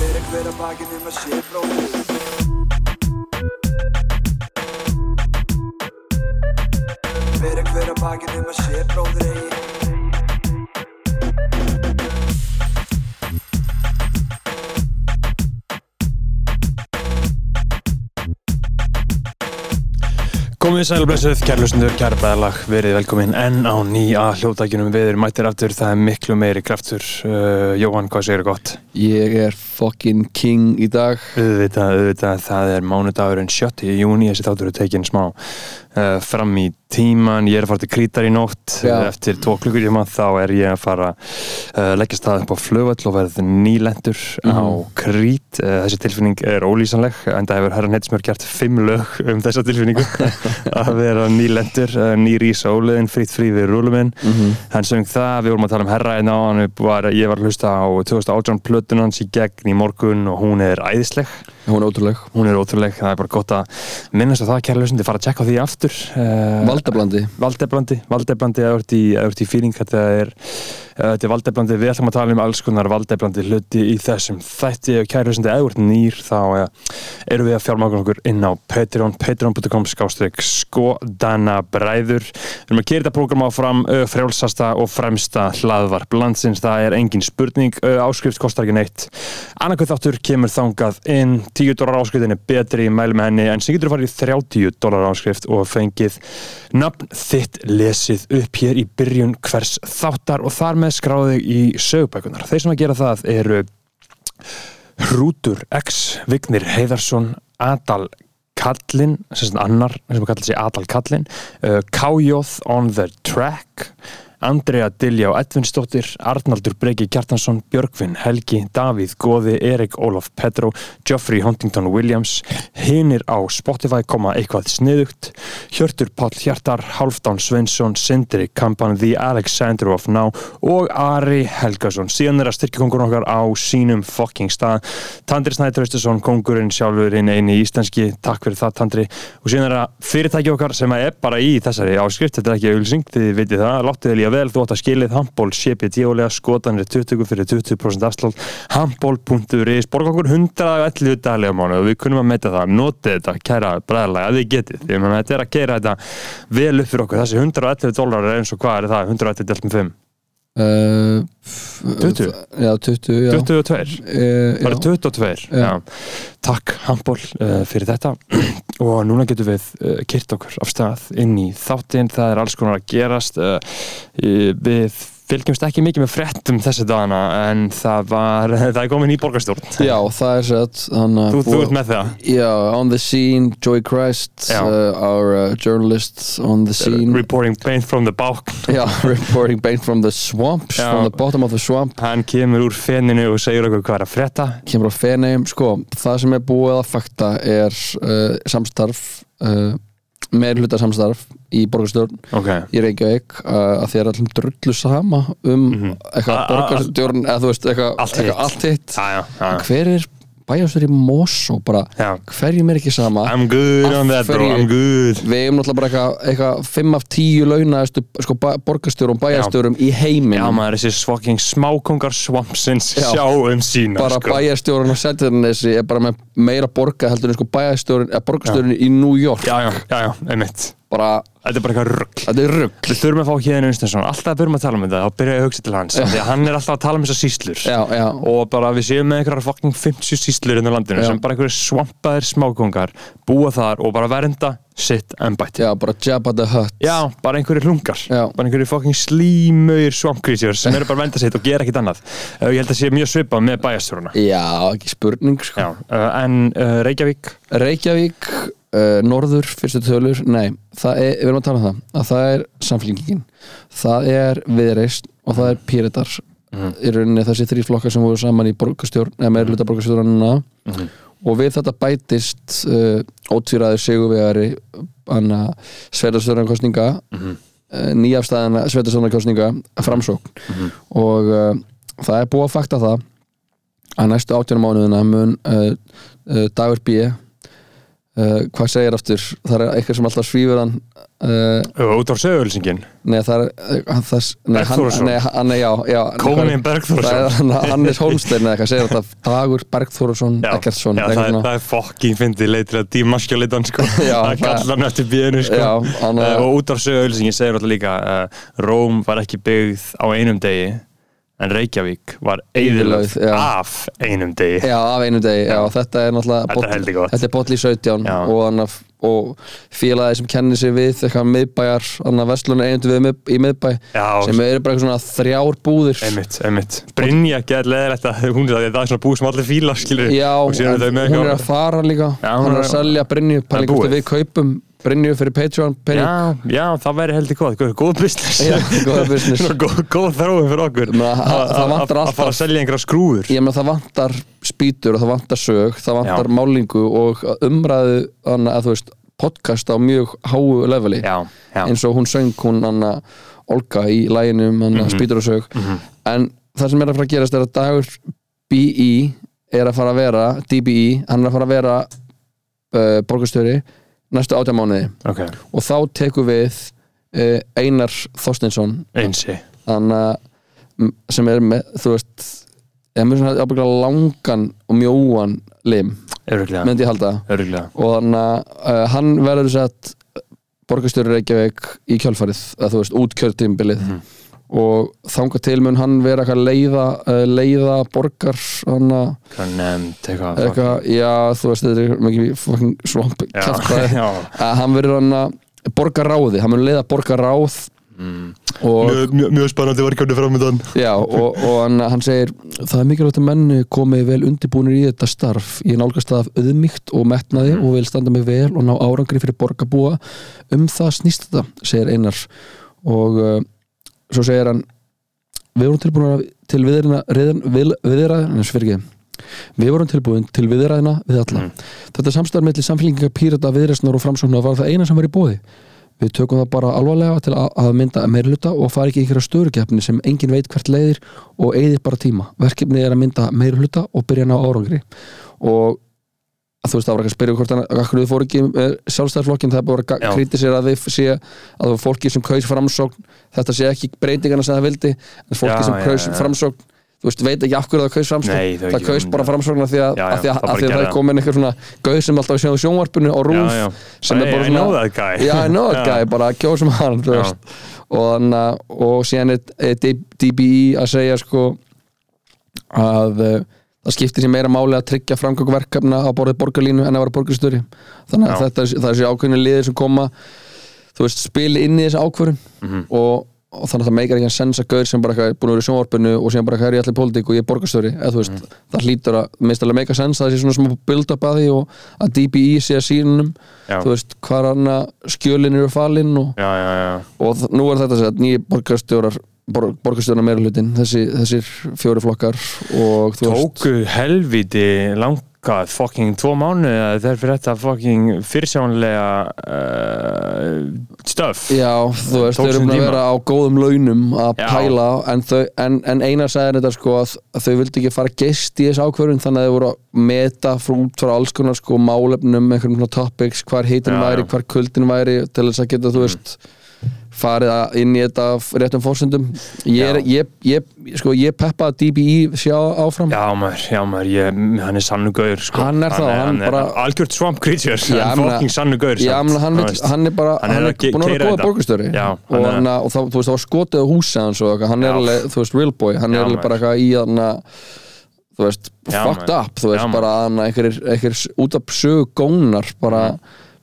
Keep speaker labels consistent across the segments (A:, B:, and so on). A: hver að baki nema sé bróðir Hver að hver að baki nema sé bróðir eigi
B: Komið sæl og blessuð, kærlustendur, kæra bæðalag, verið velkomin enn á nýja hljóðdækjunum við erum mættir aftur, það er miklu meiri kraftur. Uh, Jóhann, hvað segir gott?
C: Ég er fucking king í dag
B: Auðvitað, auðvitað, það er mánudagurinn 7. júni, þessi þáttur er tekin smá uh, fram í tíman, ég er að fara til Krítar í nótt,
C: Já.
B: eftir tvo klukkur hjá þá er ég að fara uh, leggja stað upp á flugvöll og verð nýlendur á Krít, uh, þessi tilfinning er ólýsanleg, enda hefur herran Heitsmjör gert fimm lög um þessa tilfinningu að vera nýlendur, uh, nýri í sóliðin, fritt frí við rúluminn, hann söng það, við vorum að tala um herra hérna á hann, var, ég var að hlusta á 2018 plötun hans í gegn í morgun og hún er æðisleg,
C: Hún er ótrúleg
B: hún er ótrúleg, það er bara gott að minnast á það, kæra hlustandi, fara að tjekka á því aftur. Uh,
C: Valdablandi
B: Valdeblandi, Valdeblandi eða ert í, eða þú ert í fíling þetta er, eh, þetta er Valdeblandi við ætlum að tala um alls konar Valdeblandi hluti í þessum þætti og kæru sem þetta ert nýr þá eh, erum við að fjármagna okkur inn á Patreon, patreon.com skástrík skodanabræður við erum að kera þetta prógram áfram ö, frjálsasta og fremsta hlaðvarp landsins, það er engin spurning ö, áskrift kostar ekki neitt annarkvæð þáttur kemur þangað inn 10 dólar áskriftin er betri, ég mæli með henni en sem getur farið í 30 dólar áskrift og fengið nafn þitt lesið upp hér í byrjun hvers þáttar og þar með skráðu þig í sögubækunar þeir sem að gera það eru Hrútur X, Vignir Heiðarsson, Adal Kallin, sem sagt annar sem kallar sig Adal Kallin, uh, Kájóð on the track, Andrea Diljá Edvinsdóttir, Arnaldur Breki Kjartansson, Björgvin Helgi, Davíð Góði, Erik Ólaf Petro, Geoffrey Huntington Williams, hinir á Spotify koma eitthvað sniðugt, Hjörtur Páll Hjartar, Halfdán Sveinsson, Sindri Kampan, The Alexander of Now og Ari Helgason. Síðan er að styrkjakongur okkar á sínum fucking stað. Tandri Snæður Östursson, kongurinn sjálfur hinn eini íslenski. Takk fyrir það, Tandri. Og síðan er að fyrirtæki okkar sem er bara í þessari áskrift. Þetta er ekki auðvilsing, þið vitið það. Láttu þið líka vel, þú átt að skilið handból, sépið tíulega, skotanir 20 fyrir 20% afslátt, handból.is, borga okkur 111 daglega mánu og við kunnum að meta það. Notið þetta, kæra bræðarlega, að þið getið. Ég meina, þetta er að gera þetta vel upp fyrir okkur. Þessi 111 dólar er eins og hvað er það? 111 delt með 5? eh,
C: uh,
B: 20?
C: Já, 20, já
B: 22?
C: Uh,
B: bara 22 já.
C: Já.
B: takk Hambol uh, fyrir þetta og núna getum við uh, kyrt okkur af stað inn í þáttinn, það er alls konar að gerast uh, í- við fylgjumst ekki mikið með fréttum þessi dagana en það var, það er komin í borgarstjórn
C: já, það er sett
B: þú, þú ert með það
C: Já, on the scene, Joy Christ
B: Já. Eh,
C: uh, Our uh, journalists on the scene
B: reporting pain from the back
C: Já, reporting back from the swamp
B: Já.
C: From the bottom of the swamp
B: hann kemur úr fenninu og segir okkur hvað er að frétta
C: Kemur á fenegum, sko Það sem er búið að fakta er uh, samstarf uh, meirhluta samstarf í borgarstjórn
B: ok
C: í Reykjavík uh, að þið er allum drullu sama um
B: Mhm. A- a-
C: eitthvað borgarstjórn eða þú veist eitthvað
B: Allt
C: eitthvað
B: hitt.
C: allt hitt.
B: aðja, aðja
C: hver er bæjastjóri Mosó bara
B: Ah, Já.
C: hverjum er ekki sama
B: I'm good on that bro, I'm good
C: við eigum náttúrulega bara eitthvað, eitthvað 5 af 10 launaðistu sko, borgarstjórum, bæjastjórum í
B: Já
C: heiminum
B: maður, þessi svokking smákongar svampsins
C: Já.
B: sjá um sína
C: bara
B: sko.
C: bæjastjórun á Seltjarnesi er bara með meira borga heldur en sko bæjastjórun eða borgarstjórun í New York
B: Já, já, já, já, einmitt
C: bara,
B: Þetta er bara eitthvað rugg
C: þetta er rugg
B: Við þurfum að fá hérna Unstensson, alltaf þurfum að tala um þetta þá byrja ég að hugsa til hans, af því að hann er alltaf að tala um þessar sýslur
C: já, já,
B: og bara við séum með einhverjar fucking 50 sýslur inn á landinu
C: Já.
B: sem bara einhverjir svampaðir smákongar búa þar og bara vernda sitt embætti
C: já, bara Jabba the Hutt
B: Já, bara einhverjir hlungar,
C: Já.
B: bara einhverjir fucking slímauðir svampgrísjur sem eru bara að vernda sitt og gera ekkit annað Eh, Ég held að sé mjög svipað með bæjastjóruna
C: já, ekki spurning sko
B: Já, eh, en eh, Reykjavík
C: Reykjavík, uh, Norður, fyrstu tölur, nei, það er, við erum að tala um það, að það er samfélkingin, það er viðreist og það er píritar, í rauninni þessi þrý flokkar sem voru saman í borgarstjórn, eða meira hluta borgarstjórnuna og við þetta bætist uh, ótvíraði sigurvegari, hann að sveitastjórnarkostninga, mm -hmm. uh, nýjafstæðana sveitastjórnarkostninga, framsókn og uh, það er búið að fakta það að næstu átjánum mánuðina mun uh, uh, Dagur eh, B uh, uh, hvað segir aftur það er eitthvað sem alltaf svífur hann uh,
B: eh, Út á sögulsingin
C: nei það er uh, það, nei, hann,
B: Bergþórsson.
C: nei, hann, nei, já, já, nei, hvað
B: Komin
C: er- það er
B: Bergþórsson
C: hann- Hannes Holmstein eða eitthvað segir alltaf Dagur Bergþórsson
B: Já,
C: Eggertsson
B: já,
C: eitthvað
B: það, er,
C: svona.
B: það er fokking fyndið leið til að dímaskja leitan sko
C: Já,
B: að
C: það-
B: kalla hann eftir bíðinu sko
C: Já, hann-
B: Eh, og út af sögulsingin segir alltaf líka uh, Róm var ekki byggð á einum degi en Reykjavík var eðilöð
C: Eyðilögð, já.
B: af einum degi
C: Já, af einu degi, já, þetta er náttúrulega
B: Þetta er heldig gott.
C: Þetta er Bolli 17
B: Já.
C: og, hann af- og félagi sem kennir sig við eitthvað miðbæjar, annað vestlun einundu við mið, í miðbæ
B: Já.
C: sem eru bara eitthvað svona þrjár búðir
B: Einmitt, einmitt. Brynja gerð leðilegt að hún er að það er svona búið sem allir fíla skilur
C: Já,
B: og síðan
C: en
B: er þau með
C: hún er að
B: eitthvað
C: fara líka
B: Já,
C: hún er að selja Brynju
B: Það er
C: pælingu
B: búið.
C: við kaupum Brynju fyrir Patreon pening
B: Já, já, það væri heldur góð, góð, góð business
C: Já, góð business.
B: Svona góð, góð þróun fyrir okkur
C: Ég meina, það-
B: Að-
C: það
B: að-
C: vantar
B: að-
C: alltaf-
B: Að fara að selja einhverja skrúður
C: Ég meina það vantar spýtur og það vantar sög það vantar
B: Já.
C: málingu og umræðu þannig að þú veist, podcast á mjög háu leveli
B: Já, já,
C: eins og hún söng hún anna Olga í læginum
B: Mhm.
C: anna mm spýtur og sög en það sem er að fara að gerast er að dagur BI er að fara að vera DBI, hann er að fara að vera uh, borgarstjóri næstu átjá mánuði
B: ok,
C: og þá tekur við uh, Einar Þorstinsson
B: einsi
C: anna, sem er með þú veist, er með svona ábygglega langan og mjóan lim
B: Öruglega,
C: myndi ég halda
B: öruglega
C: og þannig að uh, hann verður sett borgarstjóri Reykjavík í kjálfarið, að þú veist, út kjörtímbilið og þangað til mun hann vera eitthvað leiða, uh, leiða borgar hann að
B: Hvað nefnd, eitthvað
C: eitthvað, já, þú veist, þetta er mikið fucking svamp
B: Já,
C: kjálfræði
B: já.
C: að hann verður hann að borgarráði hann mun leiða borgarráð og
B: Mjög, mjög, mjög spennandi verkefni framöndan
C: Já, og, og hann, hann segir það er mikilvægt að menn komi vel undirbúinir í þetta starf ég nálgast það af auðmygt og metnaði og vil standa mig vel og ná árangri fyrir borgarbúa um það snýst þetta, segir Einar og uh, svo segir hann við vorum tilbúin til viðræðina viðræðina, svergið Við vorum tilbúin til viðræðina við alla. Þetta samstarf melli samfélkingar pírata viðræðsnar og framsóknar var það eina sem var í bóði. Við tökum það bara alvarlega til að að mynda meirluta og fara ekki í einhverja störukeppni sem engin veit hvert leiðir og eigðir bara tíma. Verkefnið er að mynda meirluta og byrja að ná árangri. Og þú veist, það var ekki að spyrja hvort hann, akkur þið fóru ekki með sjálfstæðarflokkin, það er bara
B: Já.
C: að kritisera að þið sé að það var fólki sem kaus framsókn, þetta sé ekki breytingarna sem það vildi, en fólki
B: Já,
C: sem
B: já,
C: kaus
B: já.
C: framsókn, þú veist, veit ekki af hverju það kaus framsókn,
B: Nei, þau
C: það
B: ekki
C: kaus
B: hugmynd,
C: bara
B: já.
C: framsókn af því að,
B: Já, já,
C: af því að,
B: það bara
C: að, því að
B: gerði
C: það er
B: það.
C: komin einhver svona gauð sem alltaf séð á sjónvarpinu og rúf
B: Já, já.
C: sem er
B: Hey,
C: bara
B: I know
C: svona
B: that guy.
C: Já, I know
B: Já.
C: that guy, bara kjósum hann þú
B: Já.
C: veist. og, anna, og síðan er, er D- DBI að segja sko að uh, það skiptir sér meira máli að tryggja framgang verkefna á borðið borgarlínu en að vera borgarstöri þannig að
B: Já.
C: þetta, það er sér ákveðinu liðir sem koma þú veist, spili inn í þessu ákvörun
B: Mhm.
C: og, og þannig að það meikar ekki að sensa gaur sem bara eitthvað er búin að vera í sjónvarpinu og sem bara eitthvað er í allir pólitík og ég er borgarstöri eða þú veist,
B: Mhm.
C: það hlýtur að minnst alveg meika sens að það sé svona smá build-up að því og að DBI sé að sínum
B: Já.
C: þú veist, hvar anna skjölin eru falin og,
B: Já, já, já
C: og þ- nú er þetta sér nýji borgarstjórar bor, borgarstjórar meira hlutin þessi, þessir fjóri flokkar og þú veist
B: Tóku helviti langa fucking tvo mánu þegar fyrir þetta fucking fyrirsjónlega uh, stöf
C: Já, þú veist,
B: Tók
C: þau eru
B: sinn
C: búin að
B: tíma.
C: vera á góðum launum að
B: Já.
C: pæla en, þau, en, en eina sagði þetta sko að, að þau vildi ekki fara gest í þessu ákvörðun þannig að þau voru að meta frá út frá alls konar sko málefnum, einhverjum svona topics hvar hitin
B: Já, Mhm.
C: væri,
B: já.
C: hvar kuldin væri til þess að geta, þú veist farið að- inn í þetta af réttum fórsendum ég, er, ég, ég, sko, ég peppaði DBI E, sjá áfram
B: Já maður, já maður, ég, hann er sannu gaur sko.
C: Hann er það, hann
B: er
C: bara-
B: Algjört swamp creature,
C: Já,
B: hann
C: ég meina-
B: fucking sannu gaur
C: Já,
B: samt,
C: menn, hann,
B: þú
C: vill,
B: veist.
C: hann er bara
B: Hann
C: hann,
B: er
C: er
B: að ge-
C: búin að vera
B: keyra
C: góða
B: þetta.
C: borgarstjóri
B: Já,
C: og,
B: hann er-
C: hann, og þá, þú veist, það var skotið á húsi hans og eitthvað, hann
B: Já.
C: er alveg, þú veist, real boy hann
B: Já,
C: er alveg
B: maður.
C: bara eitthvað í hann þú veist,
B: Já,
C: fucked
B: maður.
C: up þú veist,
B: Já,
C: bara hann einhverjir, einhverjir út af sögu gónar bara,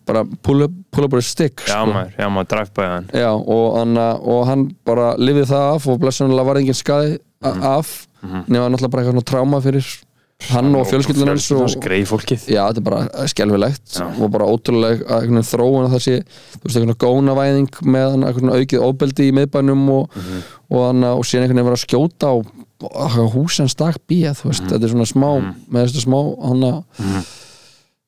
C: bara pull up, pull up a stick
B: Já
C: sko.
B: maður, já maður, drive-by hann
C: Já, og, hann, og hann bara lifið það af og blessunlega var engin skaði a-
B: Mhm.
C: af nema náttúrulega bara eitthvað tráma fyrir hann og fjölskyldunar hans og,
B: Greið fólkið
C: Já, þetta er bara skelfilegt
B: Já.
C: og bara ótrúleg að einhvern veginn þróun að það sé, þú veist, einhvern veginn gónavæðing með hann, einhvern veginn aukið óbeldi í miðbænum og,
B: Mhm.
C: og, hann, og síðan einhvern veginn vera að skjóta á á húsans dag bíja, þú
B: Mhm.
C: veist, þetta er svona smá með þetta smá, hann að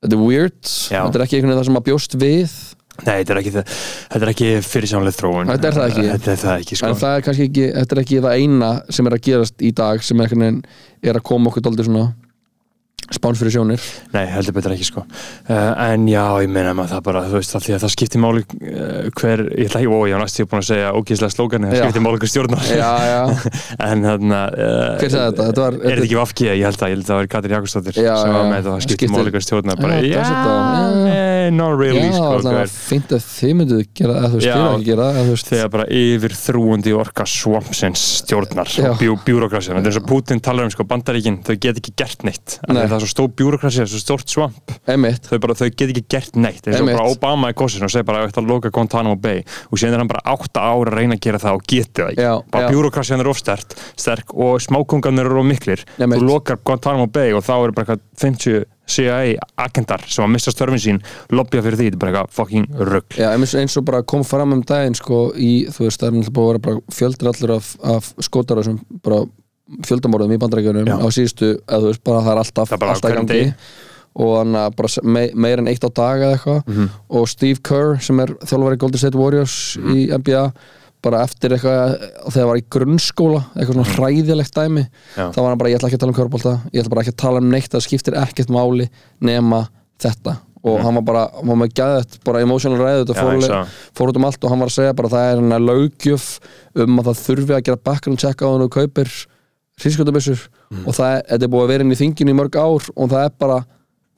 C: þetta er weird,
B: Já.
C: þetta er ekki einhvern veginn það sem að bjóst við,
B: Nei, þetta er ekki, það- þetta er ekki fyrirsjónlega þróun
C: Þetta er það ekki.
B: Þetta er það ekki, sko
C: en það er kannski ekki þetta er ekki það eina sem er að gerast í dag sem einhvern veginn er að koma okkur daldið svona spán fyrir sjónir
B: Nei, heldur betur ekki sko uh, En já, ég meina maður það bara, þú veist það því að það skiptir máli uh, hver, ég ætla ekki, ó, ég var næstu búin að segja ógeðslega slógani, það
C: Já.
B: skiptir máli hver stjórnar
C: já, já,
B: En þarna uh,
C: Hver sagði þetta? Þetta var-
B: Er þetta ekki vafkið, ég held að, ég held að það var Katrín Jakobsdóttir
C: Já,
B: sem var
C: já.
B: með þetta, það skiptir
C: Skiptir-
B: máli hver stjórnar bara,
C: Já,
B: já,
C: blessa þetta.
B: eh, not really
C: já
B: sko,
C: allan
B: hver,
C: að fint að þið mynduð gera að þú veist,
B: Já.
C: þið ekki gera að þú veist,
B: þegar bara yfir þrúundi orka svampsins stjórnar
C: Já.
B: og bjú, bjúrokrasið, þetta er eins og Putin talar um sko, bandaríkin, þau get ekki gert neitt Af því
C: Nei.
B: að það er svo stór bjúrokrasið, svo stórt svamp
C: emitt
B: þau, bara, þau get ekki gert neitt eins og
C: Einmitt.
B: bara Obama er kosin og segir bara að þetta loka Guantanamo Bay og síðan er hann bara átta ára að reyna að gera það og geti það ekki
C: Já, já.
B: bara bjúrokrasjan er ofstert sterk og smákungarnir eru of miklir
C: Einmitt.
B: þú lokar Guantanamo Bay og þá eru bara eitthvað 50 CIA agendar sem að missa störfin sín lobbya fyrir því, þetta er bara eitthvað fucking rugg
C: Já, eins, eins og bara kom fram um daginn sko, í, þú veist, það er náttúrulega búið að vera bara fjöldir allur af, af skótar sem bara fjöldamorðum í bandrækjunum
B: Já.
C: á síðustu, eða þú veist, bara það er alltaf,
B: Það er bara á
C: alltaf í
B: hverjum
C: gangi
B: degi.
C: og hann að bara se- me, meir en eitt á dag eða eitthvað
B: Mhm.
C: og Steve Kerr sem er þjálfari Golden State Warriors
B: Mhm.
C: í NBA bara eftir eitthvað eh, þegar var í grunnskóla eitthvað svona hræðilegt dæmi
B: Mhm. Já.
C: þá var hann bara ég ætla ekki að tala um körbólta ég ætla bara ekki að tala um neitt það skiptir ekkert máli nema þetta og hann var bara, hann var með gæðið bara emotional ræðið
B: Mhm.
C: þetta
B: Já,
C: fór,
B: ég sá.
C: alveg- fór út um allt og hann var að segja bara það er hann að löggjöf um að það þurfi að gera background check á hann og kaupir hrískotabissur
B: Mm.
C: og það er, þetta er búið að vera inn í þinginu í mörg ár og það er bara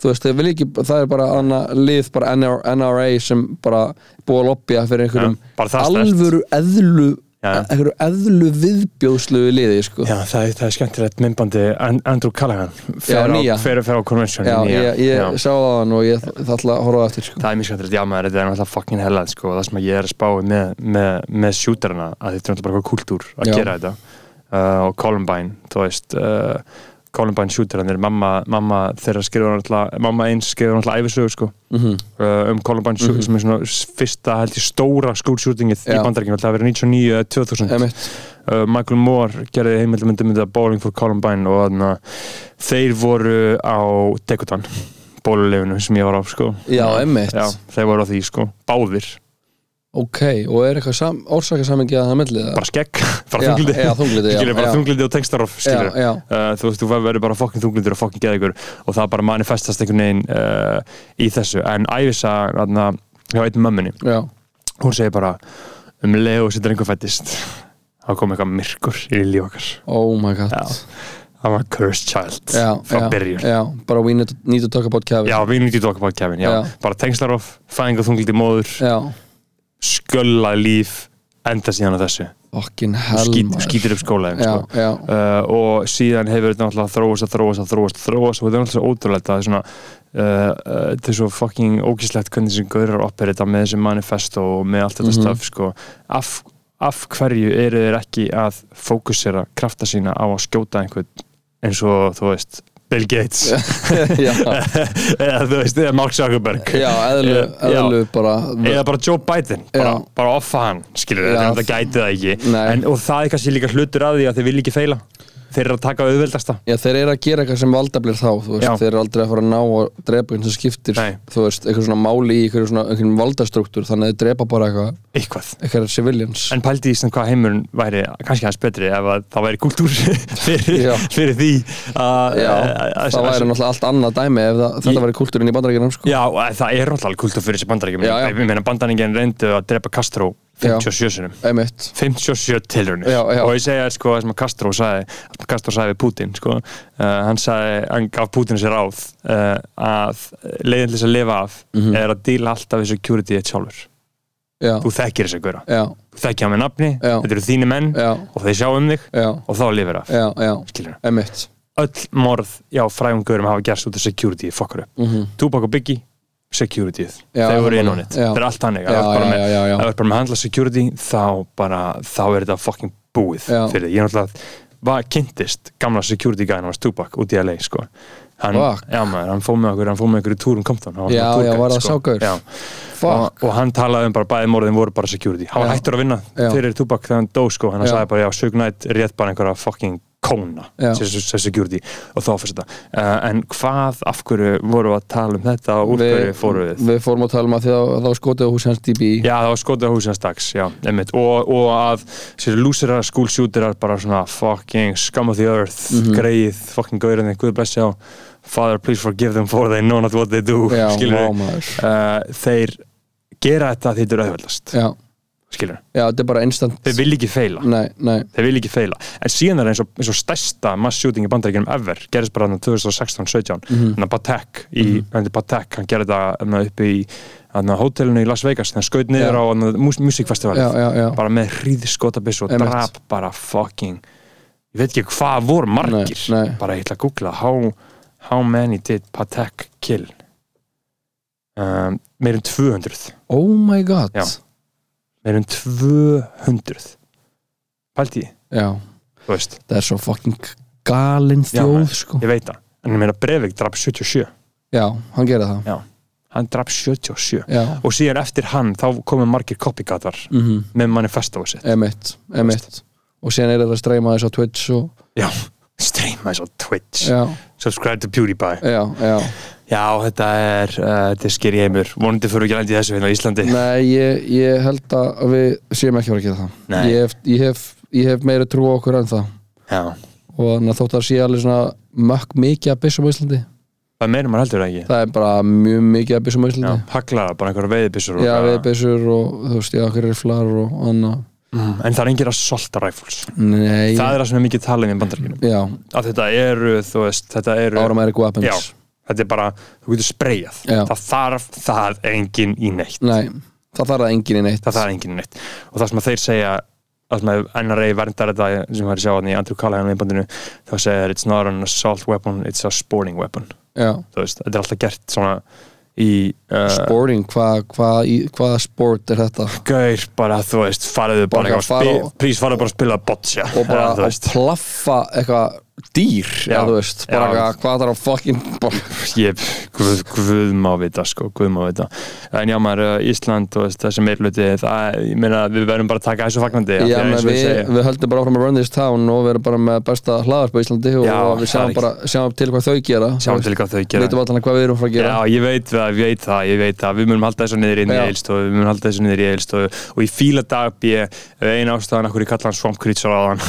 C: þú veist, þeir vilja ekki, það er bara annað lið bara NR NRA sem bara búið að lobbya fyrir einhverjum
B: Já, bara það sterkt.
C: alvöru eðlu
B: Já, já.
C: einhverju eðlu viðbjóðslu liði, sko
B: Já, það er, það er skemmtilegt myndbandi An- Andrew Callahan fer
C: Já, nýja.
B: á, fer, fer á convention
C: Já,
B: nýja.
C: ég, ég sá það hann og ég það ætla að horfa á eftir sko.
B: það er mjög skemmtilegt, já maður, þetta er náttúrulega fucking hellað sko, og það sem ég er að spáði með, með, með shooterina, að þetta er náttúrulega bara kultúr að
C: Já.
B: gera þetta uh, og Columbine, þú veist uh, Columbine shooterinn er mamma, mamma þeirra skrifur náttúrulega, mamma eins skrifur náttúrulega æfisögur sko, uh, um Columbine shooter sem er svona s- fyrsta held ég stóra skúlshootingið í
C: Mhm. Já.
B: bandaríkjum, það verið 99 eða 2000
C: Einmitt.
B: uh, Michael Moore gerði heimildamöndum mynda Bowling for Columbine og þarna þeir voru á Dekutan bóluleginu sem ég var á sko
C: Já, einmitt.
B: Já, þeir voru á því sko, báðir
C: Ok, og er eitthvað sam, orsakasamingi að það mellið það?
B: bara skegg, bara
C: Já,
B: þunglindi
C: já, þunglindi, já,
B: Skilur, bara
C: já.
B: þunglindi og textarof
C: Já,
B: skilur
C: já,
B: Uh, þú veist, þú verður bara fokkin þunglindur og fokkin geðegur og það bara manifestast einhvern veginn uh, í þessu, en æfisa hérna, hjá einn mömmunni,
C: já
B: hún segir bara um leið og setur einhver fættist þá kom eitthvað myrkur í líf okkar
C: Oh my god
B: Já. það var cursed child
C: já,
B: frá
C: já,
B: byrjun
C: já, bara we need to, need to talk about Kevin
B: Já, við nýttum okkur bara Kevin, já.
C: Já.
B: Bara tengslarof, fæðingar þunglindi móður,
C: já.
B: skölla líf, enda síðan á þessu.
C: Fucking hell
B: Skít,
C: maður.
B: skítir upp skólaðin,
C: Já,
B: sko.
C: já,
B: Uh, og síðan hefur þetta náttúrulega þróast að þróast að þróast að þróast og þetta er náttúrulega svo ótrúlegt að það er svona uh, uh, þetta er svo fucking ógíslegt hvernig þessi gaurar operita með þessi manifesto og með allt þetta mm
C: Mhm.
B: sko af, af hverju eru þeir ekki að fókusera krafta sína á að skjóta einhvern eins og þú veist Bill Gates
C: já,
B: eða þú veist, eða Mark Zuckerberg
C: já, eðlu,
B: Eh, já.
C: eðlu bara
B: eða bara Joe Biden, bara,
C: Mm. Já.
B: bara offa hann skilur
C: Já.
B: þetta, þetta gæti það ekki
C: Nei.
B: en, og það er kannski líka hlutur að því að þeir vilja ekki feila þeir eru að taka auðveldasta
C: Já, þeir eru að gera eitthvað sem valdaflir þá þú veist,
B: Já.
C: þeir eru aldrei að fara að ná að drepa einhvern sem skiptir,
B: Nei.
C: þú veist, eitthvað svona máli í eitthvað svona einhvern valdastruktúr, þannig að þeir drepa bara eitthvað,
B: eitthvað
C: eitthvað civilians
B: en pældi í sem hvað heimurinn væri kannski aðeins betri ef að það væri kultúr fyrir,
C: Já.
B: fyrir því að
C: Já,
B: að- að-
C: það væri
B: að-
C: náttúrulega allt annað dæmi ef það, þetta væri kultúrin í bandarækjunum sko.
B: eh, Já, og það er náttúrulega kultúr fyrir þessi bandaríkjum
C: Já, já.
B: ég meina bandaríkjum reyndu að drepa Castro
C: Já.
B: 57 sinum
C: Einmitt
B: 57 tilraunir
C: Já, já.
B: og ég segja sko það sem að Castro sagði það sem Castro sagði við Putin sko uh, hann sagði, hann gaf Putin sér ráð uh, að leiðin til þess að lifa af
C: Mhm.
B: er að díla alltaf þessu security eitt sjálfur,
C: Já,
B: þú þekkir þess að gera
C: já,
B: þú þekkir hann með nafni,
C: Já.
B: þetta eru þínu menn
C: já,
B: og þeir sjá um þig
C: já,
B: og þá lifir af
C: já, já
B: Skilurðu?
C: Einmitt
B: öll morð, já frægum gaurum hafa gerst út af security, fokkar upp
C: mm
B: Tupac og Biggie, security
C: Já,
B: þeir voru inn á
C: já.
B: nett, það er allt þannig
C: Já,
B: það er bara
C: já,
B: með-
C: já, já, já.
B: ef þú ert bara með handla security þá bara, þá er þetta fucking búið
C: Já.
B: fyrir því, ég er náttúrulega var kynntist gamla security gæðin hans Tupac út í LA sko hann,
C: Fuck.
B: já maður, hann fóð með okkur, hann fóð með okkur í túrum Compton, hann svona
C: Já, já,
B: túrguide,
C: var það sá gaur?
B: Já.
C: Fuck,
B: og, og hann talaði um bara bæði morðin voru bara security hann var
C: Já.
B: hættur að vinna
C: Já.
B: fyrir Tupac þegar hann dó sko, hann
C: Já.
B: sagði bara já, Suge Knight rétt bara einhverja fucking kóna
C: Já.
B: sem sem security og þá fyrst þetta uh, en hvað, af hverju voru að tala um þetta og úr hverju fóru við
C: Við fórum að tala um að því að þá skotið hús hans DB
B: Já, það var skotið á húsið hans dags, já, einmitt og, og að sér lúsirar,
C: Mhm.
B: skúlsjútirar bara svona fucking scum of the earth, greið, fucking gaurinn, guð blessi á Father please forgive them for they know not what they do
C: já,
B: skilur
C: vá, maður.
B: þeir gera þetta því þetta er auðveldast
C: já,
B: skilur,
C: já, þetta er bara instant
B: þeir vil ekki feila
C: nei, nei,
B: þeir vil ekki feila, en síðan er eins og, eins og stærsta mass shooting í bandaríkjunum ever gerist bara 2016-17
C: Mhm.
B: þannig að Hérna Patek, í, mm -hmm. Patek hann gerði þetta þarna, uppi í þarna, hótelinu í Las Vegas, þannig að skaut niður
C: Já.
B: á þarna mús- musikfestivalið
C: já, já, já
B: bara með hríðskotabissu og
C: Einmitt.
B: drap bara fucking ég veit ekki hvað voru margir
C: Nei, nei.
B: bara ég ætla að googla how, how many did Patek kill um, meir en 200
C: oh my god
B: Já. meir en 200 pælti ég,
C: Já.
B: þú veist
C: það er svo fucking galin
B: Já,
C: þjóð
B: maður.
C: sko.
B: ég veit það, en ég meina Breivik drap 77
C: já, hann gerði það
B: hann drap 77
C: já,
B: og síðan eftir hann þá komum margir copycatar
C: mhm
B: með manifestoðu sitt
C: emitt, emitt og síðan er þetta að streyma þess á Twitch og,
B: já, streyma þess á Twitch
C: já,
B: subscribe to PewDiePie
C: já, já
B: Já, þetta er, uh, þetta er skeri heimur vonandi fyrir ekki lendi þessu hérna á Íslandi
C: nei, ég, ég held að við séum ekki að vera að gera
B: Nei.
C: það ég hef, ég, hef, ég hef meira trú á okkur en það
B: Já,
C: og þannig að þótt að sé alveg svona mökk mikið að byssum á Íslandi
B: það meira maður heldur það ekki
C: það er bara mjög mikið að byssum á
B: Já,
C: Íslandi
B: haglaða, bara einhverja veiðbissur
C: já, við byssur og þú veist, já, okkur riflar og annað
B: mm, En það er engir assault rifles
C: nei,
B: Það er það sem er mikið talað um í bandaríkjunum
C: já,
B: Að þetta eru, þú veist, þetta eru
C: áramæri weapons
B: Já, þetta er bara, þú getur spreyjað
C: Já.
B: Það þarf það engin í neitt
C: nei, það þarf að enginn í neitt
B: Það þarf engin í neitt Og það sem að þeir segja það sem að NRA verndar þetta sem var að sjá hann í Andrew Callahan í bandinu þá segja þeir, it's not an assault weapon, it's a sporting weapon
C: já.
B: Þú veist, þetta er alltaf gert svona í uh,
C: sporting, hvað hva, hva sport er þetta
B: gaur bara þú veist fariðu bara
C: Bara
B: eitthvað
C: fara
B: spi-
C: og-
B: prís fariðu bara að spila boccia
C: og bara
B: Eða, þú
C: að
B: veist,
C: plaffa eitthvað dýr
B: Já.
C: eða þú veist, bara
B: Já.
C: eitthvað hvað þarf að fucking bara,
B: ég, guð, guð má vita sko, guð má vita en já maður, uh, Ísland, þú veist, þessi meirluti það, ég meina, við verðum bara að taka þessu fagnandi af því
C: já,
B: að eins
C: við,
B: og ég
C: við,
B: segi-
C: höldum bara áfram að run this town og við erum bara með besta hlaðarp á Íslandi og,
B: Já,
C: við
B: það er
C: sjáum bara sjáum til hvað þau gera
B: sjáum til hvað þau
C: gera
B: gera
C: veitum allan hvað við erum frá að gera
B: Já, ég veit það, ég veit það, ég veit það Við munum halda þessu niður inn í
C: Já.
B: eilstofu Við munum halda þessu niður í eilstofu Og ég fíla dag ég eina ástæðan af hverju ég kalla hann Swamp Creature á hann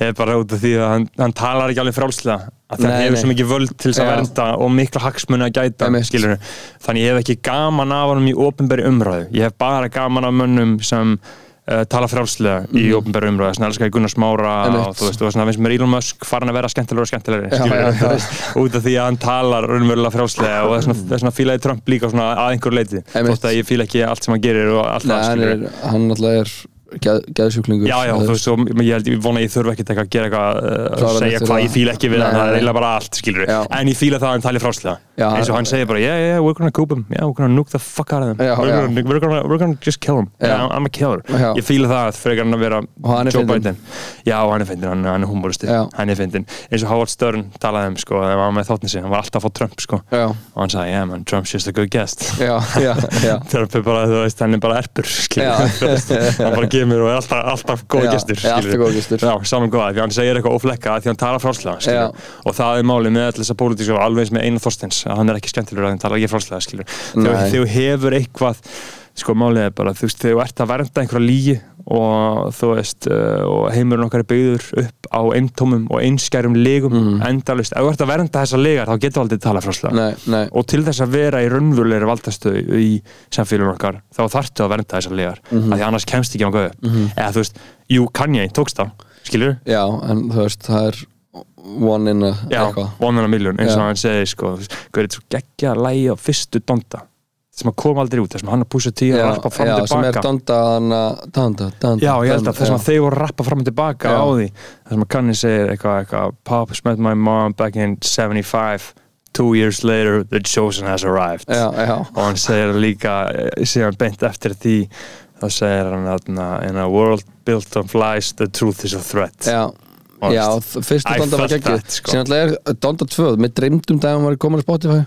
B: er bara út af því að hann, hann talar ekki alveg frálslega að það
C: Nei,
B: hefur
C: nei.
B: svo mikið völd til þess að
C: Já.
B: vernda og mikla hagsmunni að gæta
C: Einmitt.
B: skilurðu. Þannig ég hef ekki gaman af honum í ofinberi umræðu Ég hef bara gaman af mönnum sem Uh, tala frálslega í ofinbæru umræðu svona elskar ég Gunnar Smára
C: Mhm. Einmitt.
B: og þú veist, og svona finnst mér Elon Musk farin að vera skemmtilegur og skemmtilegri skilurðu.
C: já, já.
B: Þú veist, út af því að hann talar raunverulega frjálslega og þess vegna- þess vegna fílaði Trump líka svona að einhver leiti
C: Einmitt.
B: þótt að ég fíla ekki allt sem hann gerir og allt
C: Nei,
B: það
C: hann,
B: skilur
C: er, hann alltaf er geð, geðsjúklingur
B: Já, já, þú veist, og ég held, ég vona að ég þurfa ekkert eitthvað að gera eitthvað, uh,
C: Klára
B: að segja
C: neitt við
B: hvað
C: það.
B: ég fíla ekki við
C: Nei,
B: hann, það
C: nei,
B: er
C: nei.
B: eiginlega bara allt, skilur
C: Já.
B: en ég fíla það að hann tali frálslega,
C: Já,
B: eins og hann segir bara, yeah, yeah, we're gonna coop him, yeah, we're gonna nuke the fuck out of him,
C: Já,
B: we're,
C: já.
B: Gonna, we're, gonna, we're gonna just kill him,
C: Já.
B: yeah, I'm a killer,
C: Já.
B: ég fíla það frekar hann að vera
C: Og hann er
B: Joe
C: fyndinn.
B: Biden, já, og hann er fyndin, hann, hann er humoristi,
C: Já.
B: hann er fyndin, eins og Howard Stern talaði um, sko, þegar hann var með þáttni sig, hann var alltaf að fá Trump, sko,
C: já,
B: og hann sagði, yeah man, Trump's just a good guest
C: já, já, já.
B: Trump er bara, þú veist, hann er bara erpur skilur,
C: Já.
B: þú veist, hann bara gemur og er alltaf, alltaf góð
C: Já,
B: gestur
C: er alltaf
B: skilur.
C: góður gestur.
B: já, saman góða, því hann segir eitthvað óflekka því hann talar frálslega
C: Já.
B: skilur, og það er málið með alltaf þessa pólitísku alveg eins með Einar Þorsteins, að hann er ekki skemmtilegur að hann talar ekki frálslega skilur. þegar
C: Nei.
B: þegar þú hefur eitthvað sko málið er bara, þú veist, þegar þú ert að vernda einhverja lígi og þú veist uh, og heimurinn okkar er byggður upp á eintómum og einskærum legum mm. endalust, ef þú ert að vernda þessa legar þá getur aldrei tala frálslega
C: Nei, nei,
B: og til þess að vera í raunvöldleiri valdastöðu í samfélaginu okkar þá þarftu að vernda þessar legar
C: Mhm.
B: mm af því annars kemst ekki á göðu eða þú veist, jú, Kanye tókst það skilur,
C: já, en þú veist það er one in a
B: já,
C: eitthvað
B: vonuna miljón eins og
C: Já.
B: hann segi, sko, þú veist, hverju þú geggja að lægi á fyrstu donda sem að koma aldrei út, þessum hann að púsa tíu
C: já,
B: og rappa fram
C: já,
B: og
C: sem er
B: tilbaka
C: danda, danda, danda, danda
B: Já, ég held að
C: danda,
B: þess
C: já.
B: að þeir voru að rappa fram og tilbaka
C: Já.
B: á því þess að Kanye segir eitthvað, eitthvað Pop met my mom back in 75 Two years later, the chosen has arrived
C: já, já,
B: og hann segir líka eh, síðan beint eftir því þá segir hann þarna in a world built on flies the truth is a threat
C: Já,
B: Honest.
C: já þ- fyrsta
B: I
C: Donda var
B: felt
C: geggið
B: that, sko.
C: Síðan alltaf er Donda 2 Mér dreymdum dag að hún var komin á Spotify
B: já,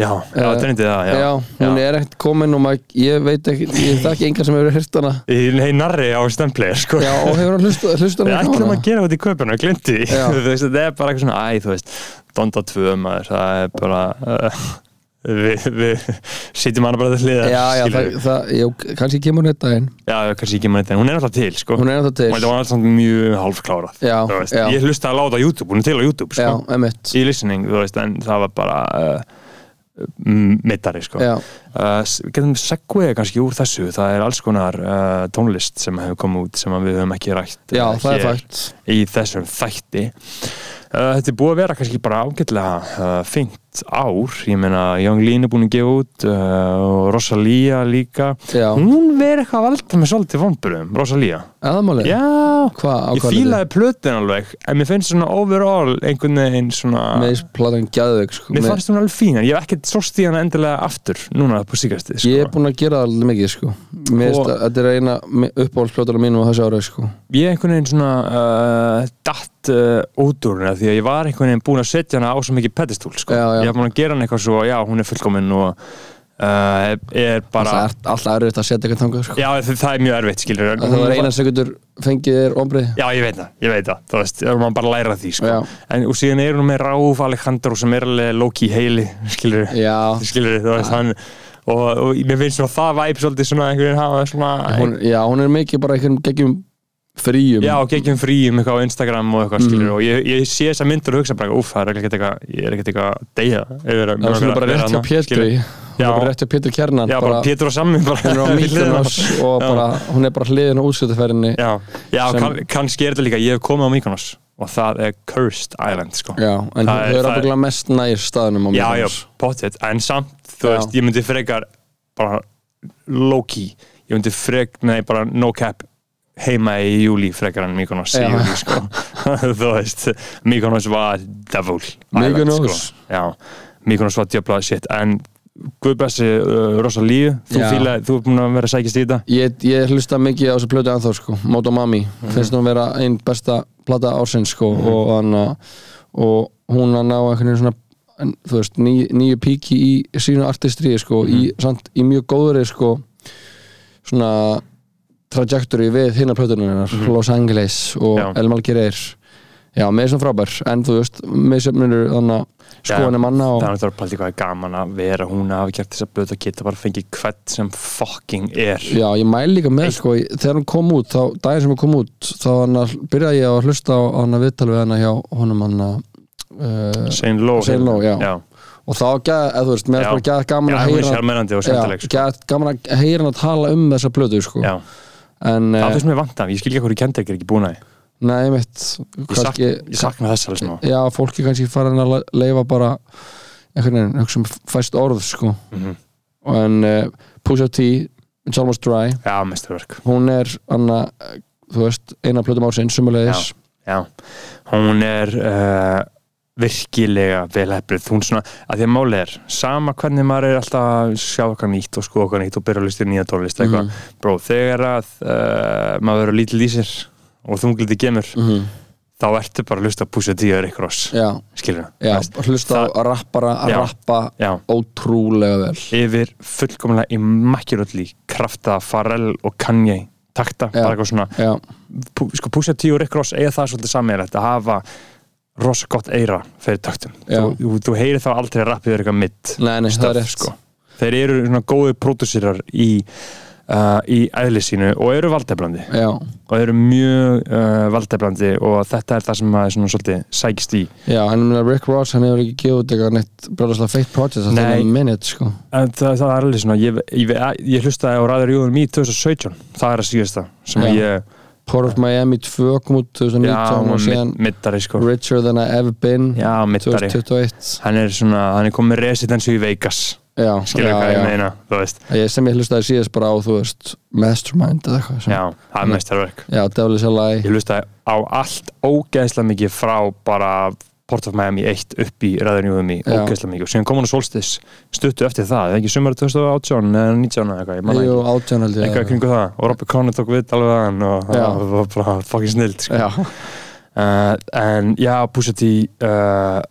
B: já
C: Eh,
B: uh, dreyndi það
C: Já,
B: já,
C: hún er ekkert komin og maður, ég veit ekki Ég þekki engan sem hefur hýrt hana
B: í hei narri á stemplegir sko
C: Já, og hefur hann hlusta, hlusta
B: við
C: hana á
B: ætlum
C: hana
B: að gera þetta í köpuna, glindu því
C: Já.
B: Þú veist, þetta er bara eitthvað svona, æ, þú veist Donda 2 maður, það er bara uh, við vi, sitjum hana bara til hliðar
C: já, já, það,
B: skilurðu.
C: það, já, kannski kemur hún eitt daginn
B: já, já, kannski ekki maður þetta en hún er alltaf til sko.
C: hún er alltaf
B: og þetta
C: til
B: var alltaf mjög hálfklárað
C: Já,
B: þú veist.
C: já.
B: ég hlusta að láta á YouTube, hún er til á YouTube
C: já,
B: sko.
C: emitt
B: í listening, þú veist, en það var bara uh, mittari sko.
C: já,
B: uh, s- við getum segveið kannski úr þessu það er alls konar uh, tónlist sem hefur komið út sem að við höfum ekki rætt
C: já,
B: uh,
C: það er
B: hér
C: fakt
B: í þessum þætti uh, þetta er búið að vera kannski bara ágætlega uh, fengt ár ég meina Young Lean er búin að gefa út uh, og Rosalía líka
C: já,
B: hún verið eitthvað að valda með svolítið vomburum Rosalía,
C: aðamáli
B: já
C: hvað, á
B: ég
C: hvað liði?
B: fílaði plötin alveg en mér finnst svona overall einhvern veginn svona
C: með þessu platan gæðveik sko.
B: mér
C: Með-
B: fannst hún alveg fín en ég hef ekkert sóst í hana endilega aftur núna på síkastið sko.
C: ég er búin að gera það alveg mikið sko. Mér
B: Og-
C: finnst að þetta er eina uppáhaldsplátana mínum á þessu ára sko.
B: ég einhvern veginn svona uh, datt uh, út úr hana því að ég var einhvern veginn búin að setja hana á svo mikið pedestúl sko.
C: Já, já.
B: ég var búin að gera hana eitthvað svo já, hún er fullkomin og uh, er, er bara
C: alltaf, er, alltaf erfitt að setja eitthvað þangað sko.
B: já, það, það er mjög erfitt skilur
C: Að það var eina sekundur fengið þér ombrið
B: já, ég veit það, ég veit það þú veist, það er maður bara að læra því sko.
C: Já.
B: en, og síðan er hún með Ráf Alejandro sem er alveg Loki heili skilur,
C: já,
B: skilur þú veist, hann og, og mér finnst svona það væp svolítið svona einhvern veginn hafa svona
C: hún, já, hún er mikið bara einhverjum geggjum fríum
B: Já, og geggjum fríum eitthvað á Instagram og eitthvað
C: Mm.
B: skilur og ég, ég sé þess að myndur og hugsa bara uff, það er ekkert eitthvað, ég er ekkert eitthvað að deyja yfir að
C: það var svona bara rétt hjá
B: þarna,
C: Pétri
B: skilur.
C: hún
B: Já.
C: er bara rétt hjá Pétri Kjarnan
B: Já, bara, Pétur og Sammi bara
C: hún er á
B: við hliðina.
C: Mykonos og bara, hún er bara hliðin á útsötuferðinni
B: Já, já
C: Sem-
B: kann, kannski er þetta líka, ég hef komið á Mykonos og það er Cursed Island sko.
C: já, en
B: Það er-
C: þau eru
B: það er-
C: ábygglega mest nær staðnum á
B: já, já,
C: Mykonos
B: pottet, en samt þú
C: Já.
B: veist, ég myndi frekar bara low-key, ég myndi frek nei, bara no-cap heima í júli frekar en Mykonos í
C: Já.
B: júli, sko. þú veist Mykonos var devil island,
C: Mykonos.
B: sko. já, Mykonos var djöfla shit, en Guðbessi uh, Rosalíu, þú
C: Já.
B: fíla þú er búin að vera að sækist í þetta
C: Ég, ég hlusta mikið á þessu plötu anþá sko, Moto Mami, finnst hún vera einn besta plata ársins sko og, hana, og hún að ná einhvern veginn svona, en, þú veist, ný, nýju píki í sínu artistri sko, í, samt í mjög góðri sko svona trajectory við hinna plötunum hennar, Los Angeles og
B: Já.
C: El Malgireir Já, með þessum frábær, en þú veist, með sömnunur þannig skoðanir manna og
B: þannig að það er bara hvað er gaman að vera hún að hafa gert þess að blöta að geta bara fengið hvert sem fucking er
C: Já, ég mæli líka með sko, ég- þegar hann kom út þá, daginn sem hann kom út, þá hann að- byrjaði ég að hlusta á hann að viðtal við hann hjá honum hann að uh,
B: Sein Ló
C: Shane Lowe, já.
B: já.
C: og þá gæði, eða þú veist, mér
B: Já.
C: er bara gæði
B: Já,
C: gaman að
B: hún er
C: heyra
B: sjálfmennandi og skemmtileg sko.
C: gæði gaman að heyra hann að tala um þessa plötu sko,
B: Já,
C: en
B: það
C: eh,
B: finnst mér vant af, ég skil ekki hverju Kendrick er ekki búin að því.
C: nei, mitt
B: ég, sak,
C: kannski, Eh,
B: ég sakna þess alveg smá
C: já, fólki kannski farin að le- leifa bara einhvern veginn, hugsa um fæst orð sko,
B: Mhm.
C: en uh, Push Up T, It's Almost Dry
B: Já, mesturverk
C: hún er hann að, þú veist, eina plötum ársinn sumulegis,
B: Já, hún er uh, virkilega velhefrið hún svona, að því að máli er sama hvernig maður er alltaf að sjá okkar nýtt og sko okkar nýtt og byrja að listir nýja tónlist eitthvað,
C: Mhm.
B: bró, þegar að uh, maður verður lítill í sér og þungliti gemur,
C: -hmm.
B: þá ertu bara að lusta að púsa tíu eða ykkur oss,
C: já,
B: skilur
C: já, hlusta á rappara að
B: Já.
C: rappa
B: Já,
C: ótrúlega vel
B: yfir fullkomlega í makkjuröldi krafta Farrell og Kanye takta,
C: Já.
B: bara eitthvað svona
C: já,
B: Pú- sko, Pusha T og Rick Ross eiga það svolítið sammeðilegt að hafa rosa gott eira fyrir taktum
C: Já.
B: þú, þú, þú heyrir þá aldrei rappið yfir eitthvað mitt
C: nei, nei, það er rétt
B: sko. þeir eru svona góði pródúsirar í, uh, í eðli sínu og eru valdeflandi
C: já,
B: og eru mjög uh, valdeflandi og þetta er það sem maður svona svolítið sækist í
C: já, en ég meina, Rick Ross hann hefur ekki gefið út eitthvað neitt brjóðslega feitt project að
B: Nei.
C: það er minute, sko
B: en það, það er alveg svona ég, ég, ég hlustaði á Ræður Jóðum í 2017 það er að síðast það sem
C: Já.
B: ég,
C: Port of Miami 2 kom út
B: já,
C: 2019 og síðan
B: mid- middari sko
C: Richer Than I Ever Been
B: já, middari
C: 2021
B: hann er svona, hann er komið residensu í Vegas
C: já,
B: skilur
C: já,
B: hvað ég
C: já.
B: meina þú veist,
C: Ég, sem ég hlustaði síðast bara á, þú veist Mastermind eða eitthvað sem-
B: já, það
C: Mm.
B: er mestarverk
C: já Devil is a Lie
B: ég hlustaði á allt ógeðslega mikið frá bara Port of Miami 1 upp í Ræðunjúðum í
C: Já.
B: ógeðslega mikið og síðan kom hann á Solstis stuttu eftir það, eða ekki sumar 2018 eða 19 eða eitthvað, ég manna
C: Jú,
B: ekki
C: átján held ég
B: eitthvað í kringu það og Robby Conner tók vitt alveg hann og
C: Já.
B: það var bara fucking snild sko.
C: Já,
B: uh, en já, Pusha T uh,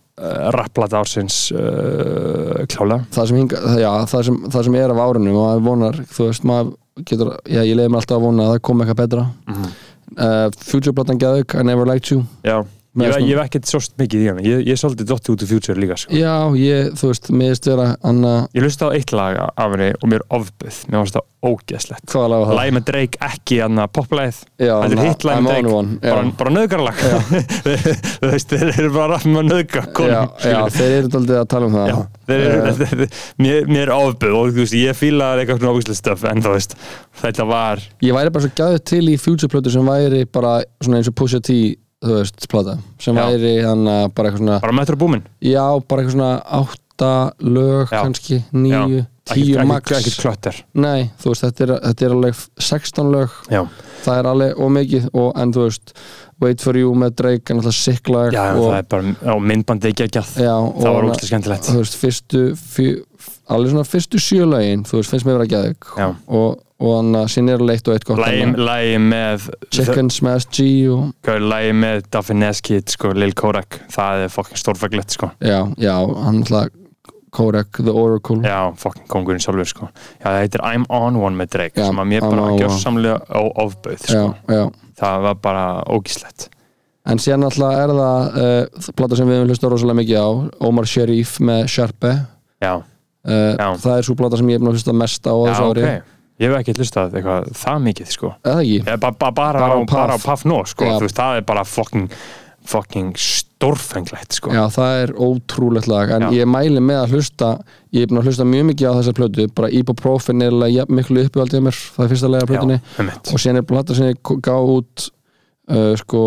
B: rapplata ársins uh, klálega
C: það sem, hinga, já, það sem, það sem er af árinu maður vonar, þú veist, maður getur já, ég leiði mér alltaf að vona að það kom eitthvað betra
B: Mhm.
C: uh, Future platan Gæðauk, I Never Liked You
B: já, Ég,
C: Með
B: ég,
C: svona-
B: hef ekkert sóst mikið í hann Ég, ég er svolítið dotti út í future líka sko.
C: Já, ég, þú veist, miðist vera annað,
B: Ég lusti á eitt lag af henni og mér ofböð Mér fannst það ógeðslegt
C: hvað laga það?
B: Læg með Drake, ekki hann að poplæð
C: Ah. Já,
B: Þetta er
C: na-
B: hitt lag
C: I'm
B: með
C: on
B: Drake
C: one, já.
B: Bara, bara nöðgarlag Þú veist, þeir eru bara að rappa með nöðga
C: já, já, þeir eru daldið að tala um það
B: Já, þeir eru,
C: Eh,
B: þetta, þetta, mér, méður ofböð og þú veist, ég fílaði eitthvað svona ofböðslega stöf en þú veist, þetta var
C: Ég væri bara svo gæðið til í future plötu sem væri bara svona eins og Pusha T þú veist, plata, sem
B: Já.
C: væri hann bara eitthvað svona,
B: bara metur búmin
C: já, bara eitthvað svona átta lög
B: Já.
C: kannski, níu, tíu max
B: Ekkert klötter
C: Nei, þú veist, þetta er, þetta er alveg 16 lög,
B: Já,
C: það er alveg og mikið og en þú veist, Wait For You með Drake, en alltaf sick lag
B: já
C: og,
B: það er bara á myndbandi ekki ekki að
C: já,
B: það var
C: og-
B: ógeðslega skemmtilegt
C: þú veist, fyrstu fjö, alveg svona fyrstu sjölögin þú veist, finnst mér vera gæðug
B: Já.
C: og, og hann að sinni er leitt og eitt gott
B: Lægi,
C: annað.
B: lægi með
C: Chicken Smash G og,
B: Gau, Lægi með Daffy Neskid, sko, Lil Korak Það er fokkin stórfaglegt, sko
C: já, já, hann alltaf Korek, The Oracle
B: Já, fokkin kongurinn sjálfur, sko Já, það heitir I'm On One með Drake
C: Já,
B: sem að mér
C: I'm
B: bara
C: on
B: gjörsamlega á ofbauð, sko
C: já, já.
B: Það var bara ógíslegt
C: en síðan alltaf er það uh, plata sem við höfum hlustað rosalega mikið á Omar Sharif með Sharpe uh,
B: Já, Já.
C: Eh, það er svo plata sem ég hef hlustað mest á á
B: já,
C: þessu
B: ok
C: ári
B: Ég hef ekki hlustað eitthvað það mikið, sko
C: eða ekki,
B: Ég, ba ba bara,
C: Bara
B: bara, á,
C: á Puff.
B: bara á Puff Nó, sko
C: Já.
B: Þú veist, það er bara fokkin fokkin stórfenglegt, sko
C: já, það er ótrúlegt lag en
B: Já.
C: ég mæli með að hlusta ég hef búin að hlusta mjög mikið á þessa plötu bara Ibuprofen er alveg jafn miklu uppivaldið mér það er fyrsta lega plötunni
B: einmitt.
C: og síðan er plata sem ég gá út uh, sko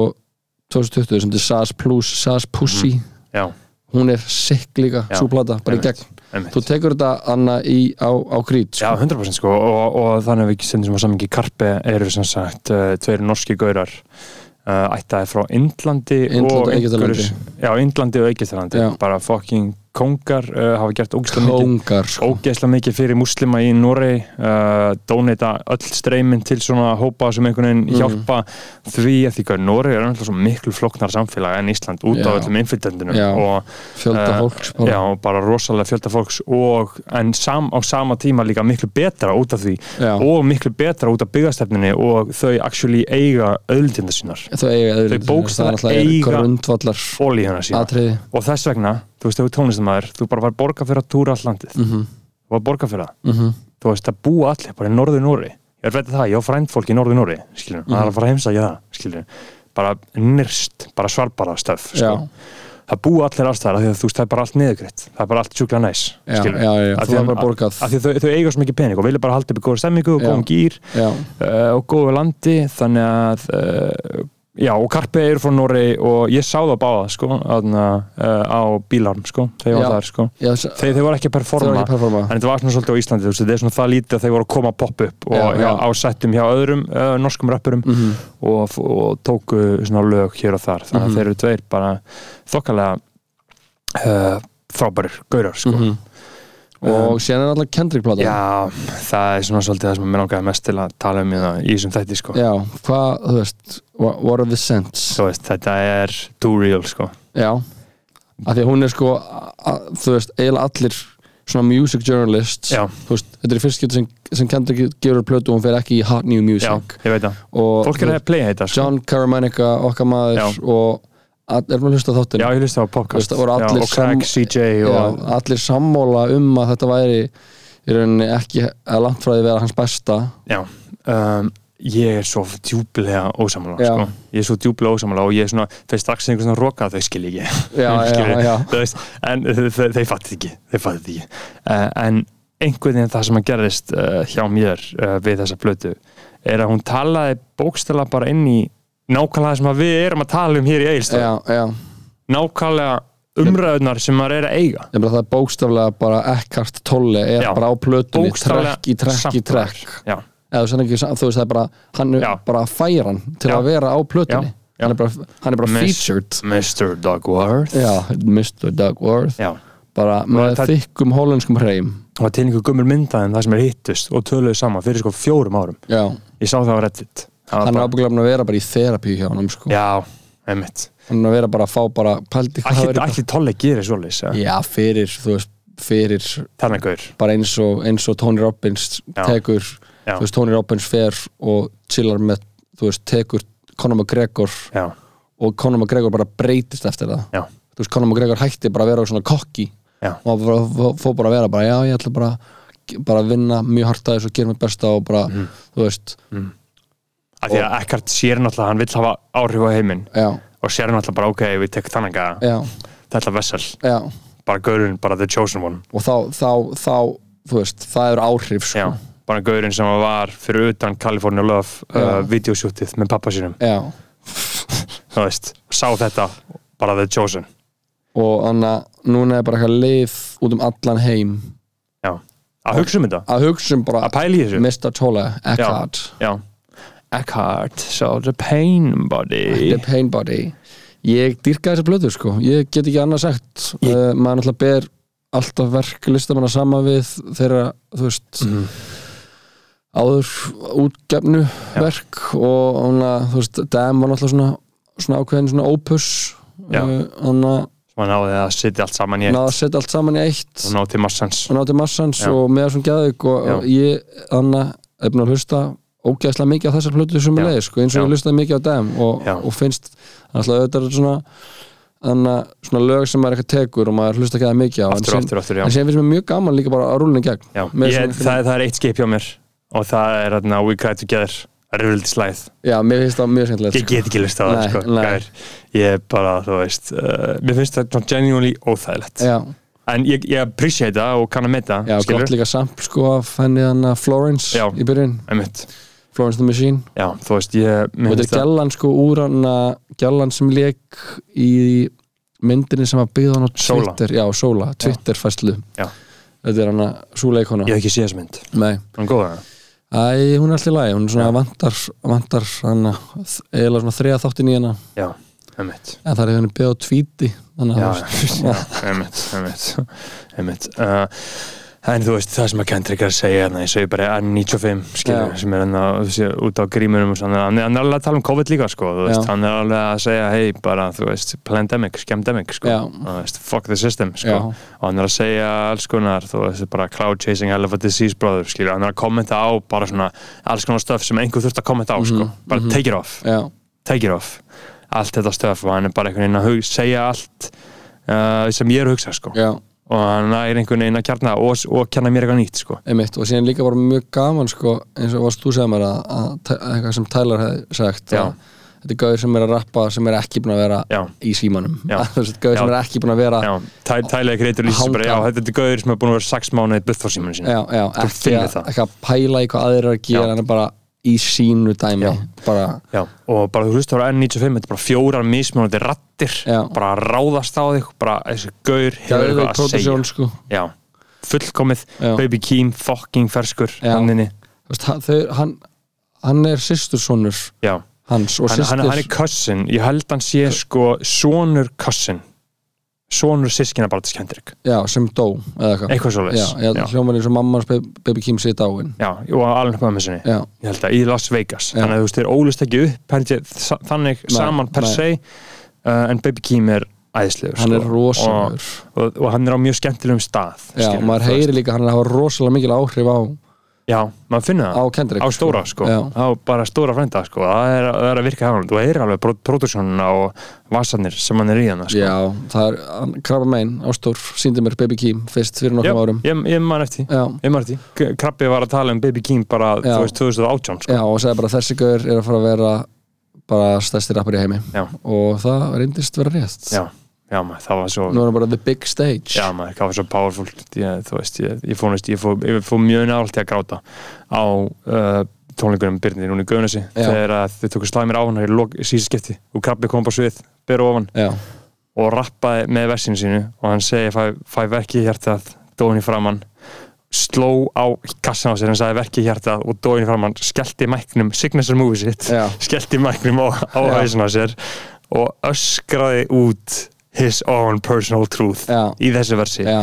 C: 2020 sem þetta er SAS Plus, SAS Pussy
B: Já,
C: hún er sikk líka,
B: Mhm. Já,
C: svo plata, bara í
B: einmitt,
C: gegn
B: einmitt
C: þú tekur þetta Anna í, á, á grít
B: Já,
C: sko.
B: 100% sko og, og þannig að við sem sem var samingi Karpe eru sem sagt uh, tveir norski gaurar uh, ættaði frá Indlandi
C: Indlandi og
B: og einhverjur
C: Egyptalandi.
B: Já, Indlandi og Egyptalandi
C: Já.
B: bara fucking kongar uh, hafa gert ógeðslega mikið
C: kóngar sko.
B: ógeðslega mikið fyrir múslima í Norei uh, donata öll streymin til svona hópa sem einhvern
C: Mhm.
B: veginn hjálpa því að því hvað Norei er náttúrulega svo miklu floknar samfélag en Ísland út
C: Já.
B: á öllum innflytendunum
C: Já.
B: og
C: fjölda
B: Eh,
C: fólks bara.
B: Já, bara rosalega fjölda fólks og en sam, á sama tíma líka miklu betra út af því
C: Já.
B: og miklu betra út af byggastefninni og þau actually eiga öðlindina sínar
C: þau eiga auðlindir,
B: bókstaflega
C: það er
B: eiga-
C: eiga grundvallar
B: ólíðina sína
C: atriði
B: og þess vegna, þú veist, ef þú tónlistamæður þú bara var borga fyrir að túra all landið
C: mm -hmm.
B: þú var borga fyrir það,
C: Sko.
B: þú veist, það búa allir bara í norðu Nóri, ég er veit að það, ég á frænd fólk í norðu Nóri, skiljum, mm. það
C: Mhm.
B: er að fara að heimsækja það skiljum, bara nyrst bara svarbara stöf,
C: já,
B: sko. það búa allir allstæðar, því að þú veist, það er bara allt niðurgreitt það er bara allt sjúklega næs,
C: já,
B: skilurðu.
C: já, já,
B: Af
C: þú
B: því
C: er
B: að-
C: bara borgað
B: af því að þau, þau eiga svo mikið pening og vilja bara halda upp í góða stemmingu og
C: Já.
B: góðum gýr
C: já,
B: uh, og góðu landi þannig að uh, já og Karpi eru frá Noregi og ég sá það báða sko aðna, uh, á bílarm sko þeir
C: Já.
B: var þar sko
C: já, þess-
B: þeir, þeir voru ekki að
C: þau
B: performa
C: ekki að performa
B: en þetta var svona svolítið á Íslandi þú veist þetta er svona það lítið að þeir voru að koma að poppa upp og
C: Já,
B: já,
C: já.
B: á settum hjá öðrum uh, norskum rappurum
C: mm
B: og, og tóku svona lög hér og þar þannig að
C: Mhm.
B: þeir eru tveir bara þokkalega uh, frábærir gaurar sko
C: -hmm. og síðan er alltaf Kendrick plata
B: Um, Já, það er svona svolítið það sem mér langaði mest til að tala um í það- í þessum þætti sko.
C: já, hvað, þú veist wha- what are the sense
B: Þú veist, þetta er too real sko.
C: Já, af því að hún er sko a- a- þú veist, eiginlega allir svona music journalists
B: Já.
C: þú veist, þetta er fyrst getur sem, sem Kendrick gefur plötu og hún fer ekki í hot new
B: Já,
C: music
B: ég veit það.
C: og
B: Fólk er að playa þetta sko.
C: John Caramanica, okkar maður
B: Já.
C: og all, erum að hlusta á þáttinn
B: Já, ég hlusti á podcast
C: Þú veist, það voru
B: Já,
C: allir
B: og Craig, CJ
C: Já,
B: og...
C: allir sammála um að þetta væri í rauninni ekki að langt frá því að vera hans besta
B: Já, um, ég er svo djúplega ósamlega
C: Já.
B: sko. Ég er svo djúplega ósamlega og ég er svona þeir strax einhvern svona roka þau skil ekki
C: Já, já,
B: Skilurðu?
C: já,
B: Þú veist, en þe- þe- þeir fattið ekki þeir fattið ekki uh, en einhvern veginn það sem að gerðist uh, hjá mér uh, við þessa blötu er að hún talaði bókstala bara inn í nákvæmlega það sem að við erum að tala um hér í
C: já,
B: Egilstöð
C: já, já.
B: nákvæmlega umræðunar sem maður er að eiga
C: Ég meina, Það er bókstaflega bara ekkart tolle er
B: Já.
C: bara á plötunni,
B: Bókstaflega
C: trekk í trekk í
B: samt maður.
C: trekk
B: já,
C: eða þú veist, hann er ekki, þú veist það er bara hann er
B: Já.
C: bara að færa hann til
B: Já.
C: að vera á plötunni
B: Já. Já.
C: hann er bara, hann er bara
B: Miss-
C: featured
B: Mr. Dogworth
C: já, Mr. Dugworth
B: já.
C: bara með
B: það-
C: þykkum hollenskum hreim
B: og til einhver gummur myndaðin það sem er hittust og töluðu saman fyrir sko fjórum árum
C: já,
B: ég sá það á Reddit það var
C: hann er
B: bara,
C: ábygglega að vera bara í therapy hjá hann sko.
B: já, einmitt
C: hann er að vera bara að fá bara pældi hvað það
B: ætli
C: verið
B: ætli Tolli gerir svoleiðis ja.
C: já, fyrir, þú veist, fyrir
B: þannig gaur
C: bara eins og, eins og Tony Robbins
B: Já.
C: tekur,
B: Já.
C: þú veist, Tony Robbins fer og chillar með, þú veist, tekur Conor McGregor
B: já
C: og Conor McGregor bara breytist eftir það
B: Já.
C: þú veist, Conor McGregor hætti bara að vera svona kokki
B: Já.
C: og hann bara- fó- fór bara að vera bara, já, ég ætla bara bara að vinna mjög hart að þessu og gera mig besta og bara,
B: Mhm.
C: þú veist
B: af því að Eckhart sér náttúrulega að hann vill hafa áhrif á heiminn
C: já,
B: og sér náttúrulega bara ok, við tekum þannig að
C: já,
B: þetta vessel,
C: já
B: bara gaurinn, bara the chosen one
C: og þá, þá, þá, þú veist það eru áhrif, sko
B: já, bara gaurinn sem var fyrir utan California Love uh,
C: Já.
B: videosjútið með pappa sínum
C: Já.
B: þú veist, sá þetta bara the chosen
C: og þannig að núna er bara eitthvað leið út um allan heim
B: já, að hugsa um þetta,
C: að hugsa um bara
B: að pæla í þessu
C: Mr. Tola, Eckhart
B: já, Eckhart so the pain body
C: The Pain Body ég dýrka þessar blöður sko, ég get ekki annað sagt
B: Ég-
C: uh, maður náttúrulega ber alltaf verk listamanna sama við þeirra, þú veist
B: Mhm.
C: áður útgefnu
B: Já.
C: verk og hana, þú veist, Dam var náttúrulega svona, svona ákveðin svona opus
B: Já.
C: þannig uh,
B: sem hann náði að sitja allt saman í
C: að
B: eitt
C: náða að setja allt saman í eitt
B: og náði til massans
C: og nátti massans
B: Já.
C: og með þessum geðug og
B: Já.
C: og ég anna er búin að hlusta ógeðslega mikið á þessar plötu sem
B: Já.
C: er leið sko, eins og
B: Já.
C: ég hlustaði mikið á dem og,
B: Já.
C: og finnst alltaf auðvitað er svona anna, svona lög sem maður eitthvað tekur og maður hlusta ekki það mikið á en
B: aftur,
C: síðan-
B: aftur, aftur, já,
C: en síðan finnst mér mjög gaman líka bara að rúlinu gegn
B: já.
C: með
B: Ég,
C: svona-
B: það, er- það er eitt skip hjá mér og það er hérna We Cry Together Rivildis læð,
C: já, mér finnst það mjög skemmtilegt
B: ég get ekki list á það
C: Nei,
B: sko,
C: nei.
B: gær. ég er bara, þú veist uh, mér finnst þetta genuinely óþægilegt
C: sko. já,
B: en ég, ég appreciate það og kann að meta
C: já
B: skilur,
C: gott líka samt sko af henni þannig að Florence
B: Já.
C: í byrjun,
B: einmitt
C: Florence the Machine
B: já, þú veist, ég mér
C: og þetta
B: finnst
C: er gælan sko úr hann að gælan sem leik í myndinni sem að byggða hann á
B: Sóla.
C: Twitter já, Sóla, Twitter fæslu
B: Já.
C: þetta er hann að Sóla leikona
B: ég hef ekki séð þess mynd,
C: nei,
B: hann er góð að
C: Æ, hún er alltaf í lagi hún er svona vantar, vantar hann að eiginlega svona þriða þáttin í hana
B: já, einmitt
C: en það er henni byggða á tvíti þannig
B: já,
C: að
B: já, einmitt, einmitt, einmitt. Uh, en þú veist, það sem að Kendrick er að segja hérna, ég segi bara N95 skilur,
C: Já.
B: sem er hérna þú sé, út á grímunum og svona, hann er hann er alveg að tala um COVID líka sko, þú veist,
C: Já.
B: hann er alveg að segja hei, bara, þú veist, pandemic, skemdemic sko,
C: Já.
B: þú veist, fuck the system sko,
C: Já.
B: og hann er að segja alls konar þú veist, bara cloud chasing, hell of a disease brother skilur, hann er að kommenta á bara svona alls konar stöf sem einhver þurft að kommenta á
C: Mhm,
B: sko, bara take it off
C: já,
B: take it off allt þetta stöf og hann er bara einhvern veginn að hug, segja allt uh, sem ég er að hugsa sko.
C: já,
B: og hann er einhvern veginn að kjarna og, og kjarna mér eitthvað nýtt sko.
C: einmitt og síðan líka bara mjög gaman sko, eins og varst þú segja mér að, að, að eitthvað sem Tyler hefði sagt
B: Já.
C: að þetta er gauður sem er að rappa sem er ekki búin að vera
B: já,
C: í símanum
B: Já.
C: Þú veist, gauður
B: Já.
C: sem er ekki búin að vera
B: já, Tæ- tælega greitur lýsir sér bara, já,
C: Hanga.
B: þetta er gauður sem er búin að vera sex mánuðið búið frá símanu sína
C: já, já, ekki
B: finnur
C: að,
B: það.
C: ekki að pæla í hvað aðrir eru að gera
B: Já.
C: en bara í sínu dæmi
B: Já.
C: bara,
B: já, og bara þú hlustar á N95 þetta er bara fjórar mismunandi rattir
C: Já.
B: bara að ráðast á þig bara þessi gaur hefur
C: Gauður í
B: eitthvað að segja
C: production, sko.
B: já, fullkomið,
C: Já.
B: baby keem fucking ferskur,
C: Já.
B: hanninni
C: Þú veist, hann, þau- hann, hann er sýstursonur
B: já,
C: hans og
B: hann, hann,
C: systir
B: hann er cousin, ég held hann sé sko sonur cousin sonur sískina bara til skendrik
C: já, sem dó eða eitthvað
B: eitthvað svo
C: já,
B: leis
C: já,
B: já.
C: hljómar eins og mamma hans Baby Baby Kim sé dáin
B: Já, og alveg upp með sinni
C: já,
B: ég held að í Las Vegas
C: Já.
B: þannig að þú veist þeir ólust ekki upp held ég, sa- þannig
C: Nei,
B: saman per
C: nei.
B: se uh, en Baby Keem er æðislegur sko.
C: hann er rosalegur
B: og, og, og hann er á mjög skemmtilegum stað
C: já,
B: skilur,
C: og maður
B: þú veist.
C: heyri líka hann er að hafa rosalega mikil áhrif á,
B: já, maður finnur
C: á
B: það á,
C: Kendrick
B: stóra sko,
C: Já.
B: á bara stóra frænda sko, það er, það er að virka hann þú heyrir alveg produksjónuna og vasarnir sem hann er í hann sko.
C: já, það er hann, krabba mein á stór, síndi mér Baby Kim fyrst fyrir
B: Já,
C: nokkrum árum
B: ég, ég man eftir því.
C: já,
B: Ég maður því, Krabbi var að tala um Baby Keem bara,
C: Já.
B: þú veist, 2018 sko.
C: Já, og sagði bara þessi gaur er að fara að vera bara stærsti rappar í heimi
B: Já.
C: og það reyndist vera rétt
B: Já, já maður, það var svo
C: Nú er hann bara the big stage
B: Já maður, það var svo powerful ég, Þú veist, ég, ég fónist, ég fó, ég fó mjög nált til að gráta á uh, tónleikunum Byrnir núna í Guðnesi
C: Já.
B: þegar að þau tóku slæmir á hana í lok- í síðasta skipti og Krabbi kom bara svið, ber ofan
C: Já,
B: og rappaði með versinu sínu og hann segi fæ, fæ verki í hjartað, dóin í framann sló á kassan á sér hann sagði verki í hjartað og dóin í framann skellti mæknum, signature movie sitt
C: já,
B: skellti mæknum á, á
C: Já.
B: hausin á sér og öskraði út his own personal truth
C: Já.
B: í þessu versi
C: já,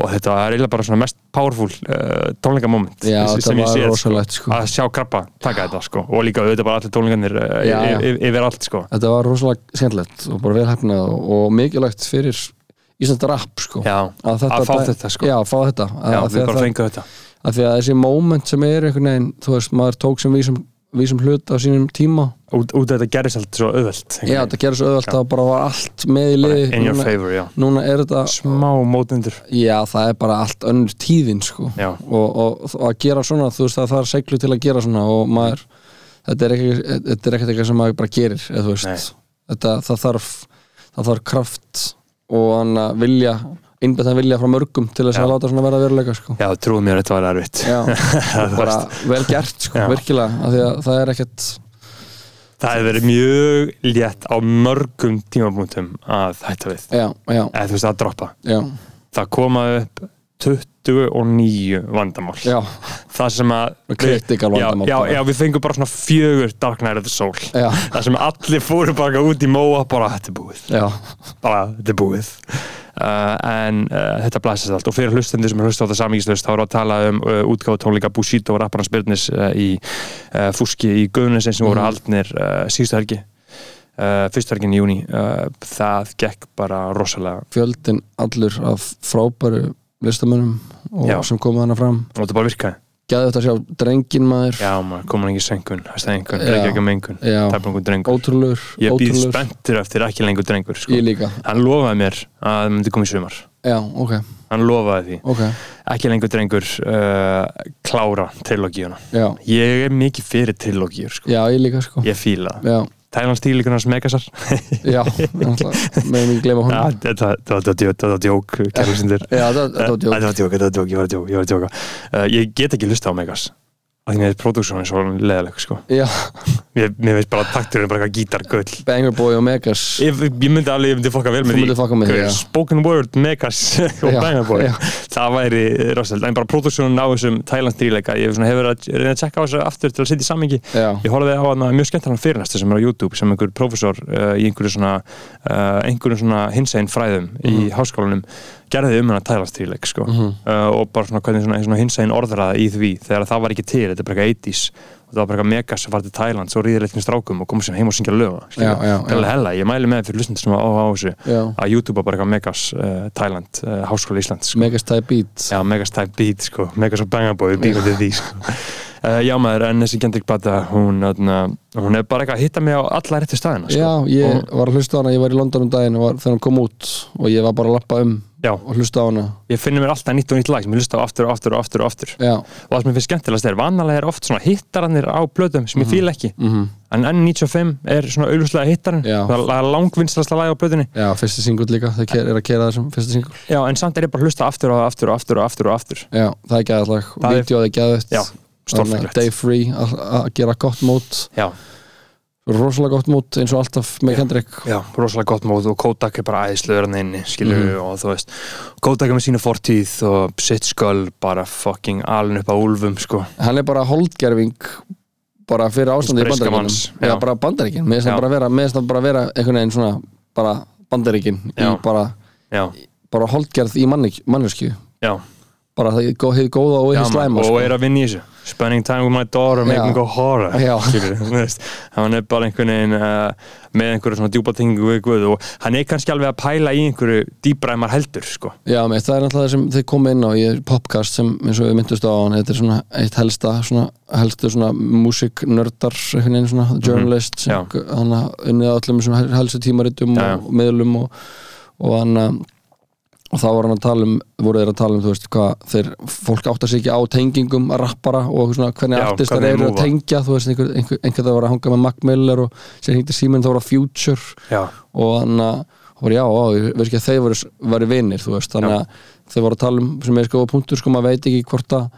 B: og þetta er eiginlega bara svona mest powerful uh, tónleikamoment
C: já
B: sem-
C: þetta
B: sem ég
C: var
B: séð,
C: rosalegt
B: sko,
C: sko.
B: að sjá krabba taka þetta sko og líka auðvitað bara allir tónleikanir uh,
C: Já, já.
B: yfir, yfir allt sko
C: Þetta var rosalega skemmtilegt og bara velhæfnað og, og mikilvægt fyrir Ísland rapp sko
B: já,
C: Að, þetta
B: að fá
C: dæ-
B: þetta sko
C: Já, að fá þetta
B: Já,
C: að, að,
B: við
C: að,
B: bara
C: að,
B: fengum þetta
C: að því að þessi moment sem er einhvern veginn, þú veist, maður tók sem við sem vísum hlut á sínum tíma
B: út, út af þetta gerist allt svo auðvelt einhvern
C: já,
B: veginn.
C: þetta gerir svo auðvelt
B: Já.
C: að bara var allt með í liði
B: in your
C: núna,
B: favor, já
C: núna er þetta
B: smá mótindur
C: já, það er bara allt önnur tíðin sko.
B: já,
C: og, og, og að gera svona þú veist að það er seglu til að gera svona og maður, þetta er ekki- þetta er ekkert eitthvað sem maður bara gerir eða, þú
B: Nei.
C: veist, þetta, það þarf það þarf kraft og hann að vilja innbættan vilja frá mörgum til þess að
B: Já.
C: láta svona vera veruleika sko.
B: já trúðu mér þetta var erfitt
C: já, og bara vel gert sko,
B: Já.
C: virkilega, af því að það er ekkert
B: það hefur verið mjög létt á mörgum tímapunktum að hætta við
C: já, já,
B: eða þú veist að droppa
C: já,
B: það koma upp 29 vandamál
C: já
B: það sem að
C: Critical
B: já,
C: vandamál
B: já,
C: bara.
B: já, við fengum bara svona fjögur Dark Knight of the Soul
C: Já.
B: það sem allir fóru bara út í móa bara þetta er búið
C: já,
B: bara þetta er búið uh, en uh, þetta blæsast allt og fyrir hlustendur sem hlusta á það samíkislaust þá eru að tala um uh, útgáðu tónleika Bushido og rapparans Byrnis uh, í uh, Fúski í Guðnesin sem voru
C: Mhm.
B: haldnir uh, síðustu helgi uh, fyrstu helgin í júni uh, það gekk bara rosalega
C: fjöldin allur af frábæru listamönnum og
B: Já.
C: sem komið hana fram
B: og þetta bara virkaði
C: gæði þetta að sjá drengin maður
B: já maður komin ekki senkun, hæsta einhvern,
C: Já.
B: ekki ekki mengun
C: Já.
B: það er bara einhvern drengur
C: ótrúlegur,
B: ég býð
C: ótrúlegur
B: spenntur eftir ekki lengur drengur sko.
C: ég líka,
B: hann lofaði mér að það myndi koma í sumar
C: já, ok,
B: hann lofaði því,
C: ok
B: ekki lengur drengur uh, klára trilogíuna
C: já,
B: ég er mikið fyrir trilogíur sko.
C: já, ég líka sko
B: ég fíla það
C: já,
B: Thailands tílikunars Megasar
C: já, náttúrulega með mig gleyma hún
B: Ah, þetta þetta var djók, þetta var djók kærleysindir.
C: já, það það var
B: Þetta
C: djók
B: var djók, þetta var djók, ég var að djók, ég var að djóka uh, ég get ekki lusta á Megas af því að produksjónin er svo leðaleg sko.
C: já,
B: mér, mér veist bara takturinn bara eitthvað gítargull
C: Banger Boy og Megas
B: ég, ég myndi alveg, ég myndi fokka vel
C: Þú
B: með því
C: myndir fokka með því,
B: Gaur,
C: já.
B: spoken word, megas og
C: Já,
B: bangabói
C: já.
B: það væri rosalega, en bara pródúsjónun á þessum Thailand þrýleika, ég hef svona hefur að reyna að tjekka á þessu aftur til að setja í samhengi
C: já,
B: ég horfði á hana mjög skemmtann fyrirnæsta sem er á YouTube sem einhver prófessor uh, í einhverju svona uh, einhverju svona hinsegin fræðum
C: Mhm.
B: í háskólanum gerði um hana Thailand þrýleik sko. uh, og bara svona hvernig svona, svona hinsegin orðraða í því þegar það var ekki til, þetta er bara eitthvað 80s og það var bara eitthvað megas að fara til Thailand svo ríðir eitthvað strákum og komið sér heim og syngja lög Það
C: já, já,
B: er alveg
C: já,
B: hella, ég mæli með þeim fyrir hlustandi sem á á þessu
C: já.
B: að YouTube bara eitthvað Megas uh, Thailand, uh, Háskóla Íslands sko.
C: Megas Type Beat
B: Já, Megas Type Beat, sko, Megas og Bangabói býðum til því, sko uh, Já maður, en þessi Kendrick Bata, hún, öðna, hún er bara eitthvað að hitta mig á alla réttu staðina sko.
C: Já, ég var að hlusta á hana, ég var í London um daginn og var, þegar hann kom út og ég var bara að lappa um
B: Já.
C: og hlusta á hana
B: Ég finnir mér alltaf nýtt og nýtt lag sem ég hlusta á aftur og aftur og aftur og aftur
C: Já,
B: og það sem ég finnst skemmtilegast er, vanalega er oft svona hittarannir á blöðum sem ég fíla ekki
C: mm
B: en N95 er svona auðvitað hittarinn
C: Já.
B: það er langvinnslasta lag á blöðunni
C: já fyrsti singull líka, þau ker, er að kera þessum fyrsti singull
B: Já, en samt er ég bara að hlusta aftur og aftur og aftur og aftur og aftur
C: Já, það er gæðallag,
B: Það er-
C: vídeoð er gæðut
B: Já, stórfenglegt
C: Day Free að að gera gott mót
B: Já,
C: rosalega gott mót eins og alltaf með Kendrick
B: já, rosalega gott mót og Kodak er bara æðislegur hann inni, skilur og þú veist, Kodak er með sína fortíð og sitt sköl bara fucking alin upp á úlfum, sko
C: hann er bara holdgerfing bara fyrir ástandi í
B: Breska
C: bandaríkinum
B: manns,
C: já,
B: já.
C: bara bandaríkin, með þess
B: Já.
C: að bara vera með þess að bara vera einhvern veginn svona bara bandaríkin í
B: Já.
C: bara,
B: Já,
C: bara holdgerð í mannesku
B: já,
C: bara það gó- hið góða og
B: já
C: hið slæma
B: og
C: sko.
B: er að vinna í þessu Spending time with my daughter,
C: Já.
B: make me go horror
C: Já.
B: skilur, þú veist, hann er bara einhvern veginn uh, með einhverju svona djúpa tengingu við Guð og hann er kannski alveg að pæla í einhverju dýbra en maður heldur, sko
C: Já, með, það er náttúrulega það sem þið komið inn á í podcast sem eins og við myndust á hann þetta er svona eitt helsta svona, helstu svona músiknördar einhvern veginn svona journalist sem
B: Mhm. Já.
C: hann unnið á öllum sem helstu tímaritum
B: Já, já.
C: og miðlum og, og hann að- og þá var hann að tala um voru þeir að tala um, þú veist, hvað þeir fólk áttar sig ekki á tengingum að rappara og svona hvernig
B: Já,
C: artistar
B: hvernig þeir
C: eru að
B: múva.
C: tengja þú veist, einhver, einhver, einhver það var að hanga með Mac Miller og sér hengti síminn þá var að Future
B: Já,
C: og hann að og bara, já, á, ég veist ekki að þeir voru, voru vinir þú veist, þannig að þeir voru að tala um sem er sko punktur, sko, maður veit ekki hvort að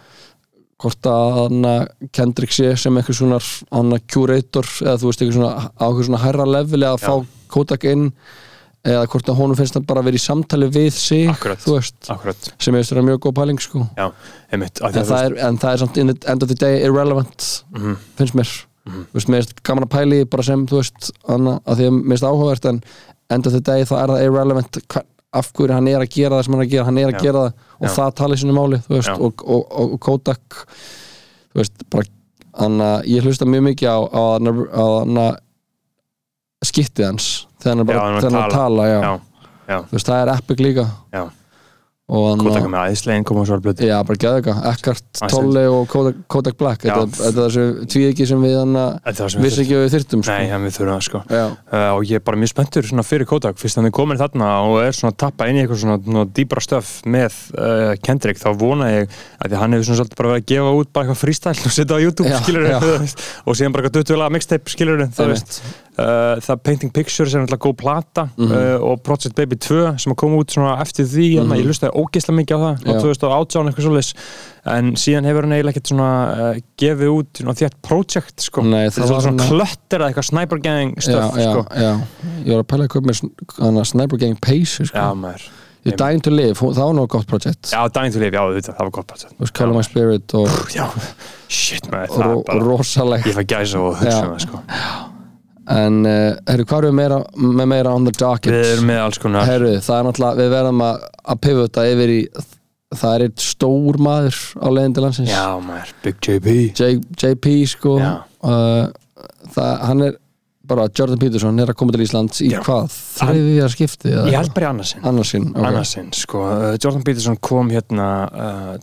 C: hvort að hann að Kendrick sé sem eitthvað svona hann að curator eða þú veist, eitthvað svona á eitthvað svona hærra leveli að
B: Já.
C: fá Kodak inn eða hvort að honum finnst hann bara að vera í samtali við sig,
B: Akkurat.
C: þú veist
B: akkurat
C: sem ég veist er mjög góð pæling, sko
B: Já, einmitt, af því
C: en
B: að þú
C: það, er, en það er samt in the end of the day irrelevant
B: Mhm.
C: finnst mér þú veist, mér finnst gaman að pæli bara sem þú veist, anna, að því að mér finnst áhugavert en end of the day þá er það irrelevant hva, af hverju hann er að gera það sem hann er að gera hann er að
B: Já.
C: gera það og
B: Já.
C: það tali sínu máli þú veist,
B: Já.
C: og, og, og, og Kodak þú veist, bara anna, ég hlusta mjög mikið á, á, á, á skittið hans þegar hann er bara
B: Já, hann er að
C: þegar hann er að tala já.
B: Já, já,
C: Þú veist, það er epic líka
B: já
C: og
B: Kodak
C: hann
B: er með æslegin koma svo alveg
C: Já, bara gæða eitthvað, Ekkart
B: Aðeins.
C: Tolle og Kodak, Kodak Black
B: Já.
C: Þetta þetta er þessu tvíðiki sem við hann að
B: Þetta er það sem við
C: vissi ekki að við þyrtum sko.
B: Nei, en við þurfum það sko
C: Já,
B: uh, og ég er bara mjög spenntur svona fyrir Kodak fyrst hann er komin þarna og er svona að tappa inn í eitthvað svona, svona dýbra stöf með uh, Kendrick þá vona ég að því að hann hefur svona svolítið bara verið að gefa út bara eitthvað freestyle og setja á YouTube
C: Já,
B: skilur
C: já.
B: og síðan bara eitthvað duttulega mixtape skilur
C: það
B: það, veist, uh, það Painting Pictures er náttúrulega góð plata
C: Mhm.
B: uh, og Project Baby 2 sem að koma út svona eftir því mm ég lustaði ógeðslega mikið á það á
C: Mhm. Já.
B: 2018 eitthvað svolítið en síðan hefur hann eiginlega ekkert svona uh, gefið út svona, þétt project sko
C: Nei,
B: það var svona klöttir eða eitthvað sniper gang
C: já,
B: stöf
C: já,
B: sko
C: já, ég var að pæla að köpa mér sn- hana Sniper Gang Pace sko.
B: Já, maður.
C: Ég dæn til live, hún- það var nú gott project
B: Já, Dying to Live, já, þetta, það var gott patsett.
C: Þú veist, Call of My Spirit og,
B: Já, shit, maður, það er
C: og, og
B: bara,
C: rosalegt
B: ég fæ gæsa og hugsa
C: Já.
B: um það, sko.
C: En, uh, herru, hvað erum við meira, með meira on the docket?
B: Við erum með alls konar,
C: Herru, það er náttúrulega, við verðum að, að pivota yfir í Það er eitt stór maður á leiðin til landsins
B: já, maður, Big JB.
C: J, JP, sko uh,
B: Já.
C: það, Hann er bara, Jordan Peterson er að koma til Íslands í
B: Já.
C: hvað? Þriðja skipti? eða
B: Ég
C: eitthvað?
B: held bara í annarsinn.
C: Annarsinn, ok
B: Annarsinn, sko. Uh, Jordan Peterson kom hérna uh,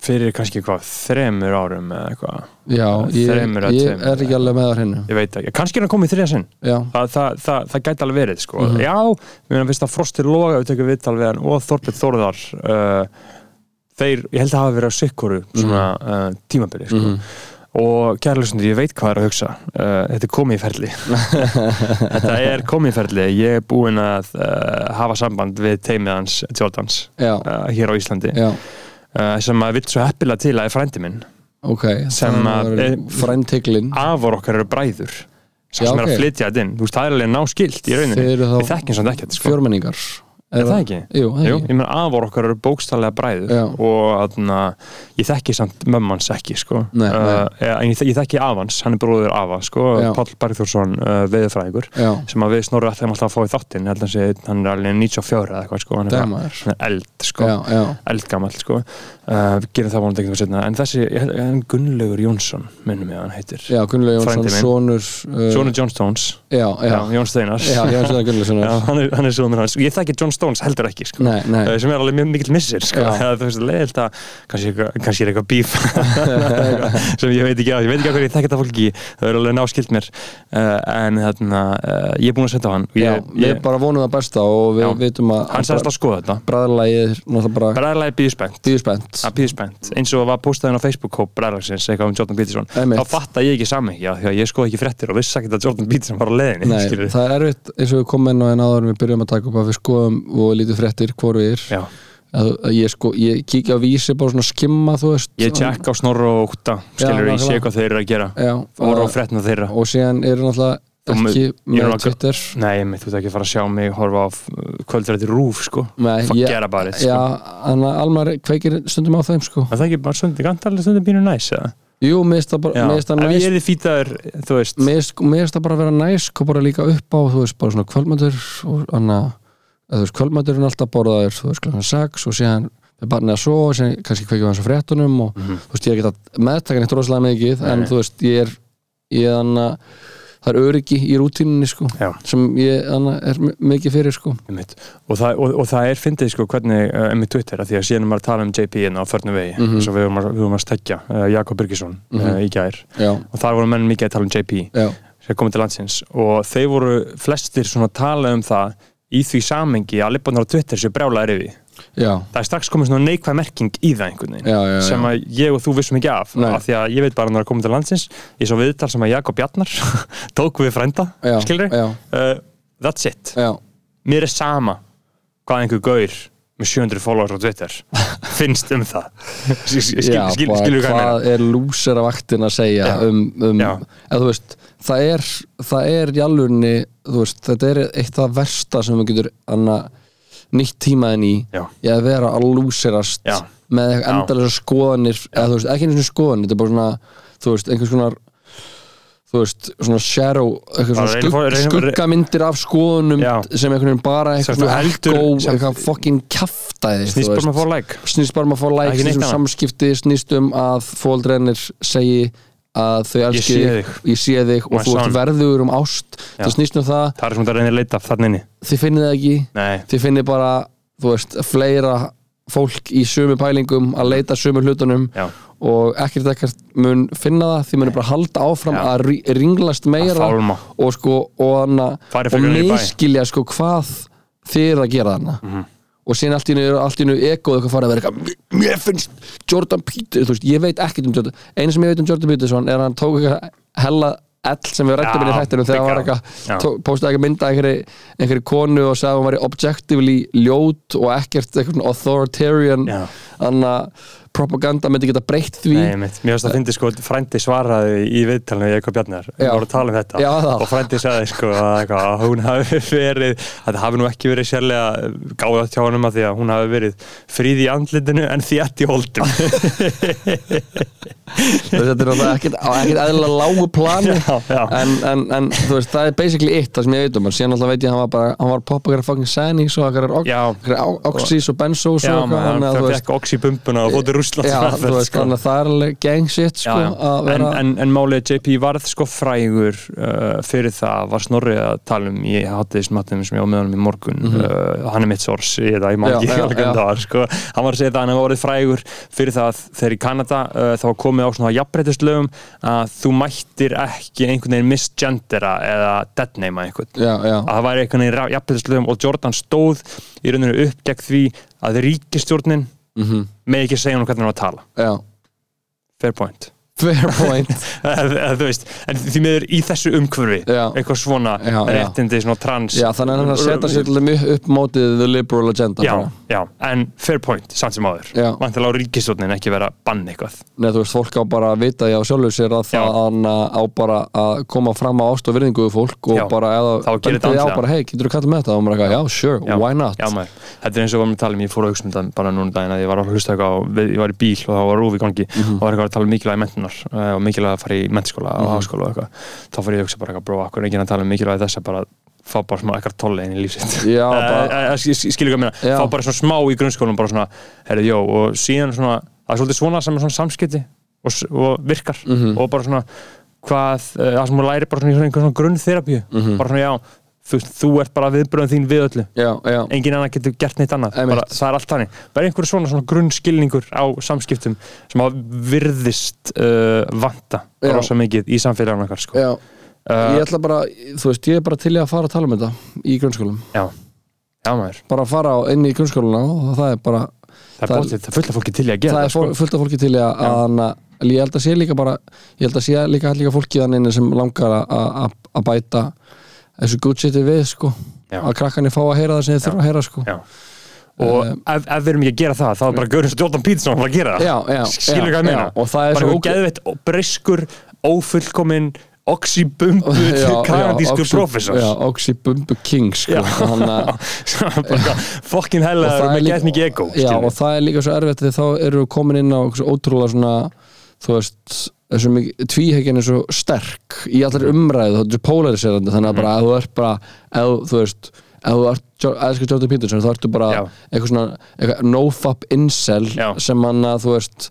B: fyrir kannski hvað, þremur árum eða eitthvað.
C: Já, ég,
B: Þremur eða
C: ég
B: tveimur,
C: er ekki alveg með á hennu
B: Ég veit ekki, kannski er hann komið þriða sinn.
C: Já,
B: Það, það, það, það gæti alveg verið, sko.
C: Mhm.
B: Já, mér finnst að fyrst að Frostir Loga við tökum viðtal við hann og Þorbjörn Þórðar. Uh, þeir, ég held að hafa verið á sikkoru svona
C: Mhm.
B: uh, tímabili, sko. og kærlöksundur, ég veit hvað er að hugsa uh, þetta er komið í ferli þetta er komið í ferli ég er búinn að uh, hafa samband við teimið hans, Jordans
C: já,
B: uh, hér á Íslandi
C: já,
B: uh, sem að vill svo heppilega til að er frændi minn
C: ok
B: Sem að- eh,
C: Fræntiglin
B: afar okkar eru bræður sem,
C: Já,
B: sem er
C: ok.
B: að flytja þetta inn, þú veist, það er alveg náskylt í rauninni,
C: Þeir eru þá
B: við þekkjum svona ekkert sko.
C: Fjörmenningar
B: er það ekki?
C: Jú, það
B: Jú,
C: ekki
B: ég meina afar okkar eru bókstallega bræður
C: Já.
B: og atna, ég þekki samt mömmans ekki sko.
C: Nei, nei.
B: Uh, en ég, ég þekki afans, hann er bróður afa sko,
C: Já.
B: Páll Bergþórsson uh, veðurfræðingur
C: Já,
B: sem að við snorrið ætlum alltaf að fá í þáttinn ég held að hann sé- hann er alveg 94 eða eitthvað sko, hann er bara-
C: dæmaður
B: hann er eld sko,
C: Já, já,
B: eldgamall sko. uh, við gerum það vonandi ekkert setna en þessi, ég held- hann Gunnlaugur Jónsson minnum ég að hann heitir
C: já, Gunnlega Jónsson,
B: Frændi minn.
C: sonur uh,
B: Sónu John Stones,
C: Já, já,
B: já, Jón Steinars
C: já, Jónsson Gunnlega
B: Já,
C: sonur
B: hann er, hann er sonur hans, ég þekki John Stones heldur ekki sko.
C: Nei, nei
B: Eh, sem er alveg mjög mikill missir sko.
C: Já.
B: það er leiðilt að kannski, eitthvað- kannski er eitthvað bíf sem ég veit ekki á, ég veit ekki á hverju ég þekki þetta fólk ekki það er alveg náskilt mér uh, en þarna, uh, ég er búin að setja á hann
C: Já,
B: ég,
C: við
B: ég,
C: bara vonum það besta og við
B: Já.
C: vitum að
B: hann sagðist að skoða þetta
C: bræðarlagið er náttúrulega bara
B: Bræðarlagi býður spennt
C: býðspennt
B: að býður spennt, eins og var postaðin á Facebook-kóp bræðarlagsins eitthvað um Jordan Peterson
C: Einmitt.
B: þá fatta ég ekki sami, já, því að ég skoði ekki fréttir og vissi ekki að Jordan Peterson var á leiðinni
C: Nei,
B: skilurðu.
C: það er erfitt eins og við komum inn á en áður en við byrjum að taka upp að við skoðum og lítið fréttir hvor við er
B: já,
C: að, að ég, sko, ég kíkja á vísi bara svona skimma þú veist
B: ég tjekk á snorra og óta skilur,
C: Já,
B: ég sé
C: nákvæmlega.
B: hvað þeir eru að gera
C: Já,
B: voru á
C: að-
B: fréttina þeirra
C: og síðan eru náttúrulega
B: Þú mu-
C: ekki
B: ég er
C: með
B: nokkuð-
C: Twitter
B: Nei, mitt, þú ert ekki að fara að sjá mig horfa á kvöldrætti rúf, sko
C: Nei,
B: Fuck
C: ég-
B: yeah about it,
C: Já,
B: sko
C: hann að Almar kveikir stundum á þeim sko
B: En það er ekki bara stundin, kannski alveg stundin býnur næs, eða?
C: Jú, mér finnst það bara,
B: Já,
C: mér finnst það
B: ef
C: næst
B: ég er því fýtaður, þú veist
C: mér finnst- mér finnst það bara að vera næsk og bara líka upp á, þú veist, bara svona kvöldmættur og annað, eða þú veist, kvöldmættur er alltaf borðaður, þú veist, klokkan 6 og síðan við barnið að sofa, síðan kannski kveikjum við hans á fréttunum og þú veist, ég er ekki að meðtaka neitt rosalega mikið, en
B: Mhm. Nei.
C: þú veist, ég er ég er annað það er öryggi í rútíninni, sko
B: Já.
C: sem ég annað er m- mikið fyrir, sko
B: Einmitt. Og, það, og, og það er fyndið sko hvernig uh, emmi Twitter, af því að síðan er maður að tala um JP hérna á förnum vegi, mm
C: Mhm.
B: svo við vorum að, við vorum að stekja uh, Jakob Birgisson uh,
C: Mhm.
B: í gær
C: Já,
B: og þar voru menn mikið að tala um JP
C: já,
B: sem komið til landsins og þeir voru flestir svona að tala um það í því samengi að lippanar á Twitter séu brjálaðir yfir því.
C: já,
B: það er strax komið svona neikvæð merking í það einhvern veginn
C: já, já, já.
B: sem að ég og þú vissum ekki af
C: Nei.
B: af því að ég veit bara hann er að koma til landsins ég svo viðtal sem að Jakob Bjarnar tók við frænda,
C: já,
B: skilur
C: já,
B: uh, that's it,
C: já,
B: mér er sama hvað einhver gaur með 700 followers á Twitter finnst um það skil, skil, skil,
C: Já,
B: skil,
C: bara
B: skilur hvað ég meina
C: hvað er lúseravaktin að segja
B: Já.
C: um, um
B: Já.
C: eða þú veist, það er það er í alvörunni, þú veist, þetta er eitt af versta sem þú getur anna, nýtt tímaðin í
B: Já.
C: í að vera að lúserast
B: Já.
C: með endalega skoðanir eða þú veist, ekki einu svona skoðanir, þetta er bara svona þú veist, einhvers konar þú veist, svona shadow eitthvað
B: Bara
C: svona
B: reynum
C: skugg,
B: fá- reynum-
C: skuggamyndir af skoðunum
B: Já.
C: sem einhvern veginn bara
B: Sem
C: eitthvað
B: þú
C: svona
B: heldur-
C: echo,
B: sem-
C: eitthvað fucking kjaftaði
B: snýst bara með að fá like
C: snýst bara um að fá like,
B: Ekki neitt
C: snýst um
B: annað.
C: samskipti snýst um að fóldreinir segi að þau elski
B: sé
C: ég sé þig og
B: My
C: þú
B: son.
C: ert verður um ást
B: Já.
C: það snýst um það,
B: það er svona að reynir að leita þarna inni
C: þið finnið það ekki
B: nei,
C: þið finnið bara, þú veist, fleira fólk í sömu pælingum að leita að sömu hlutunum
B: Já.
C: og ekkert ekkert mun finna það því mun bara halda áfram
B: Já.
C: að rí- ringlast meira
B: Að fálma.
C: og sko og, hana,
B: Fari
C: og
B: frekar niður í bæ. Mhm.
C: miskilja sko hvað þið er að gera þarna og síðan allt í einu allt í einu egoð eitthvað farið að vera eitthvað "Mér- mér finnst Jordan Peterson þú veist, ég veit ekkert um Jordan einu sem ég veit um Jordan Peterson er að hann tók eitthvað hella ell sem við
B: Já,
C: rættum inn í þættinum þegar hann var
B: big up. Já.
C: eitthvað tó- postaði eitthvað mynda einhverju, einhverju konu og sagði að hún væri objectively ljót og ekkert eitthvað svona authoritarian
B: Já.
C: þannig að propaganda myndi geta breytt því
B: Nei, mitt. Mér finnst að fyndi sko frændi svaraði í viðtalinu við Jakob Bjarnar við
C: Já.
B: vorum að tala um þetta
C: Já, það.
B: og frændi sagði sko að, eitthvað, að hún hafi verið að það hafi nú ekki verið sérlega gáða hjá honum að því að hún hafi verið fríð í andlitinu en þjætt í holdum
C: þetta er náttúrulega ekkert, á ekkert eðlilega lágu plani
B: Já, já.
C: En, en, en þú veist, það er basically it það sem ég veit um, en síðan alltaf veit ég að hann var bara hann var að poppa hverja fucking Sanix og
B: Já.
C: hverja Oxys og Benzos
B: Já,
C: og eitthvað,
B: maður,
C: þannig að
B: það
C: þú veist-
B: fekk oxi bumbuna og fótið rúsland
C: Já, þú veist, þannig að það er alveg gang shit sko,
B: sko. Já, já.
C: að
B: En,
C: vera
B: en, en málið að JP varð sko frægur uh, fyrir það var snorrið að tala um ég hátti þessum hattum sem ég á með honum í morgun uh, hann er mitt sors í þetta, ég má
C: Mhm. Já,
B: ekki
C: já,
B: alveg um
C: já.
B: það var, sko. hann var að segja það að hann hefur orðið frægur fyrir það að þegar í Kanada uh, þá var komið á svona jafnbreytislögum að þú mættir ekki einhvern veginn misgendera eða deadnama einhvern
C: Já, já,
B: að það væri einhvern veginn jafnbreytislögum og Jordan stóð í rauninu upp gegn því að ríkistjórnin með ekki segja hann hvernig hann var að tala
C: mhm. já
B: fair point
C: Fair point
B: Eð- eða Eh, þú veist, en því miður í þessu umhverfi
C: Já.
B: eitthvað svona
C: Já, já.
B: réttindi svona trans
C: Já, þannig að hann er að setja sér til þeim upp mótið the liberal agenda
B: já,
C: bara.
B: já, en fair point, samt sem áður
C: Já.
B: vantilega á ríkistjórnin ekki vera að banna eitthvað
C: Nei, þú veist, fólk á bara að vita því á sjálfur sér að það
B: Já.
C: hann á bara að koma fram á ást og virðingu við fólk og
B: Já.
C: bara eða
B: Þá gerir
C: bendið
B: þetta
C: því á
B: andlega.
C: bara, hei, getur þú kallað með þetta og maður er eitthvað, já, sure,
B: já,
C: why not
B: já, maður. þetta er eins og við varum að tala um, ég fór að hugsa um þetta bara núna daginn að ég var að hlusta eitthvað á, við- ég var í bíl og það var rúf í gangi
C: Mhm.
B: og var eitthvað að tala um mikilvægi mentunar og mikilvægi að fara í mentaskóla
C: Mhm.
B: og háskóla og eitthvað þá fór ég að hugsa bara eitthvað, bró, akkur er enginn að tala um mikilvægi þess að bara fá bara smá ekkert tolle inn í Eh, lífsitt
C: Já, bara-
B: skilu hvað
C: Já.
B: minna, fá bara svona smá í grunnskólanum bara svona, herrið, jó, og síðan svona það er svolítið svona sem er svona samskipti og, s- og virkar,
C: Mhm.
B: og bara svona hvað, eh, það sem hún læri bara svona, í svona einhver svona grunnþerapíu,
C: Mhm.
B: bara svona já þú, þú ert bara viðbröðum þín við öllu
C: já, já,
B: engin annar getur gert neitt annað
C: Einmitt.
B: bara, það er allt þannig, bara einhver svona, svona grunnskilningur á samskiptum sem að virðist uh, vanta
C: Já.
B: rosa mikið í samfélaginu okkar sko.
C: já. Ég ætla bara, þú veist, ég er bara til í að fara að tala um þetta í grunnskólum,
B: já, já maður
C: bara að fara á, inn í grunnskóluna og það er bara
B: það
C: Það
B: er,
C: er-
B: bóttið, það er fullt af fólki til í að gera
C: það
B: það, sko.
C: er fó- fullt af fólki til í að, að hana, ég held að sé líka bara ég held að sé líka allir fólki þannig inni sem langar að- að að bæta þessu good shiti við sko
B: Já.
C: að krakkanir fá að heyra það sem þið þurfa að heyra sko
B: Já. og
C: Um,
B: ef, ef við erum ekki að gera það þá er bara Görins og Jordan Peterson að fara að gera það
C: Já, já,
B: skilur
C: já,
B: hvað ég meina
C: já, og það er
B: bara
C: svo
B: eitthvað
C: óge-
B: geðveitt og breyskur ófullkomin oxybumbu
C: Já, já,
B: kanadískur
C: Oxy-
B: professors
C: já, Oxy Bumbu King sko þannig að
B: fokkin hella
C: það
B: erum
C: er
B: við
C: líka-
B: gett mikið ego
C: já,
B: skilur.
C: og það er líka svo erfitt því þá eru við komin inn á svo ótrúlega svona þú veist, þessu mikið tvíhegin er svo sterk í allar
B: Mhm.
C: umræðu þá er polariserandi, þannig að bara að þú ert bara eða þú veist ef þú ert Jo- elskar Jordan Peterson þá ertu bara
B: Já.
C: eitthvað svona eitthvað nofap incel
B: Já.
C: sem hann að þú veist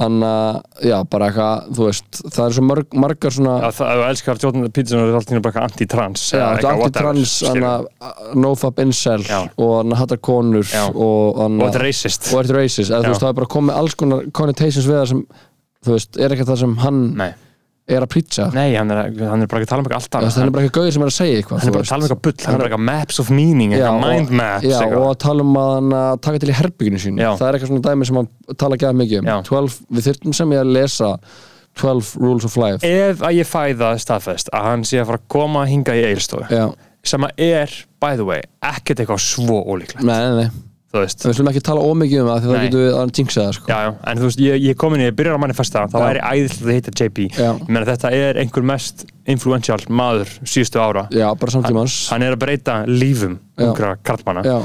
C: hann að já bara eitthvað þú veist það er svo marg, margar svona
B: Já, það, ef þú elskar Jordan Peterson er alltaf bara eitthvað anti-trans
C: Já,
B: eða
C: þetta er
B: eitthvað whatever,
C: anti-trans,
B: skilur.
C: nofab incel
B: Já.
C: og hann hattar konur
B: Já.
C: og hann
B: og þetta er racist
C: og ert racist eða þú
B: Já.
C: veist það er bara komið alls konar connotations við það sem þú veist er ekki það sem hann
B: nei,
C: er að prýtsa
B: nei hann, er, hann er bara ekki að tala um eitthvað allt annað
C: það er bara ekki gauðir sem er að segja eitthvað
B: hann er
C: þú
B: bara að tala um
C: veist.
B: eitthvað bull hann er bara eitthvað maps of meaning
C: Já,
B: eitthvað
C: og-
B: mind maps
C: já,
B: eitthvað.
C: og að tala um að hann að taka til í herbygginu sín
B: Já.
C: það er eitthvað svona dæmi sem hann tala ekki að mikið um
B: Já.
C: 12, við þyrftum sem ég að lesa 12 rules of life
B: ef að ég fæ það staðfest að hann sé að fara að koma að hinga í eilstofu
C: já,
B: sem að er, by the way, ekkert eitthvað svo ólíklegt,
C: nei, nei, nei
B: þú veist
C: við slum ekki tala ómikið um það því það
B: Nei.
C: getur við að jinxa það sko.
B: Já, já, en þú veist, ég, ég kom inn, ég byrjar að manifesta það
C: Já.
B: væri æðislega að hitta JP
C: Já.
B: ég meina þetta er einhver mest influential maður síðustu ára
C: já, bara samtímans
B: hann er að breyta lífum
C: Já.
B: ungra karlmanna
C: já,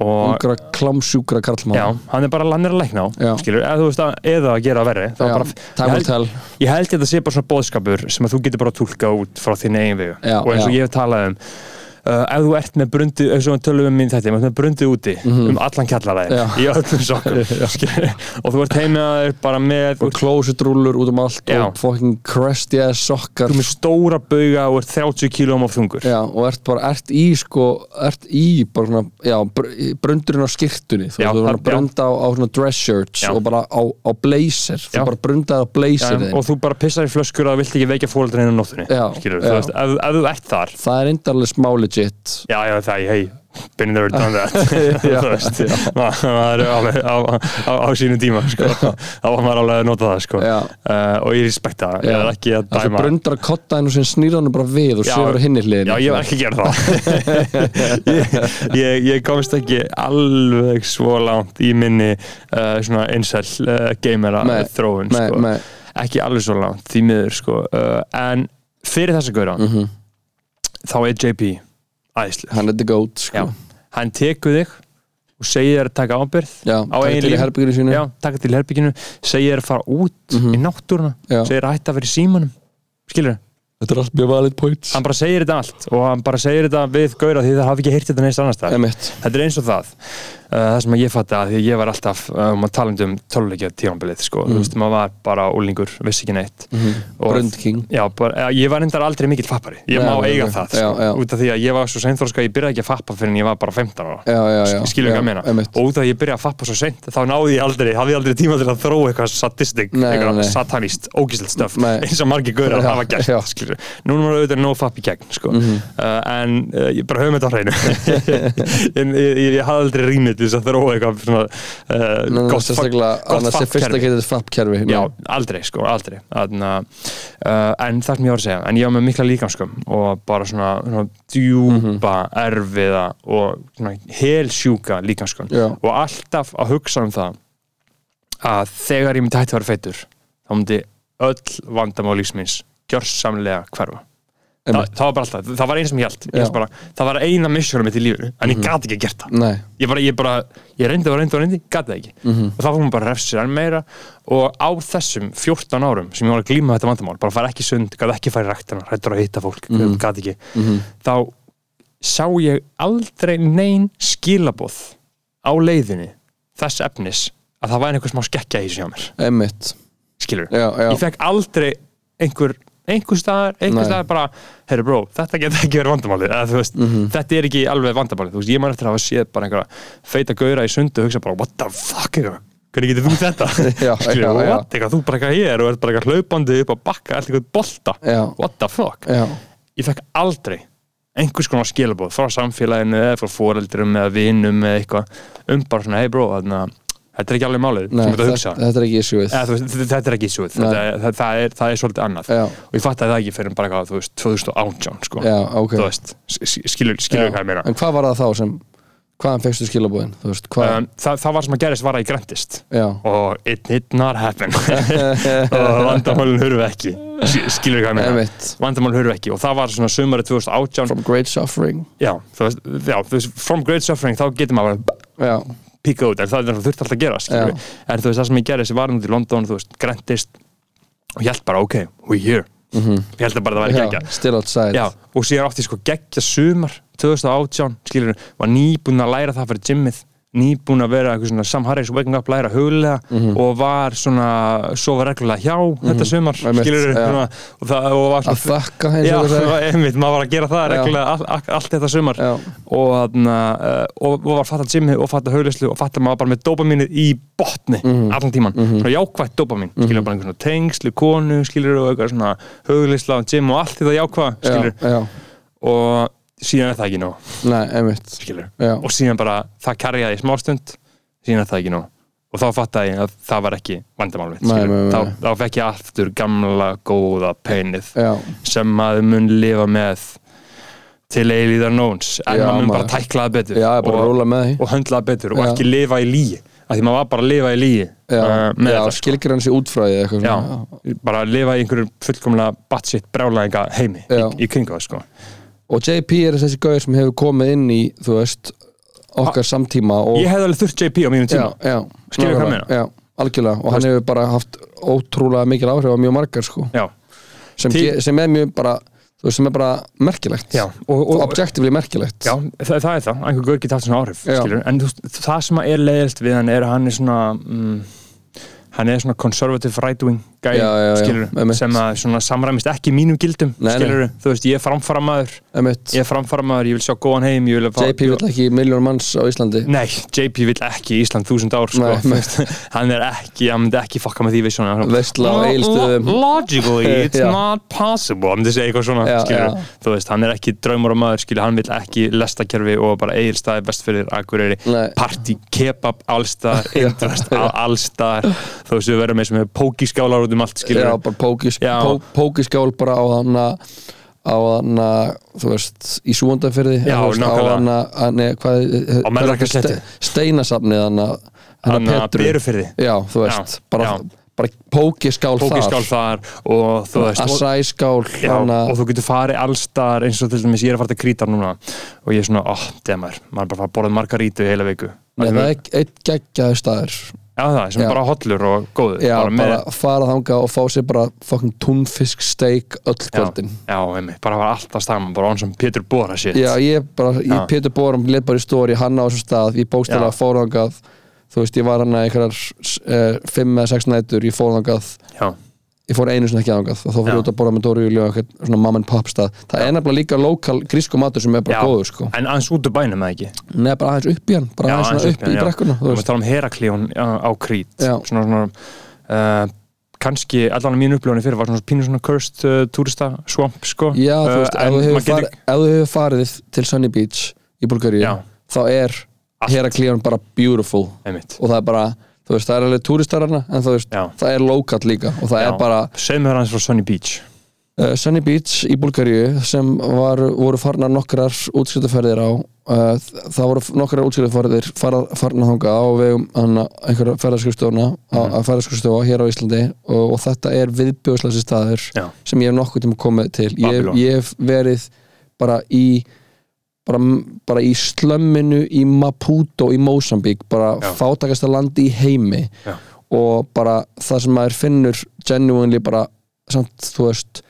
B: og
C: ungra klámsjúkra karlmann
B: já, hann er bara hann er að lækna
C: Já.
B: á skilur, eða, þú veist, að- eða að gera verri Það
C: Já,
B: var bara,
C: time
B: ég
C: will tell.
B: held, ég held þetta sé bara svona bóðskapur sem að þú getur bara að tólka út frá þín eigin vegu
C: Já,
B: og eins og
C: já.
B: ég hef talað um uh, ef þú ert með brundi eins og við tölum um minn þetta, með brundi úti um allan
C: Mhm. Já.
B: kjallaræðin, í öllum sokkum skilurðu. og þú ert heimaður bara með,
C: og klósitrúlur út um allt
B: Já.
C: og fucking crusty ass sokkar
B: þú ert með stóra bauga og ert 30 kílóum af þungur
C: já, og ert bara, ert í sko ert í bara svona, já, br- í- brundurinn á skirtunni, þú
B: Já,
C: veist, þú
B: það-
C: verður að brunda á, á svona dress shirts
B: Já.
C: og bara á, á blazer,
B: Já.
C: þú bara brundaði á blazer
B: og þú bara pissar í flöskur og það vilt ekki veikja fóreldra hennar nóttunni
C: Já,
B: skilur,
C: já.
B: þú veist, ef, ef þú ert þar
C: það er endarlega smá legit
B: já, já, það, hei, been there, done that þú veist, Ma- maður er alveg á, á, á sínum tíma sko. þá var maður alveg að nota það sko.
C: Já.
B: uh, og ég respekta það, ég er ekki að
C: það
B: dæma
C: brundar að kotta hennu sem snýra hennu bara við og
B: Já.
C: sefur á hinni hliðin
B: Já, ég var ekki að gera það ég, ég, ég komst ekki alveg svo langt í minni uh, svona einsæl uh, gamera
C: Nei,
B: þróun
C: nei,
B: sko.
C: nei.
B: ekki alveg svo langt, því miður sko. uh, en fyrir þessa gauðra þá er JP æðislega,
C: mhm. hann er the goat
B: já,
C: sko.
B: hann tekur þig og segir þér að taka ábyrð
C: já,
B: á
C: taka
B: eigin
C: til í
B: líf.
C: herbygginu sínu
B: já, taka til herbygginu, segir þér að fara út í náttúruna,
C: Mhm. Já.
B: segir þér að hætta að vera í símanum skilur
C: þetta er allt mjög valid points
B: hann bara segir þetta allt og hann bara segir þetta við gauðra því það hafi ekki heyrt þetta neist annars staðar
C: Emitt.
B: Þetta er eins og það uh, það sem að ég fatta að því að ég var alltaf um, að tala um töluleikja tímanbilið sko. mm. veist, maður var bara úlingur, vissi ekki neitt Og-
C: Mhm. Brund king.
B: já, bara, já, ég var endar aldrei mikill fappari ég
C: Nei,
B: má
C: nei,
B: eiga
C: nei.
B: það sko.
C: Já, já.
B: út af því að ég var svo seinþróska ég byrjaði ekki að fappa fyrir en ég var bara 15 ára
C: já, já, já
B: skilur ekki að meina
C: emitt.
B: og út af að ég byrjaði að fappa svo seint þá náði ég aldrei, hafði ég aldrei tíma til að þróa eitthvað sadistik,
C: Nei, nei,
B: eitthvað
C: nei.
B: satanist ógislegt stöf,
C: Nei.
B: eins og margir gaurar
C: Já,
B: hafa gert,
C: já. Mhm.
B: skilur núna er maður auðvitað nóg fapp í gegn, sko uh, en uh, ég bara höfum þetta á hreinu en ég, ég, ég hafði aldrei rýmið til þess að þróa eitthvað svona
C: Nei,
B: uh,
C: nei,
B: gott fuck-
C: sérstaklega
B: gott
C: annars er
B: fuck
C: fyrst
B: kerfi.
C: að geta þetta flappkerfi
B: Já, aldrei sko, aldrei Þarna, uh, En það sem ég var að segja En ég var með mikla líkamskum Og bara svona, svona djúpa,
C: Mhm.
B: erfiða Og svona helsjúka líkamskum
C: Já.
B: Og alltaf að hugsa um það Að þegar ég myndi hætti að vera feitur Þá myndi öll vandamál lífsmins Gjörsamlega hverfa Þa,
C: Einmitt.
B: það var bara alltaf, það var eina sem ég held, ég
C: Já. Mhm.
B: held bara, það var eina misjónum mitt í lífinu, en ég gat ekki gert það
C: nei,
B: ég bara, ég bara, ég reyndi og reyndi og reyndi gat það ekki, og þá fór maður bara að refsa sér enn meira og á þessum 14 árum sem ég var að glíma þetta vandamál, bara fara ekki í sund gat ekki fara í ræktina, hættur að hitta fólk mm gat ekki, þá sá ég aldrei nein skilaboð á leiðinni þess efnis að það væri einhver smá skekkja í þessu hjá mér,
C: emitt
B: skilur
C: já, já,
B: ég fekk aldrei einhver einhver staðar, einhver
C: Nei.
B: staðar bara herru bró, þetta getur ekki verið vandamálið eða, þú veist,
C: Mhm.
B: þetta er ekki alveg vandamálið Þú veist, ég man eftir að hafa séð bara einhverja feita gauðra í sundu og hugsa bara what the fuck eitthvað hvernig getur þú þetta
C: Já,
B: Skilur,
C: já, já.
B: what, eitthvað, þú bara eitthvað hér og ert bara eitthvað hlaupandi upp að bakka allt eitthvað bolta
C: Já.
B: what the fuck
C: já,
B: ég fekk aldrei einhvers konar skilabóð frá samfélaginu eða frá foreldrum eða vinum eða eitthvað um bara svona hey bró, þarna, þetta er ekki alveg málið
C: nei,
B: sem þetta hugsa
C: þetta, þetta er ekki issueið
B: Eða, þú veist, þ- þetta er ekki sjúið þetta,
C: Nei.
B: það, það, er, það er svolítið annað
C: Já.
B: og ég fatt að það ekki fyrir bara hvað, þú veist, 2018 sko.
C: já, ok
B: þú veist, s- s- skilur, skilur hvað ég meina
C: en hvað var það þá sem hvaðan fegstu skilabóðin þú veist, hvað,
B: um, það, það var sem að gerist var að ég græntist
C: já,
B: og it did not happen og vandamálun hurfu ekki S- skilur hvað ég meina
C: Einmitt.
B: vandamálun hurfu ekki og það var svona sumari 2018
C: from great suffering
B: já, þú veist, já, þú veist, from great suffering þá getur maður bara
C: já,
B: píka út en það er það þurft alltaf að gera skilur við. en þú veist það sem ég gerði sem var út í London þú veist, græntist og ég held bara ok, we're here ég held að bara það væri
C: Mhm. já
B: geggja
C: still outside
B: Já, og síðan átti ég sko geggja sumar 2018, skilur var nýbúin að læra það fyrir gymmið nýbúin að vera eitthvað svona samharriðs waking up læra huglega
C: Mhm.
B: og var svona sofa reglulega hjá þetta sumar
C: Einmitt,
B: skilur
C: já.
B: svona, og, það, og var svona
C: að þakka henni
B: Já,
C: já, já,
B: einmitt, maður var að gera það
C: Já.
B: reglulega all, all, allt þetta sumar
C: Já.
B: og, þarna, uh, og, og var fatt að gymmi og fatt að hauglislu og fatt að maður bara með dopamínið í botni
C: Mhm.
B: allan tíman, svona jákvætt dopamín skilur bara einhvern svona tengslu, konu skilur og eitthvað svona hauglisla og gym og allt þetta jákvæða skilur
C: já,
B: og síðan er það ekki nóg
C: nei, emitt
B: skilur
C: Já.
B: og síðan bara það karjaði í smástund síðan er það ekki nóg og þá fattaði ég að það var ekki vandamál mitt
C: Nei,
B: skilurðu.
C: nei, nei.
B: Þá, þá fekk ég aftur gamla góða peinið
C: já,
B: sem maður mun lifa með til eilíðar nóns en
C: Já,
B: maður mun bara
C: maður.
B: tækla það betur
C: já, bara
B: og,
C: róla með því
B: og höndla það betur og
C: Já.
B: ekki lifa í líi af því maður var bara að lifa í líi
C: já,
B: uh, með
C: já
B: þetta sko.
C: skilgir hann sér útfræði eitthvað
B: já,
C: svona,
B: bara að lifa í einhverju fullkomlega batshit brjálæðinga heimi í,
C: Já.
B: í kringu það sko.
C: og JP er þessi gauður sem hefur komið inn í þú veist, okkar samtíma og,
B: ég hefði alveg þurft JP á mínu tíma
C: já, já,
B: Skilur hvað
C: nákvæmlega,
B: meina?
C: já, algjörlega, og hann
B: veist-
C: hefur bara haft ótrúlega mikil áhrif á mjög margar sko,
B: Já.
C: sem,
B: Til-
C: ge- sem er mjög bara þú veist sem er bara merkilegt
B: Já, og,
C: og
B: og,
C: objektivli merkilegt
B: já það, það er það, einhver gaur geta haft svona áhrif
C: Já.
B: skilur, en þú, veist, það sem er leiðilt við hann er að hann er svona mm, hann er svona conservative right wing gæ,
C: Já, já, já,
B: skilur,
C: einmitt.
B: sem að svona samræmist ekki mínum gildum
C: Nei, nei.
B: skilur, þú veist, ég er framfaramaður
C: Einmitt,
B: ég er framfaramaður, ég vil sjá góðan heim ég vil fá,
C: JP vill ekki miljón manns á Íslandi
B: Nei, JP vill ekki í Ísland þúsund ár sko.
C: Nei, nei.
B: hann er ekki, hann myndi ekki fokka með því við svona
C: Veistla á Egilsstöðum.
B: Lo- Logically, it's
C: Já.
B: not possible hann myndi segja eitthvað svona,
C: Já,
B: skilur
C: já.
B: þú veist, hann er ekki draumur og maður, skilur, hann vill ekki lestakerfi og bara Egilstaði vestfyrir Akureyri,
C: Nei.
B: party, kebab allstaðar, indrest allstaðar þú veist, við verðum eins og með pókiskálar út um allt, skilur
C: Já, bara pókis,
B: Já.
C: pó, pókiskál bara á hana á hana, þú veist í súandafyrði
B: Já,
C: á
B: nákvæmlega.
C: hana, hana hvað, eh,
B: Á Melrakkasléttu.
C: steinasafnið hana,
B: Hana Berufirði.
C: já, þú veist,
B: Já,
C: bara,
B: já.
C: bara pókiskál
B: pókiskál þar og þú veist, og-
C: assæskál
B: Já,
C: hana,
B: og þú getur farið allstar eins og til dæmis ég er að fara til krítar núna og ég er svona, oh, demar, maður er bara að fara að borða margarítu í heila viku
C: nei,
B: Maður
C: það
B: er-
C: er eitt geggjaði staður
B: Já, það, sem
C: Já.
B: bara hollur og góður
C: já, bara,
B: með-
C: fara þanga og fá sér bara fucking túnfisk steik öll kvöldin
B: Já, já einmitt, bara var alltaf staðan bara án sem Pétur Bóra shit
C: Já, ég bara, ég
B: Já.
C: Pétur Bórum létt bara í stóri, hann á þessum stað, ég bókstæla
B: Já.
C: fórðangað, þú veist, ég var hann að einhverjar uh, fimm eða sex nætur, ég fórðangað,
B: já,
C: ég fór einu sinni ekki þangað og þá fyrir
B: Já.
C: ég út að borða með Dóri Júli og eitthvað svona mom and pop stað. Það er nefnilega líka lokal grísku matur sem er bara
B: Já.
C: góður, sko.
B: en aðeins út úr bænum eða ekki
C: Nei, bara aðeins upp í hann, bara aðeins svona upp í brekkuna,
B: Þú
C: þú
B: veist,
C: veist.
B: tala um Heraklíón á á Krít
C: Já.
B: svona svona uh, kannski, allan mín upplöfunni fyrir var svona pínu svona cursed uh, turista swamp sko
C: Já, þú
B: Uh,
C: veist,
B: en
C: ef þú
B: maður
C: hefur
B: getur-
C: farið, ef þú hefur farið til Sunny Beach í Bulgaríu,
B: Já.
C: þá er
B: Allt.
C: Heraklíon bara beautiful
B: einmitt,
C: og það er bara, þú veist, það er alveg túristar hana, en þú veist,
B: Já.
C: það er lokal líka og það
B: Já.
C: er bara
B: segðu mér aðeins frá Sunny Beach
C: Uh, Sunny Beach í Búlgaríu sem var, voru farnar nokkrar útskjöldafærðir á uh, það voru nokkrar útskjöldafærðir farnar þangað á vegum hana, einhverja færðarskjöldstofna
B: Mhm.
C: að færðarskjöldstofa hér á Íslandi og, og þetta er viðbjóðslæsi staður
B: Já.
C: sem ég hef nokkuð tíma komið til ég,
B: Babylon.
C: ég hef verið bara í bara, bara í slömminu í Maputo í Mosambík bara
B: Já.
C: fátakasta landi í heimi
B: Já.
C: og bara það sem maður finnur genuinely bara samt þú veist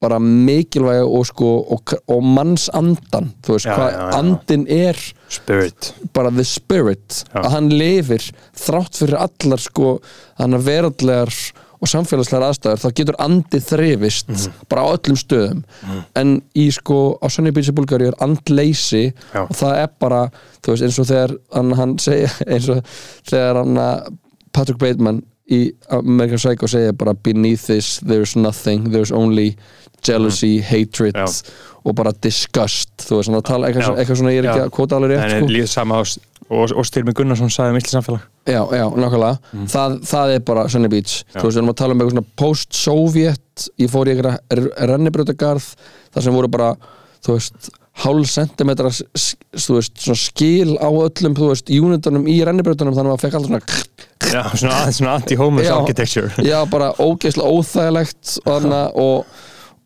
C: bara mikilvæg og sko og, og manns andan þú veist
B: Já,
C: hvað
B: já, já.
C: andin er
B: Spirit
C: bara the spirit
B: Já.
C: að hann lifir þrátt fyrir allar sko hann að veraldlegar og samfélagslegar aðstæður þá getur andið þrifist
B: Mhm.
C: bara á öllum stöðum en í sko á Sunny Beach í Bulgari er andleysi
B: Já.
C: og það er bara þú veist eins og þegar hann, hann segja eins og þegar hann að Patrick Bateman í American Psycho segja bara beneath this there's nothing there's only jealousy, hatred
B: Mhm. Já.
C: og bara disgust þú veist hann að tala eitthvað,
B: Já.
C: svona- eitthvað svona ég er ekki
B: Já.
C: að kvota alveg rétt
B: en
C: sko.
B: líð sama og, og, og Styrmi Gunnarsson sagði um Ísli samfélag
C: Já, já, nákvæmlega það, það er bara Sunny Beach
B: Já.
C: Þú veist, við erum að tala um eitthvað svona post-soviet Ég fór í eitthvað rennibrjótagarð þar sem voru bara, þú veist hálf sentimetra s- s- þú veist, svona skil á öllum þú veist, unitunum í rennibrjótanum þannig að maður fekk alltaf svona krr,
B: já, svona, svona anti-homeless
C: Já.
B: architecture
C: Já, bara ógeðslega óþægilegt og, þarna, og,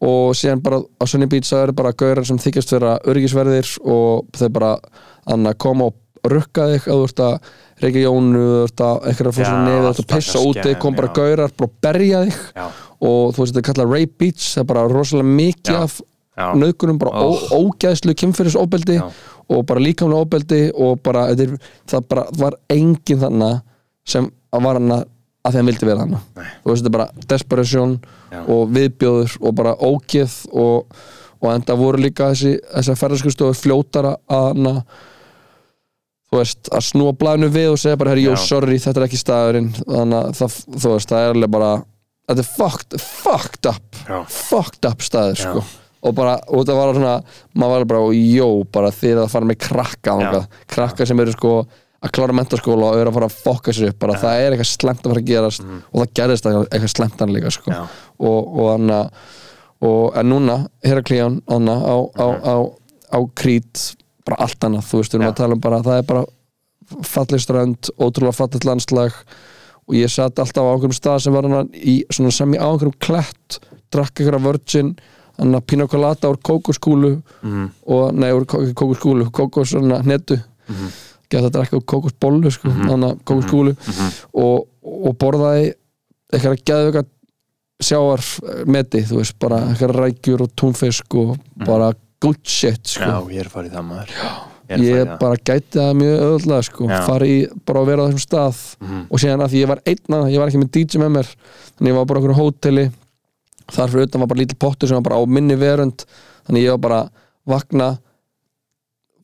C: og síðan bara á Sunny Beach það eru bara gaurar sem þykjast vera örgisverðir og þau bara anna, koma og rukka þig að þú ert að reykja jónu, þú ert að einhverja fór svona
B: Já,
C: nefið, þú ert
B: allt
C: að pissa
B: þetta
C: úti
B: skem,
C: kom bara
B: já.
C: gaurar, bara berja þig
B: já,
C: og þú veist þetta er kallað rape beach það er bara rosalega mikið
B: Já,
C: af
B: já.
C: nöðgunum bara
B: Oh.
C: ó, ógæðslu kynfyrirsóbeldi
B: Já.
C: og bara líkamlega óbeldi og bara, þetta er, það bara var engin þannig sem að var hann að því hann vildi vera hann þú veist þetta er bara desperation
B: Já.
C: og viðbjóður og bara ógeð og, og enda voru líka þessi, þessi ferðarskustofur fljótara að hana þú veist, að snúa blæðinu við og segja bara, herri, jú,
B: Já.
C: sorry, þetta er ekki staðurinn þannig að það, þú veist, það er alveg bara þetta er fucked, fucked up
B: Já.
C: fucked up staður,
B: Já.
C: sko og bara, og það var svona, maður var bara jó, bara þið er að fara með krakka
B: Já.
C: þangað. krakka sem eru sko að klára mentaskóla og eru að fara að fokka sér upp bara það er eitthvað slemt að fara að gerast og það gerðist eitthvað- eitthvað slemt hann líka, sko
B: Mm. Já.
C: og, og hann að og en núna, Heraklíón anna, á, á, á, á krít bara allt annað, þú veist, við erum
B: Mhm. Já.
C: að tala um bara það er bara falleg strönd ótrúlega falleg landslag og ég satt alltaf á einhverjum stað sem var hann í svona sem ég á einhverjum klett drakk einhverja virgin hann að pina colada úr kókoskúlu
B: Mhm.
C: og, nei, úr kó- ekki kókoskúlu kókos hann að netu
B: Mhm.
C: geta að drakka úr kókosbollu sko,
B: Mhm.
C: mm -hmm. kókoskúlu og, og borðaði eitthvað geðvika sjáarmeti þú veist, bara einhver rækjur og túnfisk og bara good shit
B: Mhm. Já,
C: sko.
B: ég er farið í það maður
C: ég,
B: farið í það.
C: bara gæti það mjög öðvöldlega sko.
B: Já. Mhm.
C: fari í, bara að vera á þessum stað og síðan að því ég var einn að ég var ekki með DJ með mér þannig ég var bara okkur hóteli þar fyrir utan var bara lítil pottur sem var bara á minni verund þannig ég var bara vakna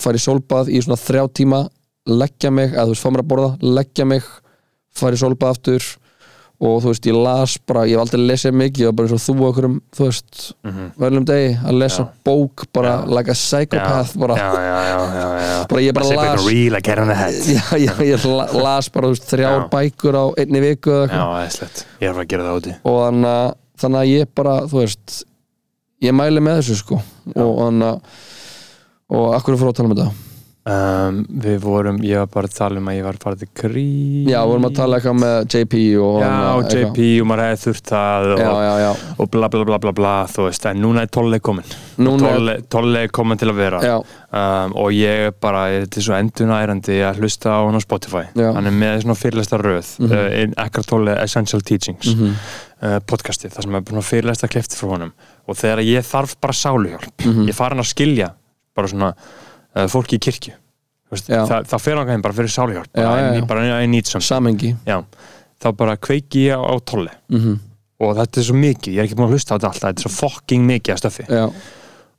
C: fara í sólbað í svona þrjá tíma leggja mig, eða þú veist, fá mér að borða leggja mig, fara í sólbað aftur og þú veist, ég las bara ég hef aldrei lesið mikið, ég var bara eins og þú okkur um, þú veist,
B: Mhm.
C: verðlum degi að lesa
B: Já.
C: bók, bara
B: Já.
C: like a psychopath bara,
B: já, já, já, já, já.
C: bara ég bara
B: Bara
C: las
B: real að gera hann að hætt
C: já, já, ég la- las bara þú veist, þrjár
B: Já.
C: bækur á einni viku eða
B: Já,
C: eitthvað.
B: æðislegt, ég er að fara að gera það úti
C: og þannig að, þannig að ég bara þú veist, ég mæli með þessu sko og þannig að og akkur er frá að tala um þetta
B: um, Við vorum, ég var bara að tala um að ég var að fara til krí
C: já, við vorum að tala eitthvað með JP og
B: Já,
C: þarna
B: og
C: eitthvað.
B: JP og maður hefði þurft það og,
C: já, já, já,
B: og bla bla bla bla bla þú veist, en núna er tólleg komin
C: Núna er-
B: Tolle- Tolle er komin til að vera
C: já,
B: um, og ég er bara, þetta er svo endunærandi að hlusta á hann á Spotify
C: Já.
B: hann er með svona fyrirlesta röð mm
C: Mhm.
B: -hmm. uh, Ekkert Tolle Essential Teachings
C: mhm,
B: uh, podcastið, þar sem er búin að fyrirlesta klifti frá honum og þegar ég þarf bara sáluhjálp
C: Mhm.
B: ég fara hann að skilja bara svona uh, fólki í kirkju Þú veist,
C: Já.
B: það, það fer hann heim bara fyrir sáluhjálp bara,
C: Já, já,
B: I-
C: já.
B: bara I need some
C: samhengi
B: já. þá bara kveiki ég á, á Tolle
C: mhm,
B: og þetta er svo mikið, ég er ekki búin að hlusta á þetta alltaf þetta er svo fucking mikið að stöfi
C: já,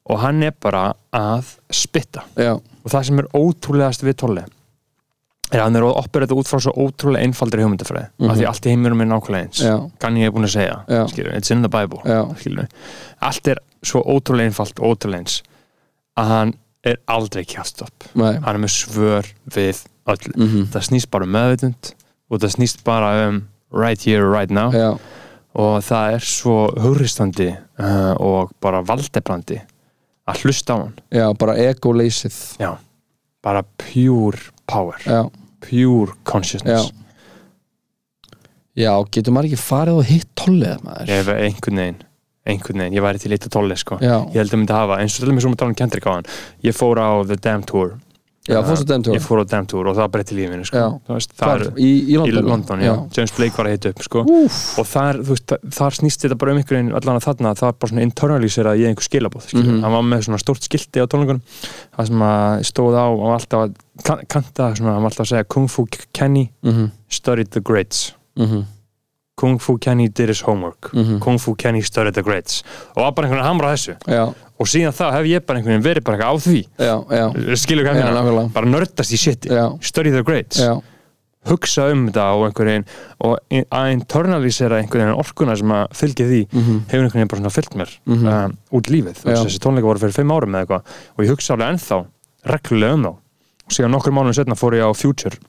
B: og hann er bara að spitta
C: já,
B: og það sem er ótrúlegast við Tolli er að hann er að operata út frá svo ótrúlega einfaldri hugmyndafræði af því allt í heiminum er nákvæmlega eins
C: Mhm. Já.
B: kanni ég er búin að
C: Já.
B: segja, skilur, it's in the bible
C: Já.
B: skilur, allt er svo ótrúlega einfalt og ótrúlega eins að hann er aldrei kjástopp
C: nei
B: hann er með svör við öll
C: mhm,
B: það snýst bara um meðvitund og það snýst bara um right here, right now
C: já,
B: og það er svo hugristandi uh, og bara valdebrandi að hlusta á hann
C: já, bara ego-leysið
B: Já, bara pure power,
C: já,
B: pure consciousness
C: Já. já, getur maður ekki farið og hitt tollið maður
B: Ég hef einhvern veginn, einhvern veginn, ég væri til eitt að tolli sko
C: já,
B: Ég held að myndi hafa, eins og til mér svo með tala um Kendrick á hann Ég fór á The Damn Tour
C: já, fórstu den
B: Ég fór á Damn Tour og það breytti lífinu sko
C: Já.
B: Þú veist, Það
C: Hvar?
B: er
C: Í, í
B: í
C: London?
B: London, já. James Blake var að hita upp sko
C: Úf,
B: og þar, þú veist, þa- þar snýst þetta bara um einhvern veginn allan að þarna, það var bara svona internalisera í einhver skilabóð, skilur,
C: Mhm.
B: hann var með svona stórt skilti á tónleikunum, það sem að stóð á, hann var alltaf að kan- kanta svona, hann var alltaf að segja Kung Fu Kenny
C: mhm,
B: studied the greats
C: mhm,
B: Kung Fu Kenny did his homework
C: mhm
B: Kung Fu Kenny studied the greats og var bara einhvern veginn að hamra á þessu
C: Já,
B: og síðan þá hef ég bara einhvern veginn verið bara eitthvað á því
C: já, já,
B: skilur hvað
C: Já,
B: ég meina,
C: nákvæmlega.
B: bara nördast í shiti
C: Já.
B: study the greats,
C: já,
B: hugsa um þetta og einhvern veginn og in- að internalisera einhvern veginn orkuna sem að fylgja því
C: mhm,
B: hefur einhvern veginn bara svona fyllt mér
C: Mhm.
B: um, út lífið, Þú veist,
C: Já.
B: þessi tónleika voru fyrir fimm árum eða eitthvað og ég hugsa alveg ennþá reglulega um þá og síðan nokkur mánuðin setna fór ég á Future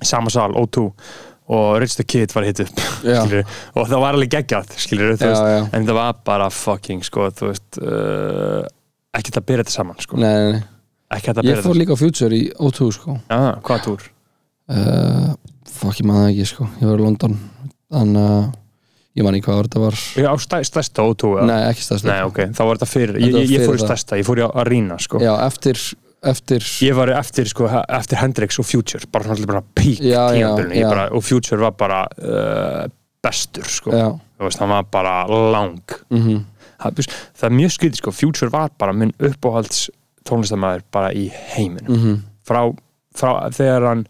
B: sama sal, O2 og Rich the Kid var hitt upp
C: Já.
B: skilurðu. og það var alveg geggjað skilur,
C: Já,
B: veist,
C: já.
B: en það var bara fucking sko, þú veist uh, ekki þetta að byrja þetta saman sko.
C: nei, nei, nei
B: ekki þetta að
C: Ég
B: byrja þetta
C: fór líka á Future í O2 sko
B: saman ah, hvað túr?
C: uh, Fuck, ég maður það ekki sko Ég var í London Þannig að ég man ekki hvað ár þetta var
B: Já, á stæ, stærsta O2 eða?
C: Nei, ekki stærst
B: Nei, ok, þá var þetta fyrir ég,
C: Þetta var
B: ég, ég fór í
C: fyrir það.
B: stærsta, ég fór í Arena sko.
C: Já, eftir, eftir
B: ég var eftir, sko, eftir Hendrix og Future bara svona alltaf bara pík
C: Já, já,
B: tímabilinu
C: já.
B: Ég bara- og Future var bara uh, bestur sko.
C: Já,
B: Þú veist, hann var bara lang
C: mhm,
B: það, þú veist, það er mjög skriði sko. Future var bara minn uppáhalds tónlistamæður bara í heiminum
C: mhm,
B: frá, frá þegar hann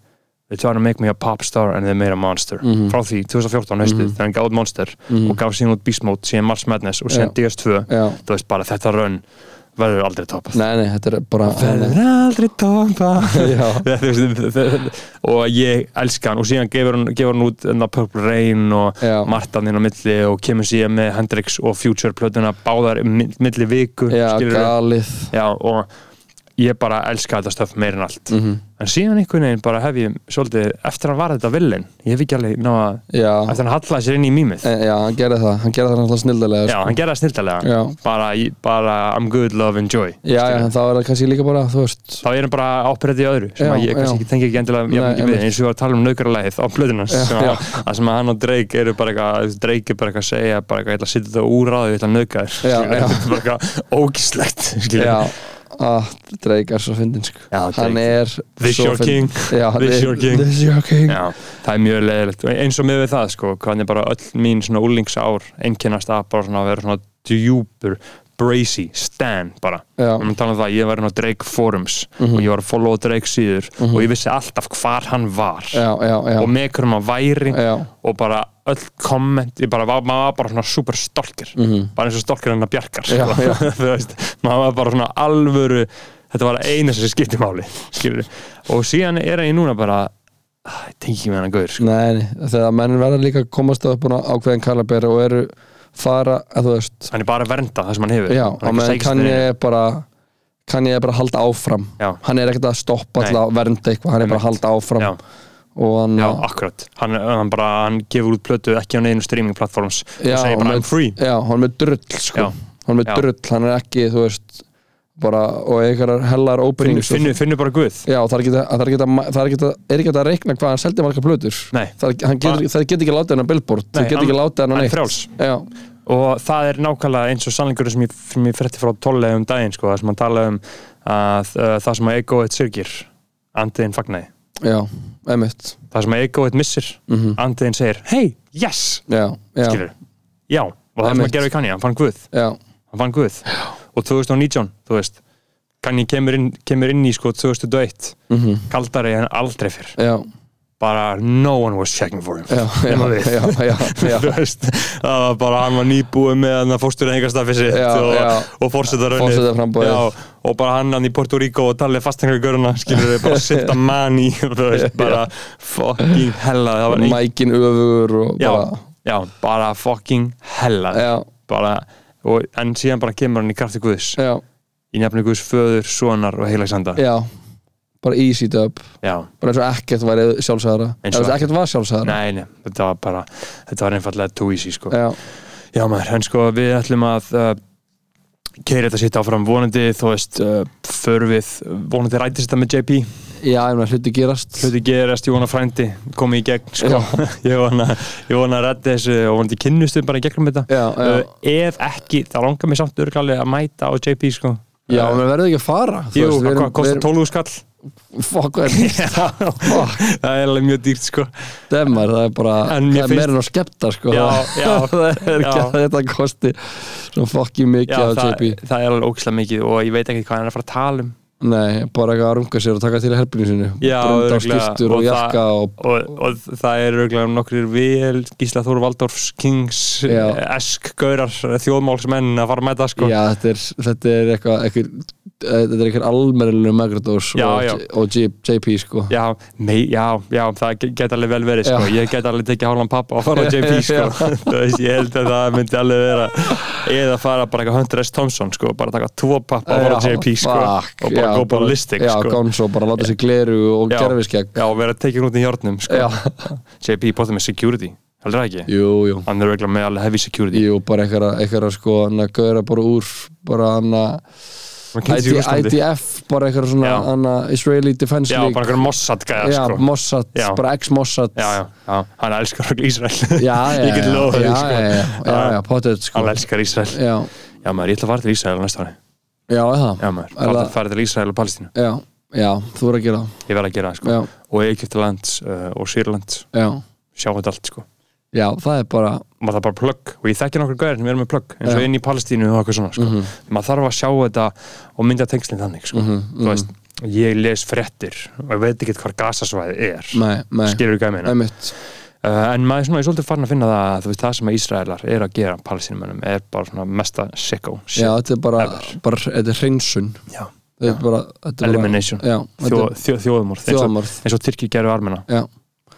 B: They try to make me a pop star and they made a monster
C: Mhm.
B: frá því 2014 haustu þegar hann gaf út Monster
C: Mhm.
B: og gaf síðan út Beast Mode síðan Mars Madness og síðan DS2
C: já
B: þú veist bara þetta run verður aldrei toppað
C: Nei, nei, þetta er bara
B: verður aldrei toppað
C: Já,
B: Þú veist, þ- þ- og ég elska hann og síðan gefur hann, gefur hann út enna Purple Rain og
C: Já.
B: Martan inn á milli og kemur síðan með Hendrix og Future plötuna báðar í mi- milli viku
C: já,
B: skilurðu.
C: galið
B: Já, og ég bara elska þetta stöf meir en allt
C: Mhm.
B: en síðan einhvern veginn bara hef ég svolítið eftir hann var þetta villin ég hef ekki alveg ná að
C: Já,
B: eftir hann hallaði sér inn í mýmið
C: e, já, hann gerði það Hann gerði það náttúrulega snildalega
B: Já,
C: sko.
B: hann gerði það snildalega
C: Já.
B: bara, í- bara I'm good, love, enjoy
C: já, já, en þá er það kannski líka bara, þú veist
B: þá er hann bara ábyrðið í öðru sem
C: Já,
B: að ég kannski
C: já.
B: ekki tengi ekki endilega
C: Nei,
B: jafn mikið við
C: einmitt.
B: eins og ég var að tala um naukralæðið á plöðunans
C: Já,
B: sem,
C: já.
B: að- að sem að hann og Drake eru bara eitthvað Drake er bara eitthvað að segja bara eitthvað, ég ætla að sitja þetta úr á því ég ætla að nauka þér
C: Já,
B: skilur.
C: já.
B: þetta er bara eitthvað ógislegt
C: Já, að Drake er svo fyndin sko.
B: Já, Drake.
C: hann er
B: This
C: svo
B: your
C: fyndinn.
B: king.
C: já,
B: This
C: við-
B: your king.
C: this your king.
B: Já, það er mjög leðilegt eins og með við það sko, hvað er bara öll mín svona úlingsár, einkennast að bara svona að vera svona djúpur brazy, stan bara
C: Já. Mhm.
B: og mér tala um það, ég var inn á Drake forums og ég var að followa Drake síður og ég vissi alltaf hvar hann var
C: já, já, já,
B: og með hverjum hann væri
C: já,
B: og bara öll komment ég bara, var- maður var bara svona super stolkir bara eins og stolkir hennar bjarkar sko.
C: Mhm. Já, já.
B: Þú veist, maður var bara svona alvöru þetta var að eina sem skipti máli skilur. og síðan er ég núna bara ah, ég tengi ekki með hennar gaur sko.
C: nei, nei, þegar menn verða líka að komast að búin að ákveðin kalabera og eru fara, að þú veist
B: hann er bara að vernda það sem hann hefur
C: já,
B: Hann er ekki
C: og
B: að
C: meðan
B: sækjast
C: kann
B: niður.
C: ég bara kann ég bara að halda áfram
B: Já.
C: hann er ekkert að stoppa
B: Nei.
C: til að vernda eitthvað hann er bara að halda áfram
B: Já.
C: og hann
B: Já, akkurat, hann, hann bara hann gefur út plötu ekki á neðinu streaming platforms og segir
C: hann
B: bara I'm
C: er-
B: free
C: já, hann er með drull sko.
B: Já.
C: hann er með
B: Já.
C: drull, hann er ekki þú veist, bara, og einhverjar hellar
B: Finnur
C: openings og-
B: finnu, finnu bara guð
C: Já, það er ekki að- það er ekki að- það er ekki að- er ekki hægt að reikna hvað hann seldi margar plötur
B: Nei.
C: Það er- hann getur- Það getur ekki að láta hennar billboard
B: Nei,
C: Það getur ekki að
B: hann-
C: láta hennar
B: hann er
C: neitt
B: frjáls.
C: Já,
B: og það er nákvæmlega eins og sannleikurinn sem ég, sem ég frétti frá tóllega um daginn sko, það sem hann talaði um að uh, það sem að ego eitt syrgir andiðin fagnæði,
C: já, emitt
B: það sem að ego eitt missir mm -hmm. andiðin segir, hei, yes
C: Já, Mhm. já,
B: skilur, já og það sem
C: Einmitt.
B: að gerði kanni, hann fann Guð
C: já,
B: hann fann Guð, og 2019, þú veist kanni kemur inn, kemur inn í sko 2001,
C: mhm,
B: kaldari en aldrei fyrr,
C: já,
B: bara no one was checking for him
C: já, já,
B: Nema við.
C: já, já, já,
B: Þú veist, það var bara hann var nýbúið með hann að fórstur engastafið sitt
C: Já,
B: og,
C: já.
B: og fórsetarönni
C: Forsetaframboðið.
B: og bara hann hann í Porto Rico og talið fastengargöruna skilur við bara sitta mann í þú veist, bara fucking hella það var ein-
C: Mækin öfur og
B: já,
C: bara
B: já, bara fucking hella
C: Já.
B: bara, og, en síðan bara kemur hann í krafti Guðs
C: Já,
B: í nefni Guðs föður, sonar og heilagsanda
C: já, bara easy dub
B: já,
C: Bara eins og ekkert væri sjálfsæðara
B: Eins
C: Eða
B: og
C: þú veist, ekkert var sjálfsæðara
B: nei, nei, þetta var bara þetta var einfallega too easy sko
C: Já,
B: Já maður, en sko við ætlum að uh, keira þetta sitt áfram vonandi þú veist, uh, förum við vonandi rætist þetta með JP
C: já, ég meina hluti gerast
B: hluti gerast, ég vona frændi komið í gegn, sko ég vona, ég vona að rætti þessu og vonandi kynnustu bara í gegnum þetta
C: Já, já.
B: Uh, ef ekki, þá langar mér samt örglalið að mæta á JP sko
C: Já,
B: uh,
C: menn verður ekki að fara þú
B: Jú,
C: veist, við
B: hvað
C: erum-
B: kostar
C: við erum-
B: 12 skall?
C: Fuck, hvað er Fuck.
B: það er alveg mjög dýrt sko
C: Demmar, það er bara,
B: En
C: það
B: mér
C: er
B: finnst-
C: meira en á skepta sko
B: Já, já,
C: Það er ekki
B: já.
C: að þetta kosti Svo fokki mikið
B: Já,
C: á
B: það,
C: JP
B: það er alveg ógislega mikið og ég veit ekki hvað hann er að fara að tala um
C: Nei, bara eitthvað að runga sér og taka til í herpinu sinu
B: Já,
C: Brunda á
B: örugglega.
C: skýrtur og,
B: Og
C: jakka
B: það-
C: og
B: og, og það er örgulega nokkur vel Gísla Þór Valdorfs, Kings eh,
C: Já.
B: Esk, Gaurar, þjóðmálsmenn að fara með það sko
C: Já, þetta er, þetta er eitthvað eitthvað, Þetta er eitthvað almennilinu Magradós
B: Já,
C: og,
B: já.
C: og J, JP sko
B: Já, mei, já, já, það ge- geta alveg vel verið sko.
C: Já.
B: ég geta alveg tekið hálfan pappa og fara á JP
C: Já.
B: sko. Þú veist, ég held að það myndi alveg vera eða fara bara eitthvað Hunter S. Thompson sko, bara taka tvo pappa og fara á JP sko,
C: fuck,
B: og bara
C: já,
B: go ballistic
C: Já,
B: sko.
C: Gonzo, bara láta sér gleru og
B: Já.
C: gerfiskegg
B: Já, og vera tekin út í hjörnum sko.
C: Já.
B: JP potið með security, heldur það ekki?
C: Jú, jú
B: Hann er regla með alveg heavy security
C: Jú, bara eitthvað, eitthvað sko, hann að gauðra bara úr, bara hann að
B: Hann kynnist í
C: ID,
B: Rússlandi.
C: IDF, bara eitthvað svona
B: Já.
C: hann að Israeli Defense
B: Já,
C: League
B: bara einhverjum Mossad gæja
C: já,
B: sko.
C: Mossad,
B: Já.
C: bara ex-Mossad
B: já, já, já, hann elskar okkur Ísrael
C: já, já,
B: Ég get
C: já,
B: lofað
C: já,
B: því sko.
C: já, já, já, já, pottet sko
B: Hann elskar Ísrael
C: já,
B: Já maður, ég ætla að fara til Ísrael á næsta ári
C: já, er það
B: Já maður,
C: Er
B: fara,
C: það-
B: fara til Ísrael og Palestínu
C: já, já, þú er að gera það.
B: Ég verð að gera það sko
C: Já.
B: Og Egyptalands uh, og Sýrland
C: já,
B: Sjá þetta allt sko
C: já, það er bara
B: Maður þarf bara plugg Og ég þekki nokkur gæðir sem eru með plugg En svo
C: Já. Mhm.
B: inn í Palestínu og eitthvað svona sko Maður þarf að sjá þetta og mynda tengslinn þannig sko
C: mhm,
B: Þú veist, ég les fréttir Og ég veit ekki hvað gasasvæði er
C: nei, nei,
B: Skilur gæmina
C: emitt
B: Uh, en maður er svona, ég er svolítið farin að finna það að þú veist, það sem að Ísraelar er að gera palestinumönnum er bara svona mesta sicko shit.
C: já, þetta er bara,
B: Ever.
C: bara, þetta er hreinsun
B: Já.
C: þetta er bara, þetta er bara
B: Elimination.
C: já,
B: Þjó,
C: þetta er,
B: þjó, þjóðumorð Eins og-
C: Þjóðarmorð.
B: eins og Tyrkir gerðu armina,
C: já,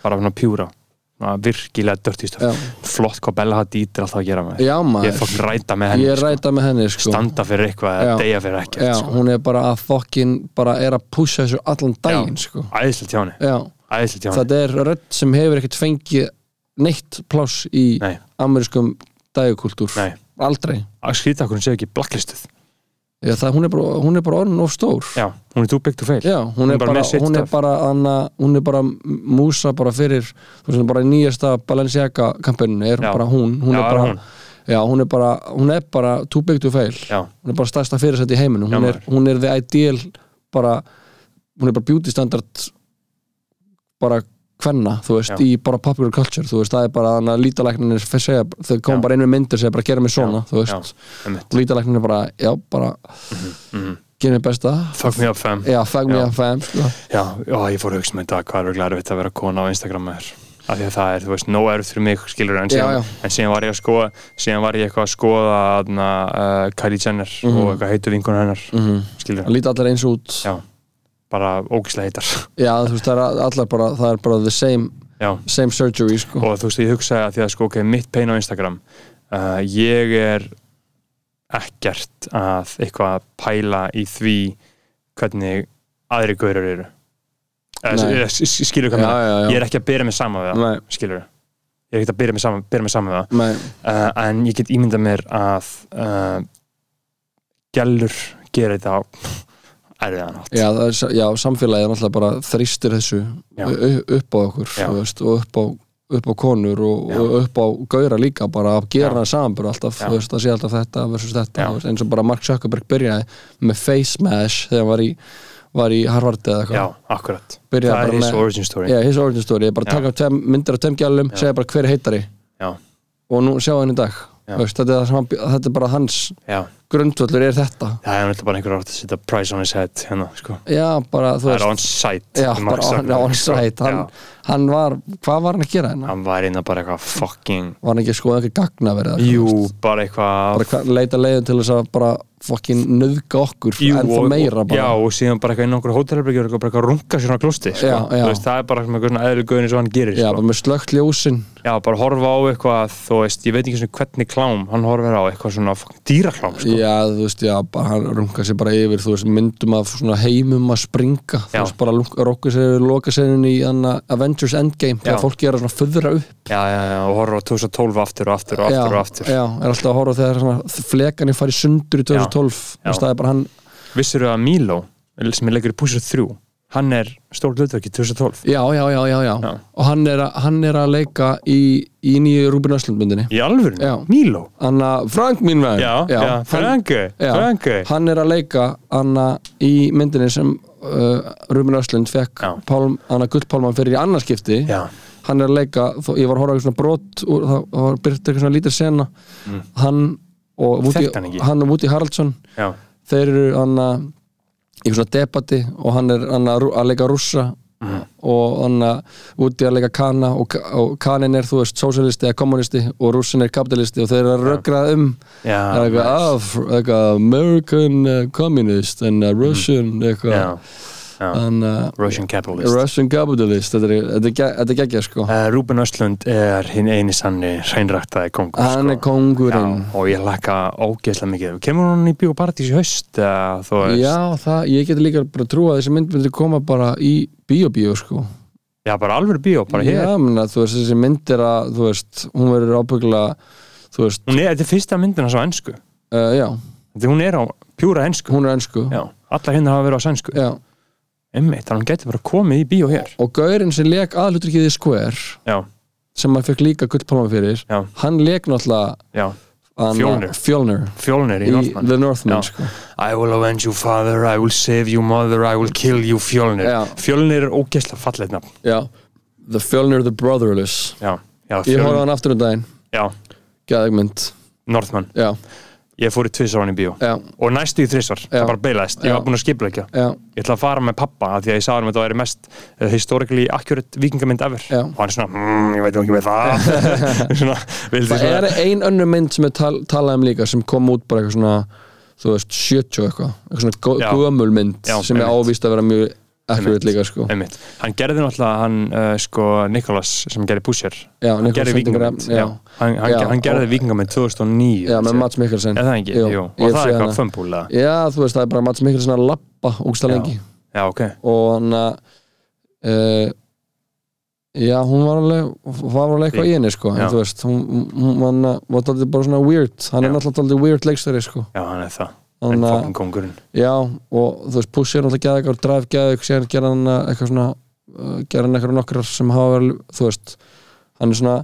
B: bara svona pjúra svona virkilega
C: Já.
B: dörtistöf flott hvað Bella Hadid er alltaf að gera með
C: já,
B: ég
C: maður
B: fokk ræta með henni
C: ég er ræta með henni
B: sko.
C: sko
B: standa fyrir eitthvað eða
C: Já.
B: deyja fyrir ekkert
C: já,
B: sko.
C: hún er bara að fokkin bara er að pusha þessu allan daginn
B: Já.
C: sko
B: æðislega tjáni,
C: já,
B: æðislega tjáni
C: þetta er rödd sem hefur ekkert fengið neitt pláss í
B: Nei.
C: amerískum dægukultúr
B: Nei.
C: aldrei,
B: að skrýta okkur hún sé ekki blacklistuð
C: já, það, hún, er bara, hún er bara orðin of stór
B: já, hún er too big to fail
C: Já, hún, er
B: bara
C: bara,
B: með sitt
C: hún er
B: stöf.
C: bara anna, hún er bara músa bara fyrir þú veist, hún er bara í nýjasta Balenciaga kampinu er
B: Já.
C: bara hún, hún
B: Já,
C: er
B: er
C: bara
B: hún.
C: Já, hún er bara, hún er bara too big to fail
B: Já.
C: hún er bara stærsta fyrirsætt í heiminum hún,
B: Já,
C: er, hún er the ideal bara, hún er bara beauty standard bara kvenna, þú veist,
B: Já.
C: í bara popular culture þú veist, það er bara þannig að lítalækninir fer- segja, þau
B: Já.
C: komum bara inn með myndir segja bara gera mig svona, þú
B: já,
C: veist
B: einmitt.
C: og lítalækninir bara, já, bara
B: mhm.
C: gera mig besta,
B: fuck me up fam
C: já, fag
B: Já.
C: mig að fæm sko.
B: já, já, ég fór að hugsa með þetta hvað er örugglega erfitt að vera kona á Instagram með þér af því að það er, þú veist, nóg erfitt fyrir mig skilur en
C: Já,
B: síðan,
C: já.
B: En síðan var ég að skoða síðan var ég eitthvað að skoða na, uh, Kylie Jenner
C: Mhm.
B: og eitthvað heitu vinkun hennar
C: mm
B: skilur,
C: líta allar eins út
B: Já. bara ógislega heitar
C: já, þú veist, það er allar bara það er bara the same,
B: já,
C: same surgery sko.
B: og þú veist, ég hugsaði að því að sko, ok, mitt pein á Instagram uh, ég er ekkert að eitthvað pæla í því hvernig aðri gaurar eru
C: Nei.
B: eða skilur hvað
C: Já,
B: með
C: já, já.
B: ég er ekki að byrja mig saman við það
C: Nei.
B: skilur, ég er ekki að byrja mig saman, byrja mig saman við það
C: Nei,
B: uh, en ég get ímyndað mér að uh, gælur gera þetta á erfiðan átt
C: já, það er, sa- já, samfélagið er náttúrulega bara þrýstir þessu
B: Já.
C: u- upp á okkur
B: Já.
C: þú veist, og upp á, upp á konur og,
B: Já.
C: og upp á gauðra líka bara að
B: Já.
C: gera það samanbúr alltaf
B: Já.
C: þú veist, það sé alltaf þetta versus
B: Já.
C: þetta þú veist, eins og bara Mark Zuckerberg byrjaði með face mash þegar hann var í, var í Harvard
B: já,
C: eða eitthvað
B: akkurat,
C: Byrja
B: það
C: bara
B: er his
C: með-
B: origin story
C: yeah, his origin story, ég bara
B: Já.
C: taka tveim, myndir af tveim gjallum,
B: Já.
C: segja bara hver er heitari
B: Já.
C: og nú sjá hann í dag
B: Já.
C: Þú veist, þetta, er það sem hann, bý- þetta er bara hans
B: já,
C: grundvöllur er þetta
B: það er náttúrulega bara einhver átt að setja price on his head hérna, sko
C: já, bara, þú
B: það er
C: veist
B: on site
C: Já,
B: Mark
C: bara on,
B: Zuckerberg,
C: on
B: sko.
C: site hann,
B: Já,
C: hann var, hvað var hann að gera hérna?
B: hann var inn að bara eitthvað fucking
C: Var hann ekki að skoða eitthvað gagnaverið eða
B: jú,
C: eitthvað,
B: bara eitthvað
C: bara hvað, leita leiðum til þess að bara fokkin nöðga okkur
B: jú,
C: en
B: og-
C: það meira
B: já,
C: bara
B: og síðan bara eitthvað inn á okkur hótelherbyggjur og bara eitthvað runga sér á klústi sko.
C: Já, já.
B: Þú veist, það er bara svona eitthvað svona eðlu guðin eins og hann gerir
C: já,
B: sko.
C: bara með slögt ljósin
B: já, bara horfa á eitthvað þú veist, ég veit ekki svona hvernig klám hann horfir á eitthvað svona fucking dýraklám sko.
C: já, þú veist, já, bara hann runga sér bara yfir þú veist, myndum af svona heimum að springa
B: Já.
C: þú veist, bara rokka sér yfir loka sérinn í hana, Avengers Endgame
B: Já.
C: þegar fólk gera svona föðra upp
B: já, já, já, og horfa á 2012 aftur og aftur og
C: já,
B: aftur og aftur
C: já, er alltaf að horfa þegar svona, flekan er farið sundur í 2012
B: Já.
C: þú veist, það er bara hann
B: vissir að Milo, sem er leikur í Pusher 3 hann er stór hlutverk í 2012
C: Já, já, já, já, já.
B: Já.
C: Og hann er, að, hann er að leika í, í nýju Rúbin Öslund myndinni.
B: í alvörinu,
C: Já.
B: Milo
C: Hann að, Frank mín veginn.
B: já, já, já
C: Hann,
B: Franke,
C: já,
B: Franke
C: hann er að leika hann að í myndinni sem uh, Rúbin Öslund fekk
B: Já.
C: pálm, hann að gullpálman fyrir í annarskipti.
B: já,
C: Hann er að leika, þó, ég var að horfa á eitthvað svona brot úr, það, það var byrkt eitthvað svona lítil sena. Hann og Woody,
B: Mm. Þekkti hann ekki?
C: hann og Woody Haraldsson,
B: já,
C: þeir eru hann að í svona debati og hann er hann að, rú- að leika rússa
B: Mhm.
C: og hann að úti að leika kana og, Ka- og kanin er þú veist sósialisti eða kommunisti og rússin er kapitalisti og þeir eru að rökra um
B: já,
C: það er eitthvað af eitthvað American uh, communist and uh, Russian eitthvað
B: Mhm. já, já.
C: and, uh,
B: Russian capitalist uh,
C: Russian capitalist þetta er- þetta er ge- þetta er geggja sko
B: Rúben Östlund er hinn eini sanni hreinræktaði kongur
C: hann er
B: sko.
C: kongurinn
B: Já, og ég lakka ógeðslega mikið kemur hún í bíópartís í haust eða, þú veist, já.
C: Já, það, ég geti líka bara trú að þessi mynd myndi koma bara í bíó-bíó sko.
B: bara alveg bíó, bara hér
C: Já, menna, þú veist, þessi mynd er að, þú veist, hún verður ábyggulega, þú veist,
B: hún er, þetta er fyrsta myndina svo ennsku
C: uh, já,
B: þetta hún er á pjúra ennsku
C: hún er ennsku.
B: já, alla hérna hafa verið á sænsku
C: Já.
B: einmitt, þannig að hún geti bara komið í bíó hér
C: Og gaurinn sem leik aðlutrykkiði Square,
B: já,
C: sem maður fekk líka gullpálma fyrir,
B: Já.
C: hann leik náttúrulega
B: já,
C: hann-
B: Fjólnir.
C: Fjólnir
B: fjólnir í
C: í
B: Northman
C: The Northman,
B: Já.
C: sko.
B: I will avenge you father, I will save you mother I will kill you fjólnir
C: Já.
B: fjólnir er ógeðslega fallet nafn
C: Já. The Fjólnir the Brotherless.
B: já, já,
C: Ég horfði á
B: fjólnir,
C: hann aftur um daginn,
B: já,
C: gæðegmynd.
B: Northman
C: Já,
B: Ég fór í tvisar á hann í bíó
C: já,
B: Og næstu í þrisvar, það
C: Já.
B: bara beilaðist Ég var
C: Já.
B: búinn að skipleggja
C: já,
B: Ég ætla að fara með pappa af Því að ég sagði hann að það væri mest uh, historically accurate vikingamynd ever
C: Já.
B: Og hann er svona, mmm, ég veit nú ekki með það Svona, vildi
C: Það er
B: svona
C: ein önnur mynd sem er tal, talað um líka sem kom út bara eitthvað svona þú veist, 70 og eitthvað eitthvað svona gó-
B: Já.
C: gömul mynd
B: Já,
C: sem er
B: einmitt.
C: ávist að vera mjög
B: Einmitt.
C: accurate líka sko
B: Einmitt. Hann gerði náttúrulega hann, uh, sko, Nikolas sem gerði Pusher
C: Já,
B: Hann gerði vikingamynd
C: já.
B: já. Hann, hann,
C: Já,
B: hann gerði
C: og-
B: vikingamynd 2009
C: já, með
B: þessi.
C: Mats Mikkelsen
B: Er það ekki? Jú, Og það
C: ég sé
B: er eitthvað
C: hana.
B: fömbúlega
C: Já, þú veist, það er bara Mats Mikkelsen að lappa ógsta lengi
B: Já, ok
C: og hann að uh, Já, hún var alveg hún var alveg eitthvað í henni sko
B: Já.
C: en þú veist, hún, hún hann að- var daldið bara svona weird hann
B: Já.
C: er náttúrulega daldið weird leikstöri sko
B: Já, hann er það
C: Hann
B: En
C: að-
B: fokkin kongurinn
C: Já, og þú veist, Pussy er náttúrulega geða eitthvað, Drive geða eitthvað, síðan gera hann uh, eitthvað svona, uh, gera hann eitthvað nokkrar sem hafa verið, þú veist, hann er svona,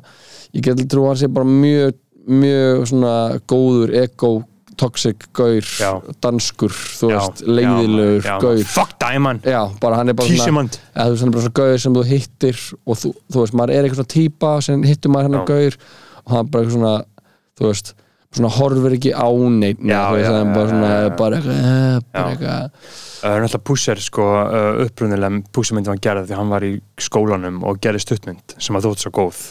C: ég get til trú að hann sé bara mjög mjög svona góður ego toxic gaur,
B: Já.
C: danskur þú
B: Já,
C: veist,
B: já,
C: leiðilegur
B: já,
C: gaur
B: Fuck Diamond,
C: já, bara hann er bara
B: Tísimond
C: eða þú veist, hann er bara svona gaur sem þú hittir og þú, þú veist, maður er eitthvað svona típa sem hittir maður hennar
B: Já.
C: gaur og hann er bara eitthvað svona, þú veist svona horfir ekki á neitt
B: Já,
C: þú veist,
B: já,
C: hann er bara
B: já,
C: svona,
B: já, já.
C: bara eitthvað eh, bara
B: Já.
C: eitthvað,
B: Það er náttúrulega Pusher sko uh, upprunilega Pushermyndin var gerð því hann var í skólanum og gerði stuttmynd sem að þótt svo góð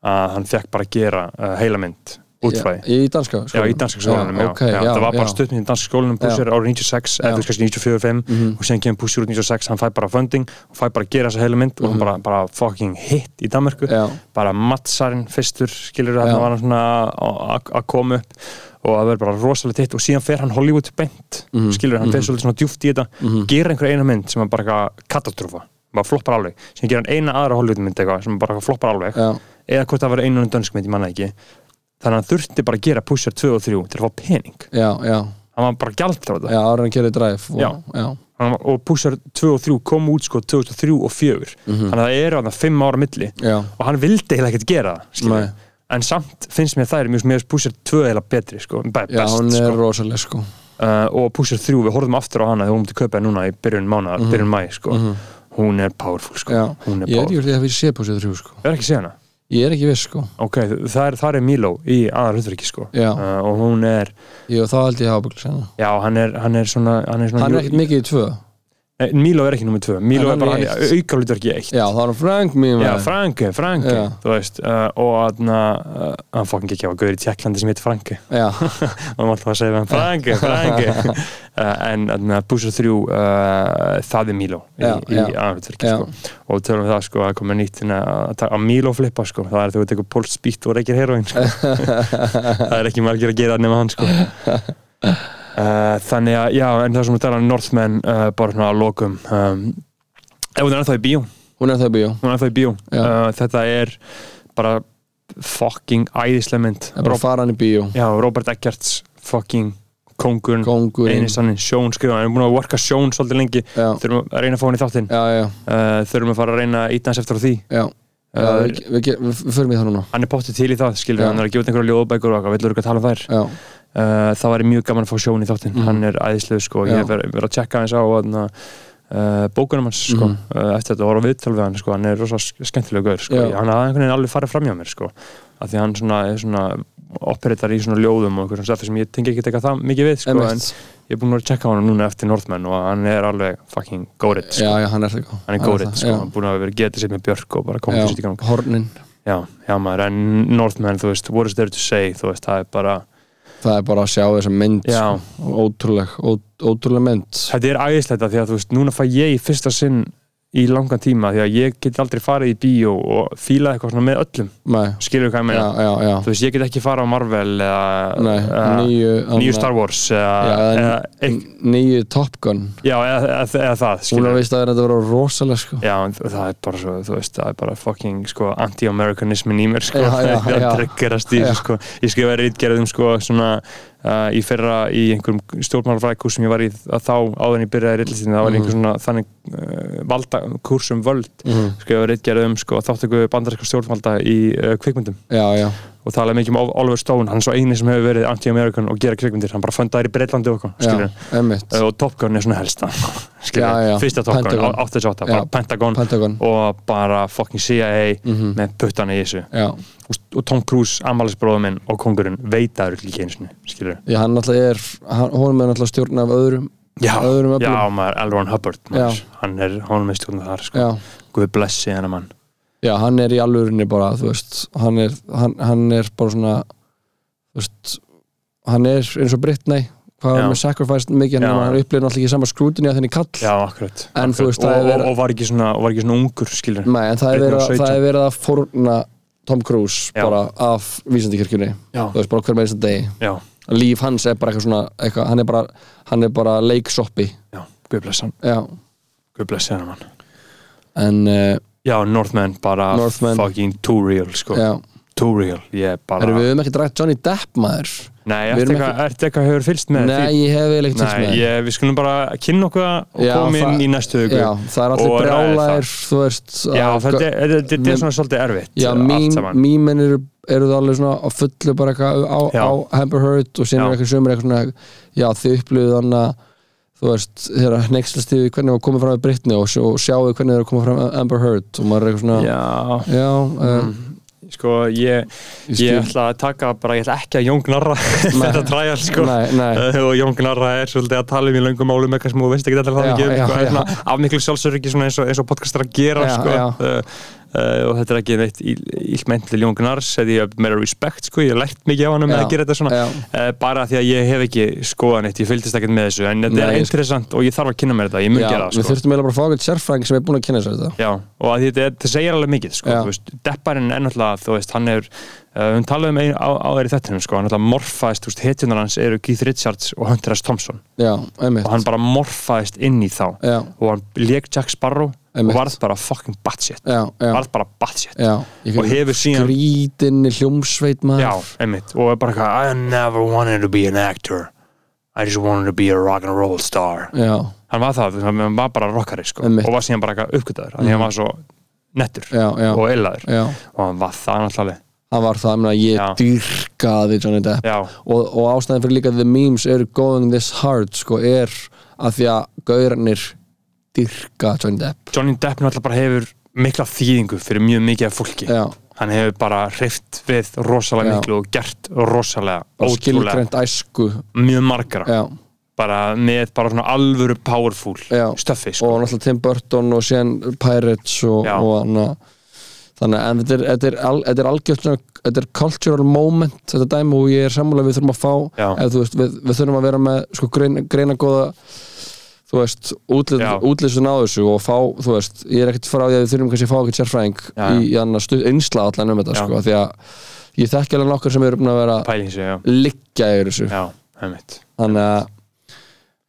B: að hann fekk bara að gera uh, heilamynd útfæði
C: já, í danska
B: Já, í danska skólanum, já,
C: ok,
B: já,
C: já,
B: Það var bara
C: já.
B: stuttmynd í danska skólanum Pusher árið 96,
C: Já.
B: eða þú veist kannski 94-5
C: Mhm.
B: og síðan kemur Pusher út 96, hann fæ bara funding og fæ bara að gera þessa heilamynd og hann bara, bara fucking hit í Danmörku
C: Mhm. já,
B: bara mattsarinn fyrstur skilur
C: Já.
B: þarna var hann svona að- að- að koma upp og það verður bara rosalega titt og síðan fer hann Hollywood bent
C: Mhm.
B: skilur hann fer
C: Mhm.
B: svolítið svona djúft í þetta
C: Mhm.
B: gera einhver eina mynd sem er bara eitthvað katastrófa bara floppar alveg, sem gera hann eina aðra Hollywood mynd eitthvað sem bara floppar alveg
C: já,
B: eða hvort það var einu dönsk mynd, ég manna ekki þannig að hann þurfti bara að gera Pusher 2 og 3 til að fá pening,
C: já, já,
B: hann var bara gjald frá þetta
C: já, ára hann kerði drive og,
B: Já.
C: já,
B: Hann var- og Pusher 2 og 3 kom út sko 2003 og 4
C: Mhm.
B: þannig að það eru að það 5 ára milli
C: já,
B: og hann vildi heila ekkert gera það skilur.
C: Nei.
B: en samt finnst mér þær mjög mjög Pusher 2 heila betri sko, be-
C: já,
B: best,
C: hún er
B: sko.
C: rosaleg sko
B: uh, og Pusher 3 við horfum aftur á hana þegar hún múti kaupa henni núna í byrjun mánar, byrjun mæ sko. hún er powerful sko.
C: Mhm. já,
B: hún er
C: ég er ekki
B: powerful,
C: verið að það fyrir sé púsið þrjú sko
B: ég er ekki að segja hana
C: ég er ekki viss sko,
B: ok, það er, það er Milo í aðar hlutverki sko.
C: Já.
B: uh, og hún er,
C: ég og þá held ég hafa búin
B: já hann er, hann er svona, hann er svona
C: hann er ekkert mikið í tvö
B: Nei, Milo er ekki nummið 2, Milo
C: En
B: er bara
C: hann
B: hann
C: er
B: er auka hlutverki 1
C: já, þá er hann Frank mín
B: Já,
C: maður.
B: Franki, Franki,
C: Já.
B: þú veist uh, og hann, uh, hann fokkin ekki á Gauður í Tjekklandi sem heitir Franki
C: já,
B: og maður alltaf að segja við hann Franki, Franki uh, en þarna, Búsar 3 uh, það er Milo í,
C: Já,
B: í
C: já.
B: aðanverðverki
C: Já.
B: sko. og tölum við það sko að koma nýtt hérna, að ta- að Milo flippa sko, það er þegar við tekur Pólst spýtt og reykir heroin sko. það er ekki margir að gera það nema hann sko Uh, þannig að, já, en það sem við talaðum Northman, uh, bara svona að lokum um, ef hún er ennþá í bíó
C: hún er það bíó
B: hún er ennþá í bíó
C: Já.
B: uh, þetta er bara fucking æðislega mynd
C: Það er bara að
B: Rob,
C: fara hann í bíó
B: já, Robert Eggerts fucking kongurinn
C: Kongurinn
B: eini sannin, Sjón skrifa, hann er búin að worka Sjón svolítið lengi,
C: Já,
B: þurfum að reyna að fá hann í þáttinn uh,
C: já, já,
B: þurfum að fara að reyna að íta hans eftir á því
C: já, já
B: uh,
C: við, við, ge- við, við förum í það núna
B: hann er pottið til í það, skilur
C: Já.
B: hann er að gefa út einhverja ljóðbækur og eitthvað, villur ykkur að tala um þær
C: Já,
B: uh, það væri mjög gaman að fá Sjón í þáttinn
C: Mhm.
B: hann er æðislega sko,
C: Já.
B: ég hef verið verið að tjekka hans á uh, bókunum hans sko,
C: Mhm.
B: uh, eftir þetta og voru viðtal við hann sko, hann er rosa sk- skemmtilegur gaur sko,
C: Já.
B: hann hafði einhvern veginn alveg farið fram hjá mér sko, af því hann svona, er svona operétar í svona ljóðum og einhverjum staffi sem ég tengi ekki teka það mikið við sko, en
C: emitt
B: ég er búinn að tjekka hann núna eftir Northman og hann er alveg fucking górit sko.
C: Já, já, hann er það góð
B: hann er górit, sko,
C: Já,
B: hann er búinn að vera getið sér með Björk og bara komið sér í gang
C: já hornin,
B: já, já maður, en Northman, þú veist, what is there to say þú veist, það er bara,
C: það er bara að sjá þessa mynd
B: já,
C: sko. Ótrúleg, ó, ótrúleg mynd
B: þetta er æðislegt að því að þú veist, núna fæ ég í fyrsta sinn í langan tíma því að ég get aldrei farið í bíó og fílað eitthvað svona með öllum
C: Nei,
B: skilur hvað ég
C: já,
B: meina,
C: já, já
B: þú veist, ég get ekki farið á Marvel eða,
C: Nei,
B: eða
C: nýju
B: nýju Star Wars eða,
C: Já, eða
B: eða, eða,
C: Nýju Top Gun
B: já, eða, eða, eða það
C: Hún er
B: skilur
C: veist að þetta vera rosalega sko
B: Já, en það er bara svo, þú veist, það er bara fucking, sko, anti-amerikanismin í mér, sko,
C: Já, já,
B: það er
C: já.
B: að dreggerast í
C: Já.
B: þessu, sko, ég skrifaði rítgerðum, sko, svona, uh, í fyrra í einhverjum stjórnmálfræðkurs sem ég var í að þá áðan ég byrjaði rítlistinu, það var einhver svona þannig uh, valda, kurs um völd,
C: Mhm.
B: skrifaði rítgerðum, sko, þáttöku bandarinskar stjórnvalda í uh, kvikmyndum
C: Já, já,
B: og talaði mikið um Ol- Oliver Stone, hann er svo eini sem hefur verið anti-amerikan og gera kvikmyndir, hann bara fundaði í Breitlandi og okkur,
C: já,
B: skilur,
C: emitt
B: og Top Gun er svona helsta skilur,
C: Já, já.
B: fyrsta Top Gun,
C: Pentagon.
B: 88
C: Já.
B: bara Pentagon
C: Pentagon,
B: og bara fucking CIA með puttana í þessu
C: já
B: og, og Tom Cruise, ammælisbróður minn og kongurinn veitaður líka einu sinni, skilur
C: Já, hann náttúrulega er, hann, honum er náttúrulega stjórn af öðrum
B: já,
C: öðrum öflum.
B: já, maður, L. Ron Hubbard maður, hann er, hann er með stjórnum þar sko.
C: Já,
B: Guð blessi hennar mann
C: Já, hann er í alvörinni bara, þú veist hann er, hann, hann er bara svona þú veist hann er eins og Britney
B: Já.
C: hvað hann með sacrifice mikið,
B: Já.
C: hann, hann upplifir náttúrulega ekki saman skrútinni að þenni kall
B: já, akkurat,
C: En þú
B: akkurat.
C: veist,
B: og,
C: það er
B: og,
C: verið-
B: og var ekki svona, og var ekki svona ungur skilur,
C: Nei, en það er,
B: Britney
C: verið,
B: var
C: að-
B: 17.
C: það er verið að fórna Tom Cruise
B: Já.
C: bara af vísindikirkjunni
B: já,
C: þú veist, bara hver með þess að degi
B: já,
C: líf hans er bara eitthvað svona, eitthvað, hann er bara hann er bara leiksoppi
B: já Guð blessi hann,
C: Já,
B: Guð blessi hennar mann
C: en uh,
B: já, Northman bara
C: Northman.
B: fucking too real sko,
C: já, um
B: too real ég bara,
C: erum við höfum ekki drætt Johnny Depp maður
B: Nei, ertu
C: Við erum
B: eitthvað, ertu eitthvað hefur fylst með
C: Nei,
B: því?
C: ég hef eiginlega ekkert
B: Nei,
C: fyrst með
B: ég, við skulum bara kynna okkur það og
C: Já,
B: koma inn
C: það-
B: í næstu hugu.
C: Já, það er
B: Og
C: allir
B: ræða
C: brjálæðir þú veist
B: Já,
C: að-
B: þetta er- þetta- þetta er
C: Við-
B: svona svolítið erfitt.
C: sko, Já,
B: allt
C: mín,
B: saman.
C: mímen eru, eru það alveg svona á fullu bara eitthvað á,
B: Já.
C: á Amber Heard og síðan
B: Já.
C: er eitthvað sömur eitthvað svona já þau upplöðu þann að þú veist þeirra hneykslast yfir hvernig var komið fram við Britney og, sjó, og sjáu hvernig þeirra komið fram við Amber Heard og maður er eitthvað svona já,
B: Já,
C: uh,
B: sko, ég,
C: Ég
B: ég
C: skil.
B: ætla að taka bara, ég ætla ekki að jóngnarra þetta træjar, sko.
C: nei, nei
B: Eh, og Jón Gnarra er svolítið að tala um í löngum málum eitthvað sem þú veist ekki þetta
C: Já,
B: það ekki um
C: já,
B: eitthvað,
C: já.
B: svona af miklu sjálfsöryggi svona eins og, eins og podcastar að gera
C: Já,
B: sko.
C: já.
B: Uh, uh, og þetta er ekki neitt illmendli Jón Gnars eða ég hef meira respekt sko, ég hef lært mikið á hann um
C: Já,
B: að gera þetta svona
C: já.
B: uh, bara því að ég hef ekki skoðan eitt, ég fylgdist ekkert með þessu en þetta
C: Nei,
B: er
C: ég-
B: interessant og ég þarf að kynna mér þetta, ég mun
C: Já,
B: gera
C: við
B: það sko.
C: þurftum eiginlega bara að fá eitthvað sérfræðing sem er búin að kynna sér þetta
B: Já, og að þetta, þetta segir alveg mikið sko,
C: Já.
B: þú veist, Depparinn er náttúrulega þú veist, hann er, uh, hún talaði um einu á, á þér í þettinum, sko, hann náttúrulega morfaðist þú veist, hetjunar hans eru Keith Richards og Hunter S. Thompson
C: Já, einmitt
B: og hann bara morfaðist inn í þá
C: Já,
B: og hann lék Jack Sparrow
C: Einmitt.
B: og varð bara fucking batshit
C: já, já,
B: varð bara batshit
C: já Ég
B: og hefur síðan-
C: Grítinni hljómsveit maður
B: já, einmitt, og er bara eitthvað I never wanted to be an actor I just wanted to be a rock and roll star
C: já,
B: hann var það, hann var bara rockari sko,
C: Einmitt.
B: og var síðan bara eitthvað uppgötaður mm. því hann var svo nettur
C: já, já,
B: og eilaður
C: já.
B: og hann var það náttúrulega
C: Það var það, ég meina, ég
B: Já.
C: dyrkaði Johnny Depp
B: já,
C: og, og ástæðan fyrir líka the memes eru going this hard sko er að því að gaurarnir dyrka Johnny Depp
B: Johnny Depp náttúrulega bara hefur mikla þýðingu fyrir mjög mikið af fólki
C: já,
B: hann hefur bara hreift við rosalega
C: Já.
B: miklu og gert rosalega,
C: og
B: ótrúlega
C: skilgrænt æsku
B: mjög margra
C: já,
B: bara með bara svona alvöru powerful
C: Já.
B: stöffi sko.
C: og náttúrulega Tim Burton og síðan Pirates og,
B: Já.
C: og hann að- þannig að en þetta er, þetta er, al, þetta er algjört svona- þetta er cultural moment þetta dæmi og ég er sammála við þurfum að fá
B: Já.
C: ef, þú veist, við, við þurfum að vera með sko, greina, greina góða þú veist, útlit,
B: Já.
C: útlýstun á þessu og fá, þú veist, ég er ekkert frá því að við þurfum kannski að fá ekkert sérfræðing
B: Já,
C: í, í annars stu- innsla allan um þetta
B: Já.
C: sko, því að ég þekki alveg nokkur sem eru búin að vera að
B: pæling sig, já,
C: liggja yfir þessu
B: já, einmitt
C: þannig að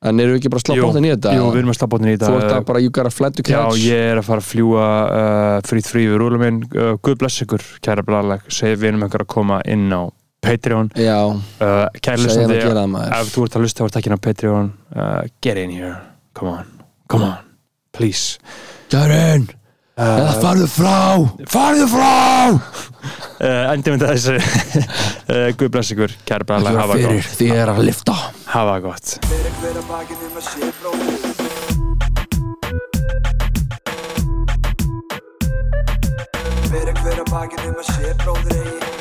C: En eru við ekki bara að slá
B: Jú,
C: bóttin í þetta?
B: Jú, við erum að slá bóttin í
C: Þú ert
B: þetta
C: að bara, you gotta flat to
B: Já,
C: catch
B: ég er að fara að fljúa uh, frýtt frí við rúlum minn uh, Guð bless ykkur, kæra blaðleg segir vinum ykkur að koma inn á Patreon
C: Já,
B: uh, Kæra
C: segja hann að
B: listandi,
C: gera það maður
B: ef þú ert að lusta þá ert ekki inn á Patreon uh, Get in here, come on, come on Please Uh,
C: Jörn, eða farðu frá
B: Farðu frá! uh, Endur mynda þessu uh, Guð bless ykkur, kæra
C: Þú
B: blaðleg
C: er
B: Hafa það
C: fyrir,
B: gott,
C: því ég er að lifta
B: hafa það gott
A: Fyrir hver að bakinu með sé bróð Fyrir hver að bakinu með sé bróðir eigi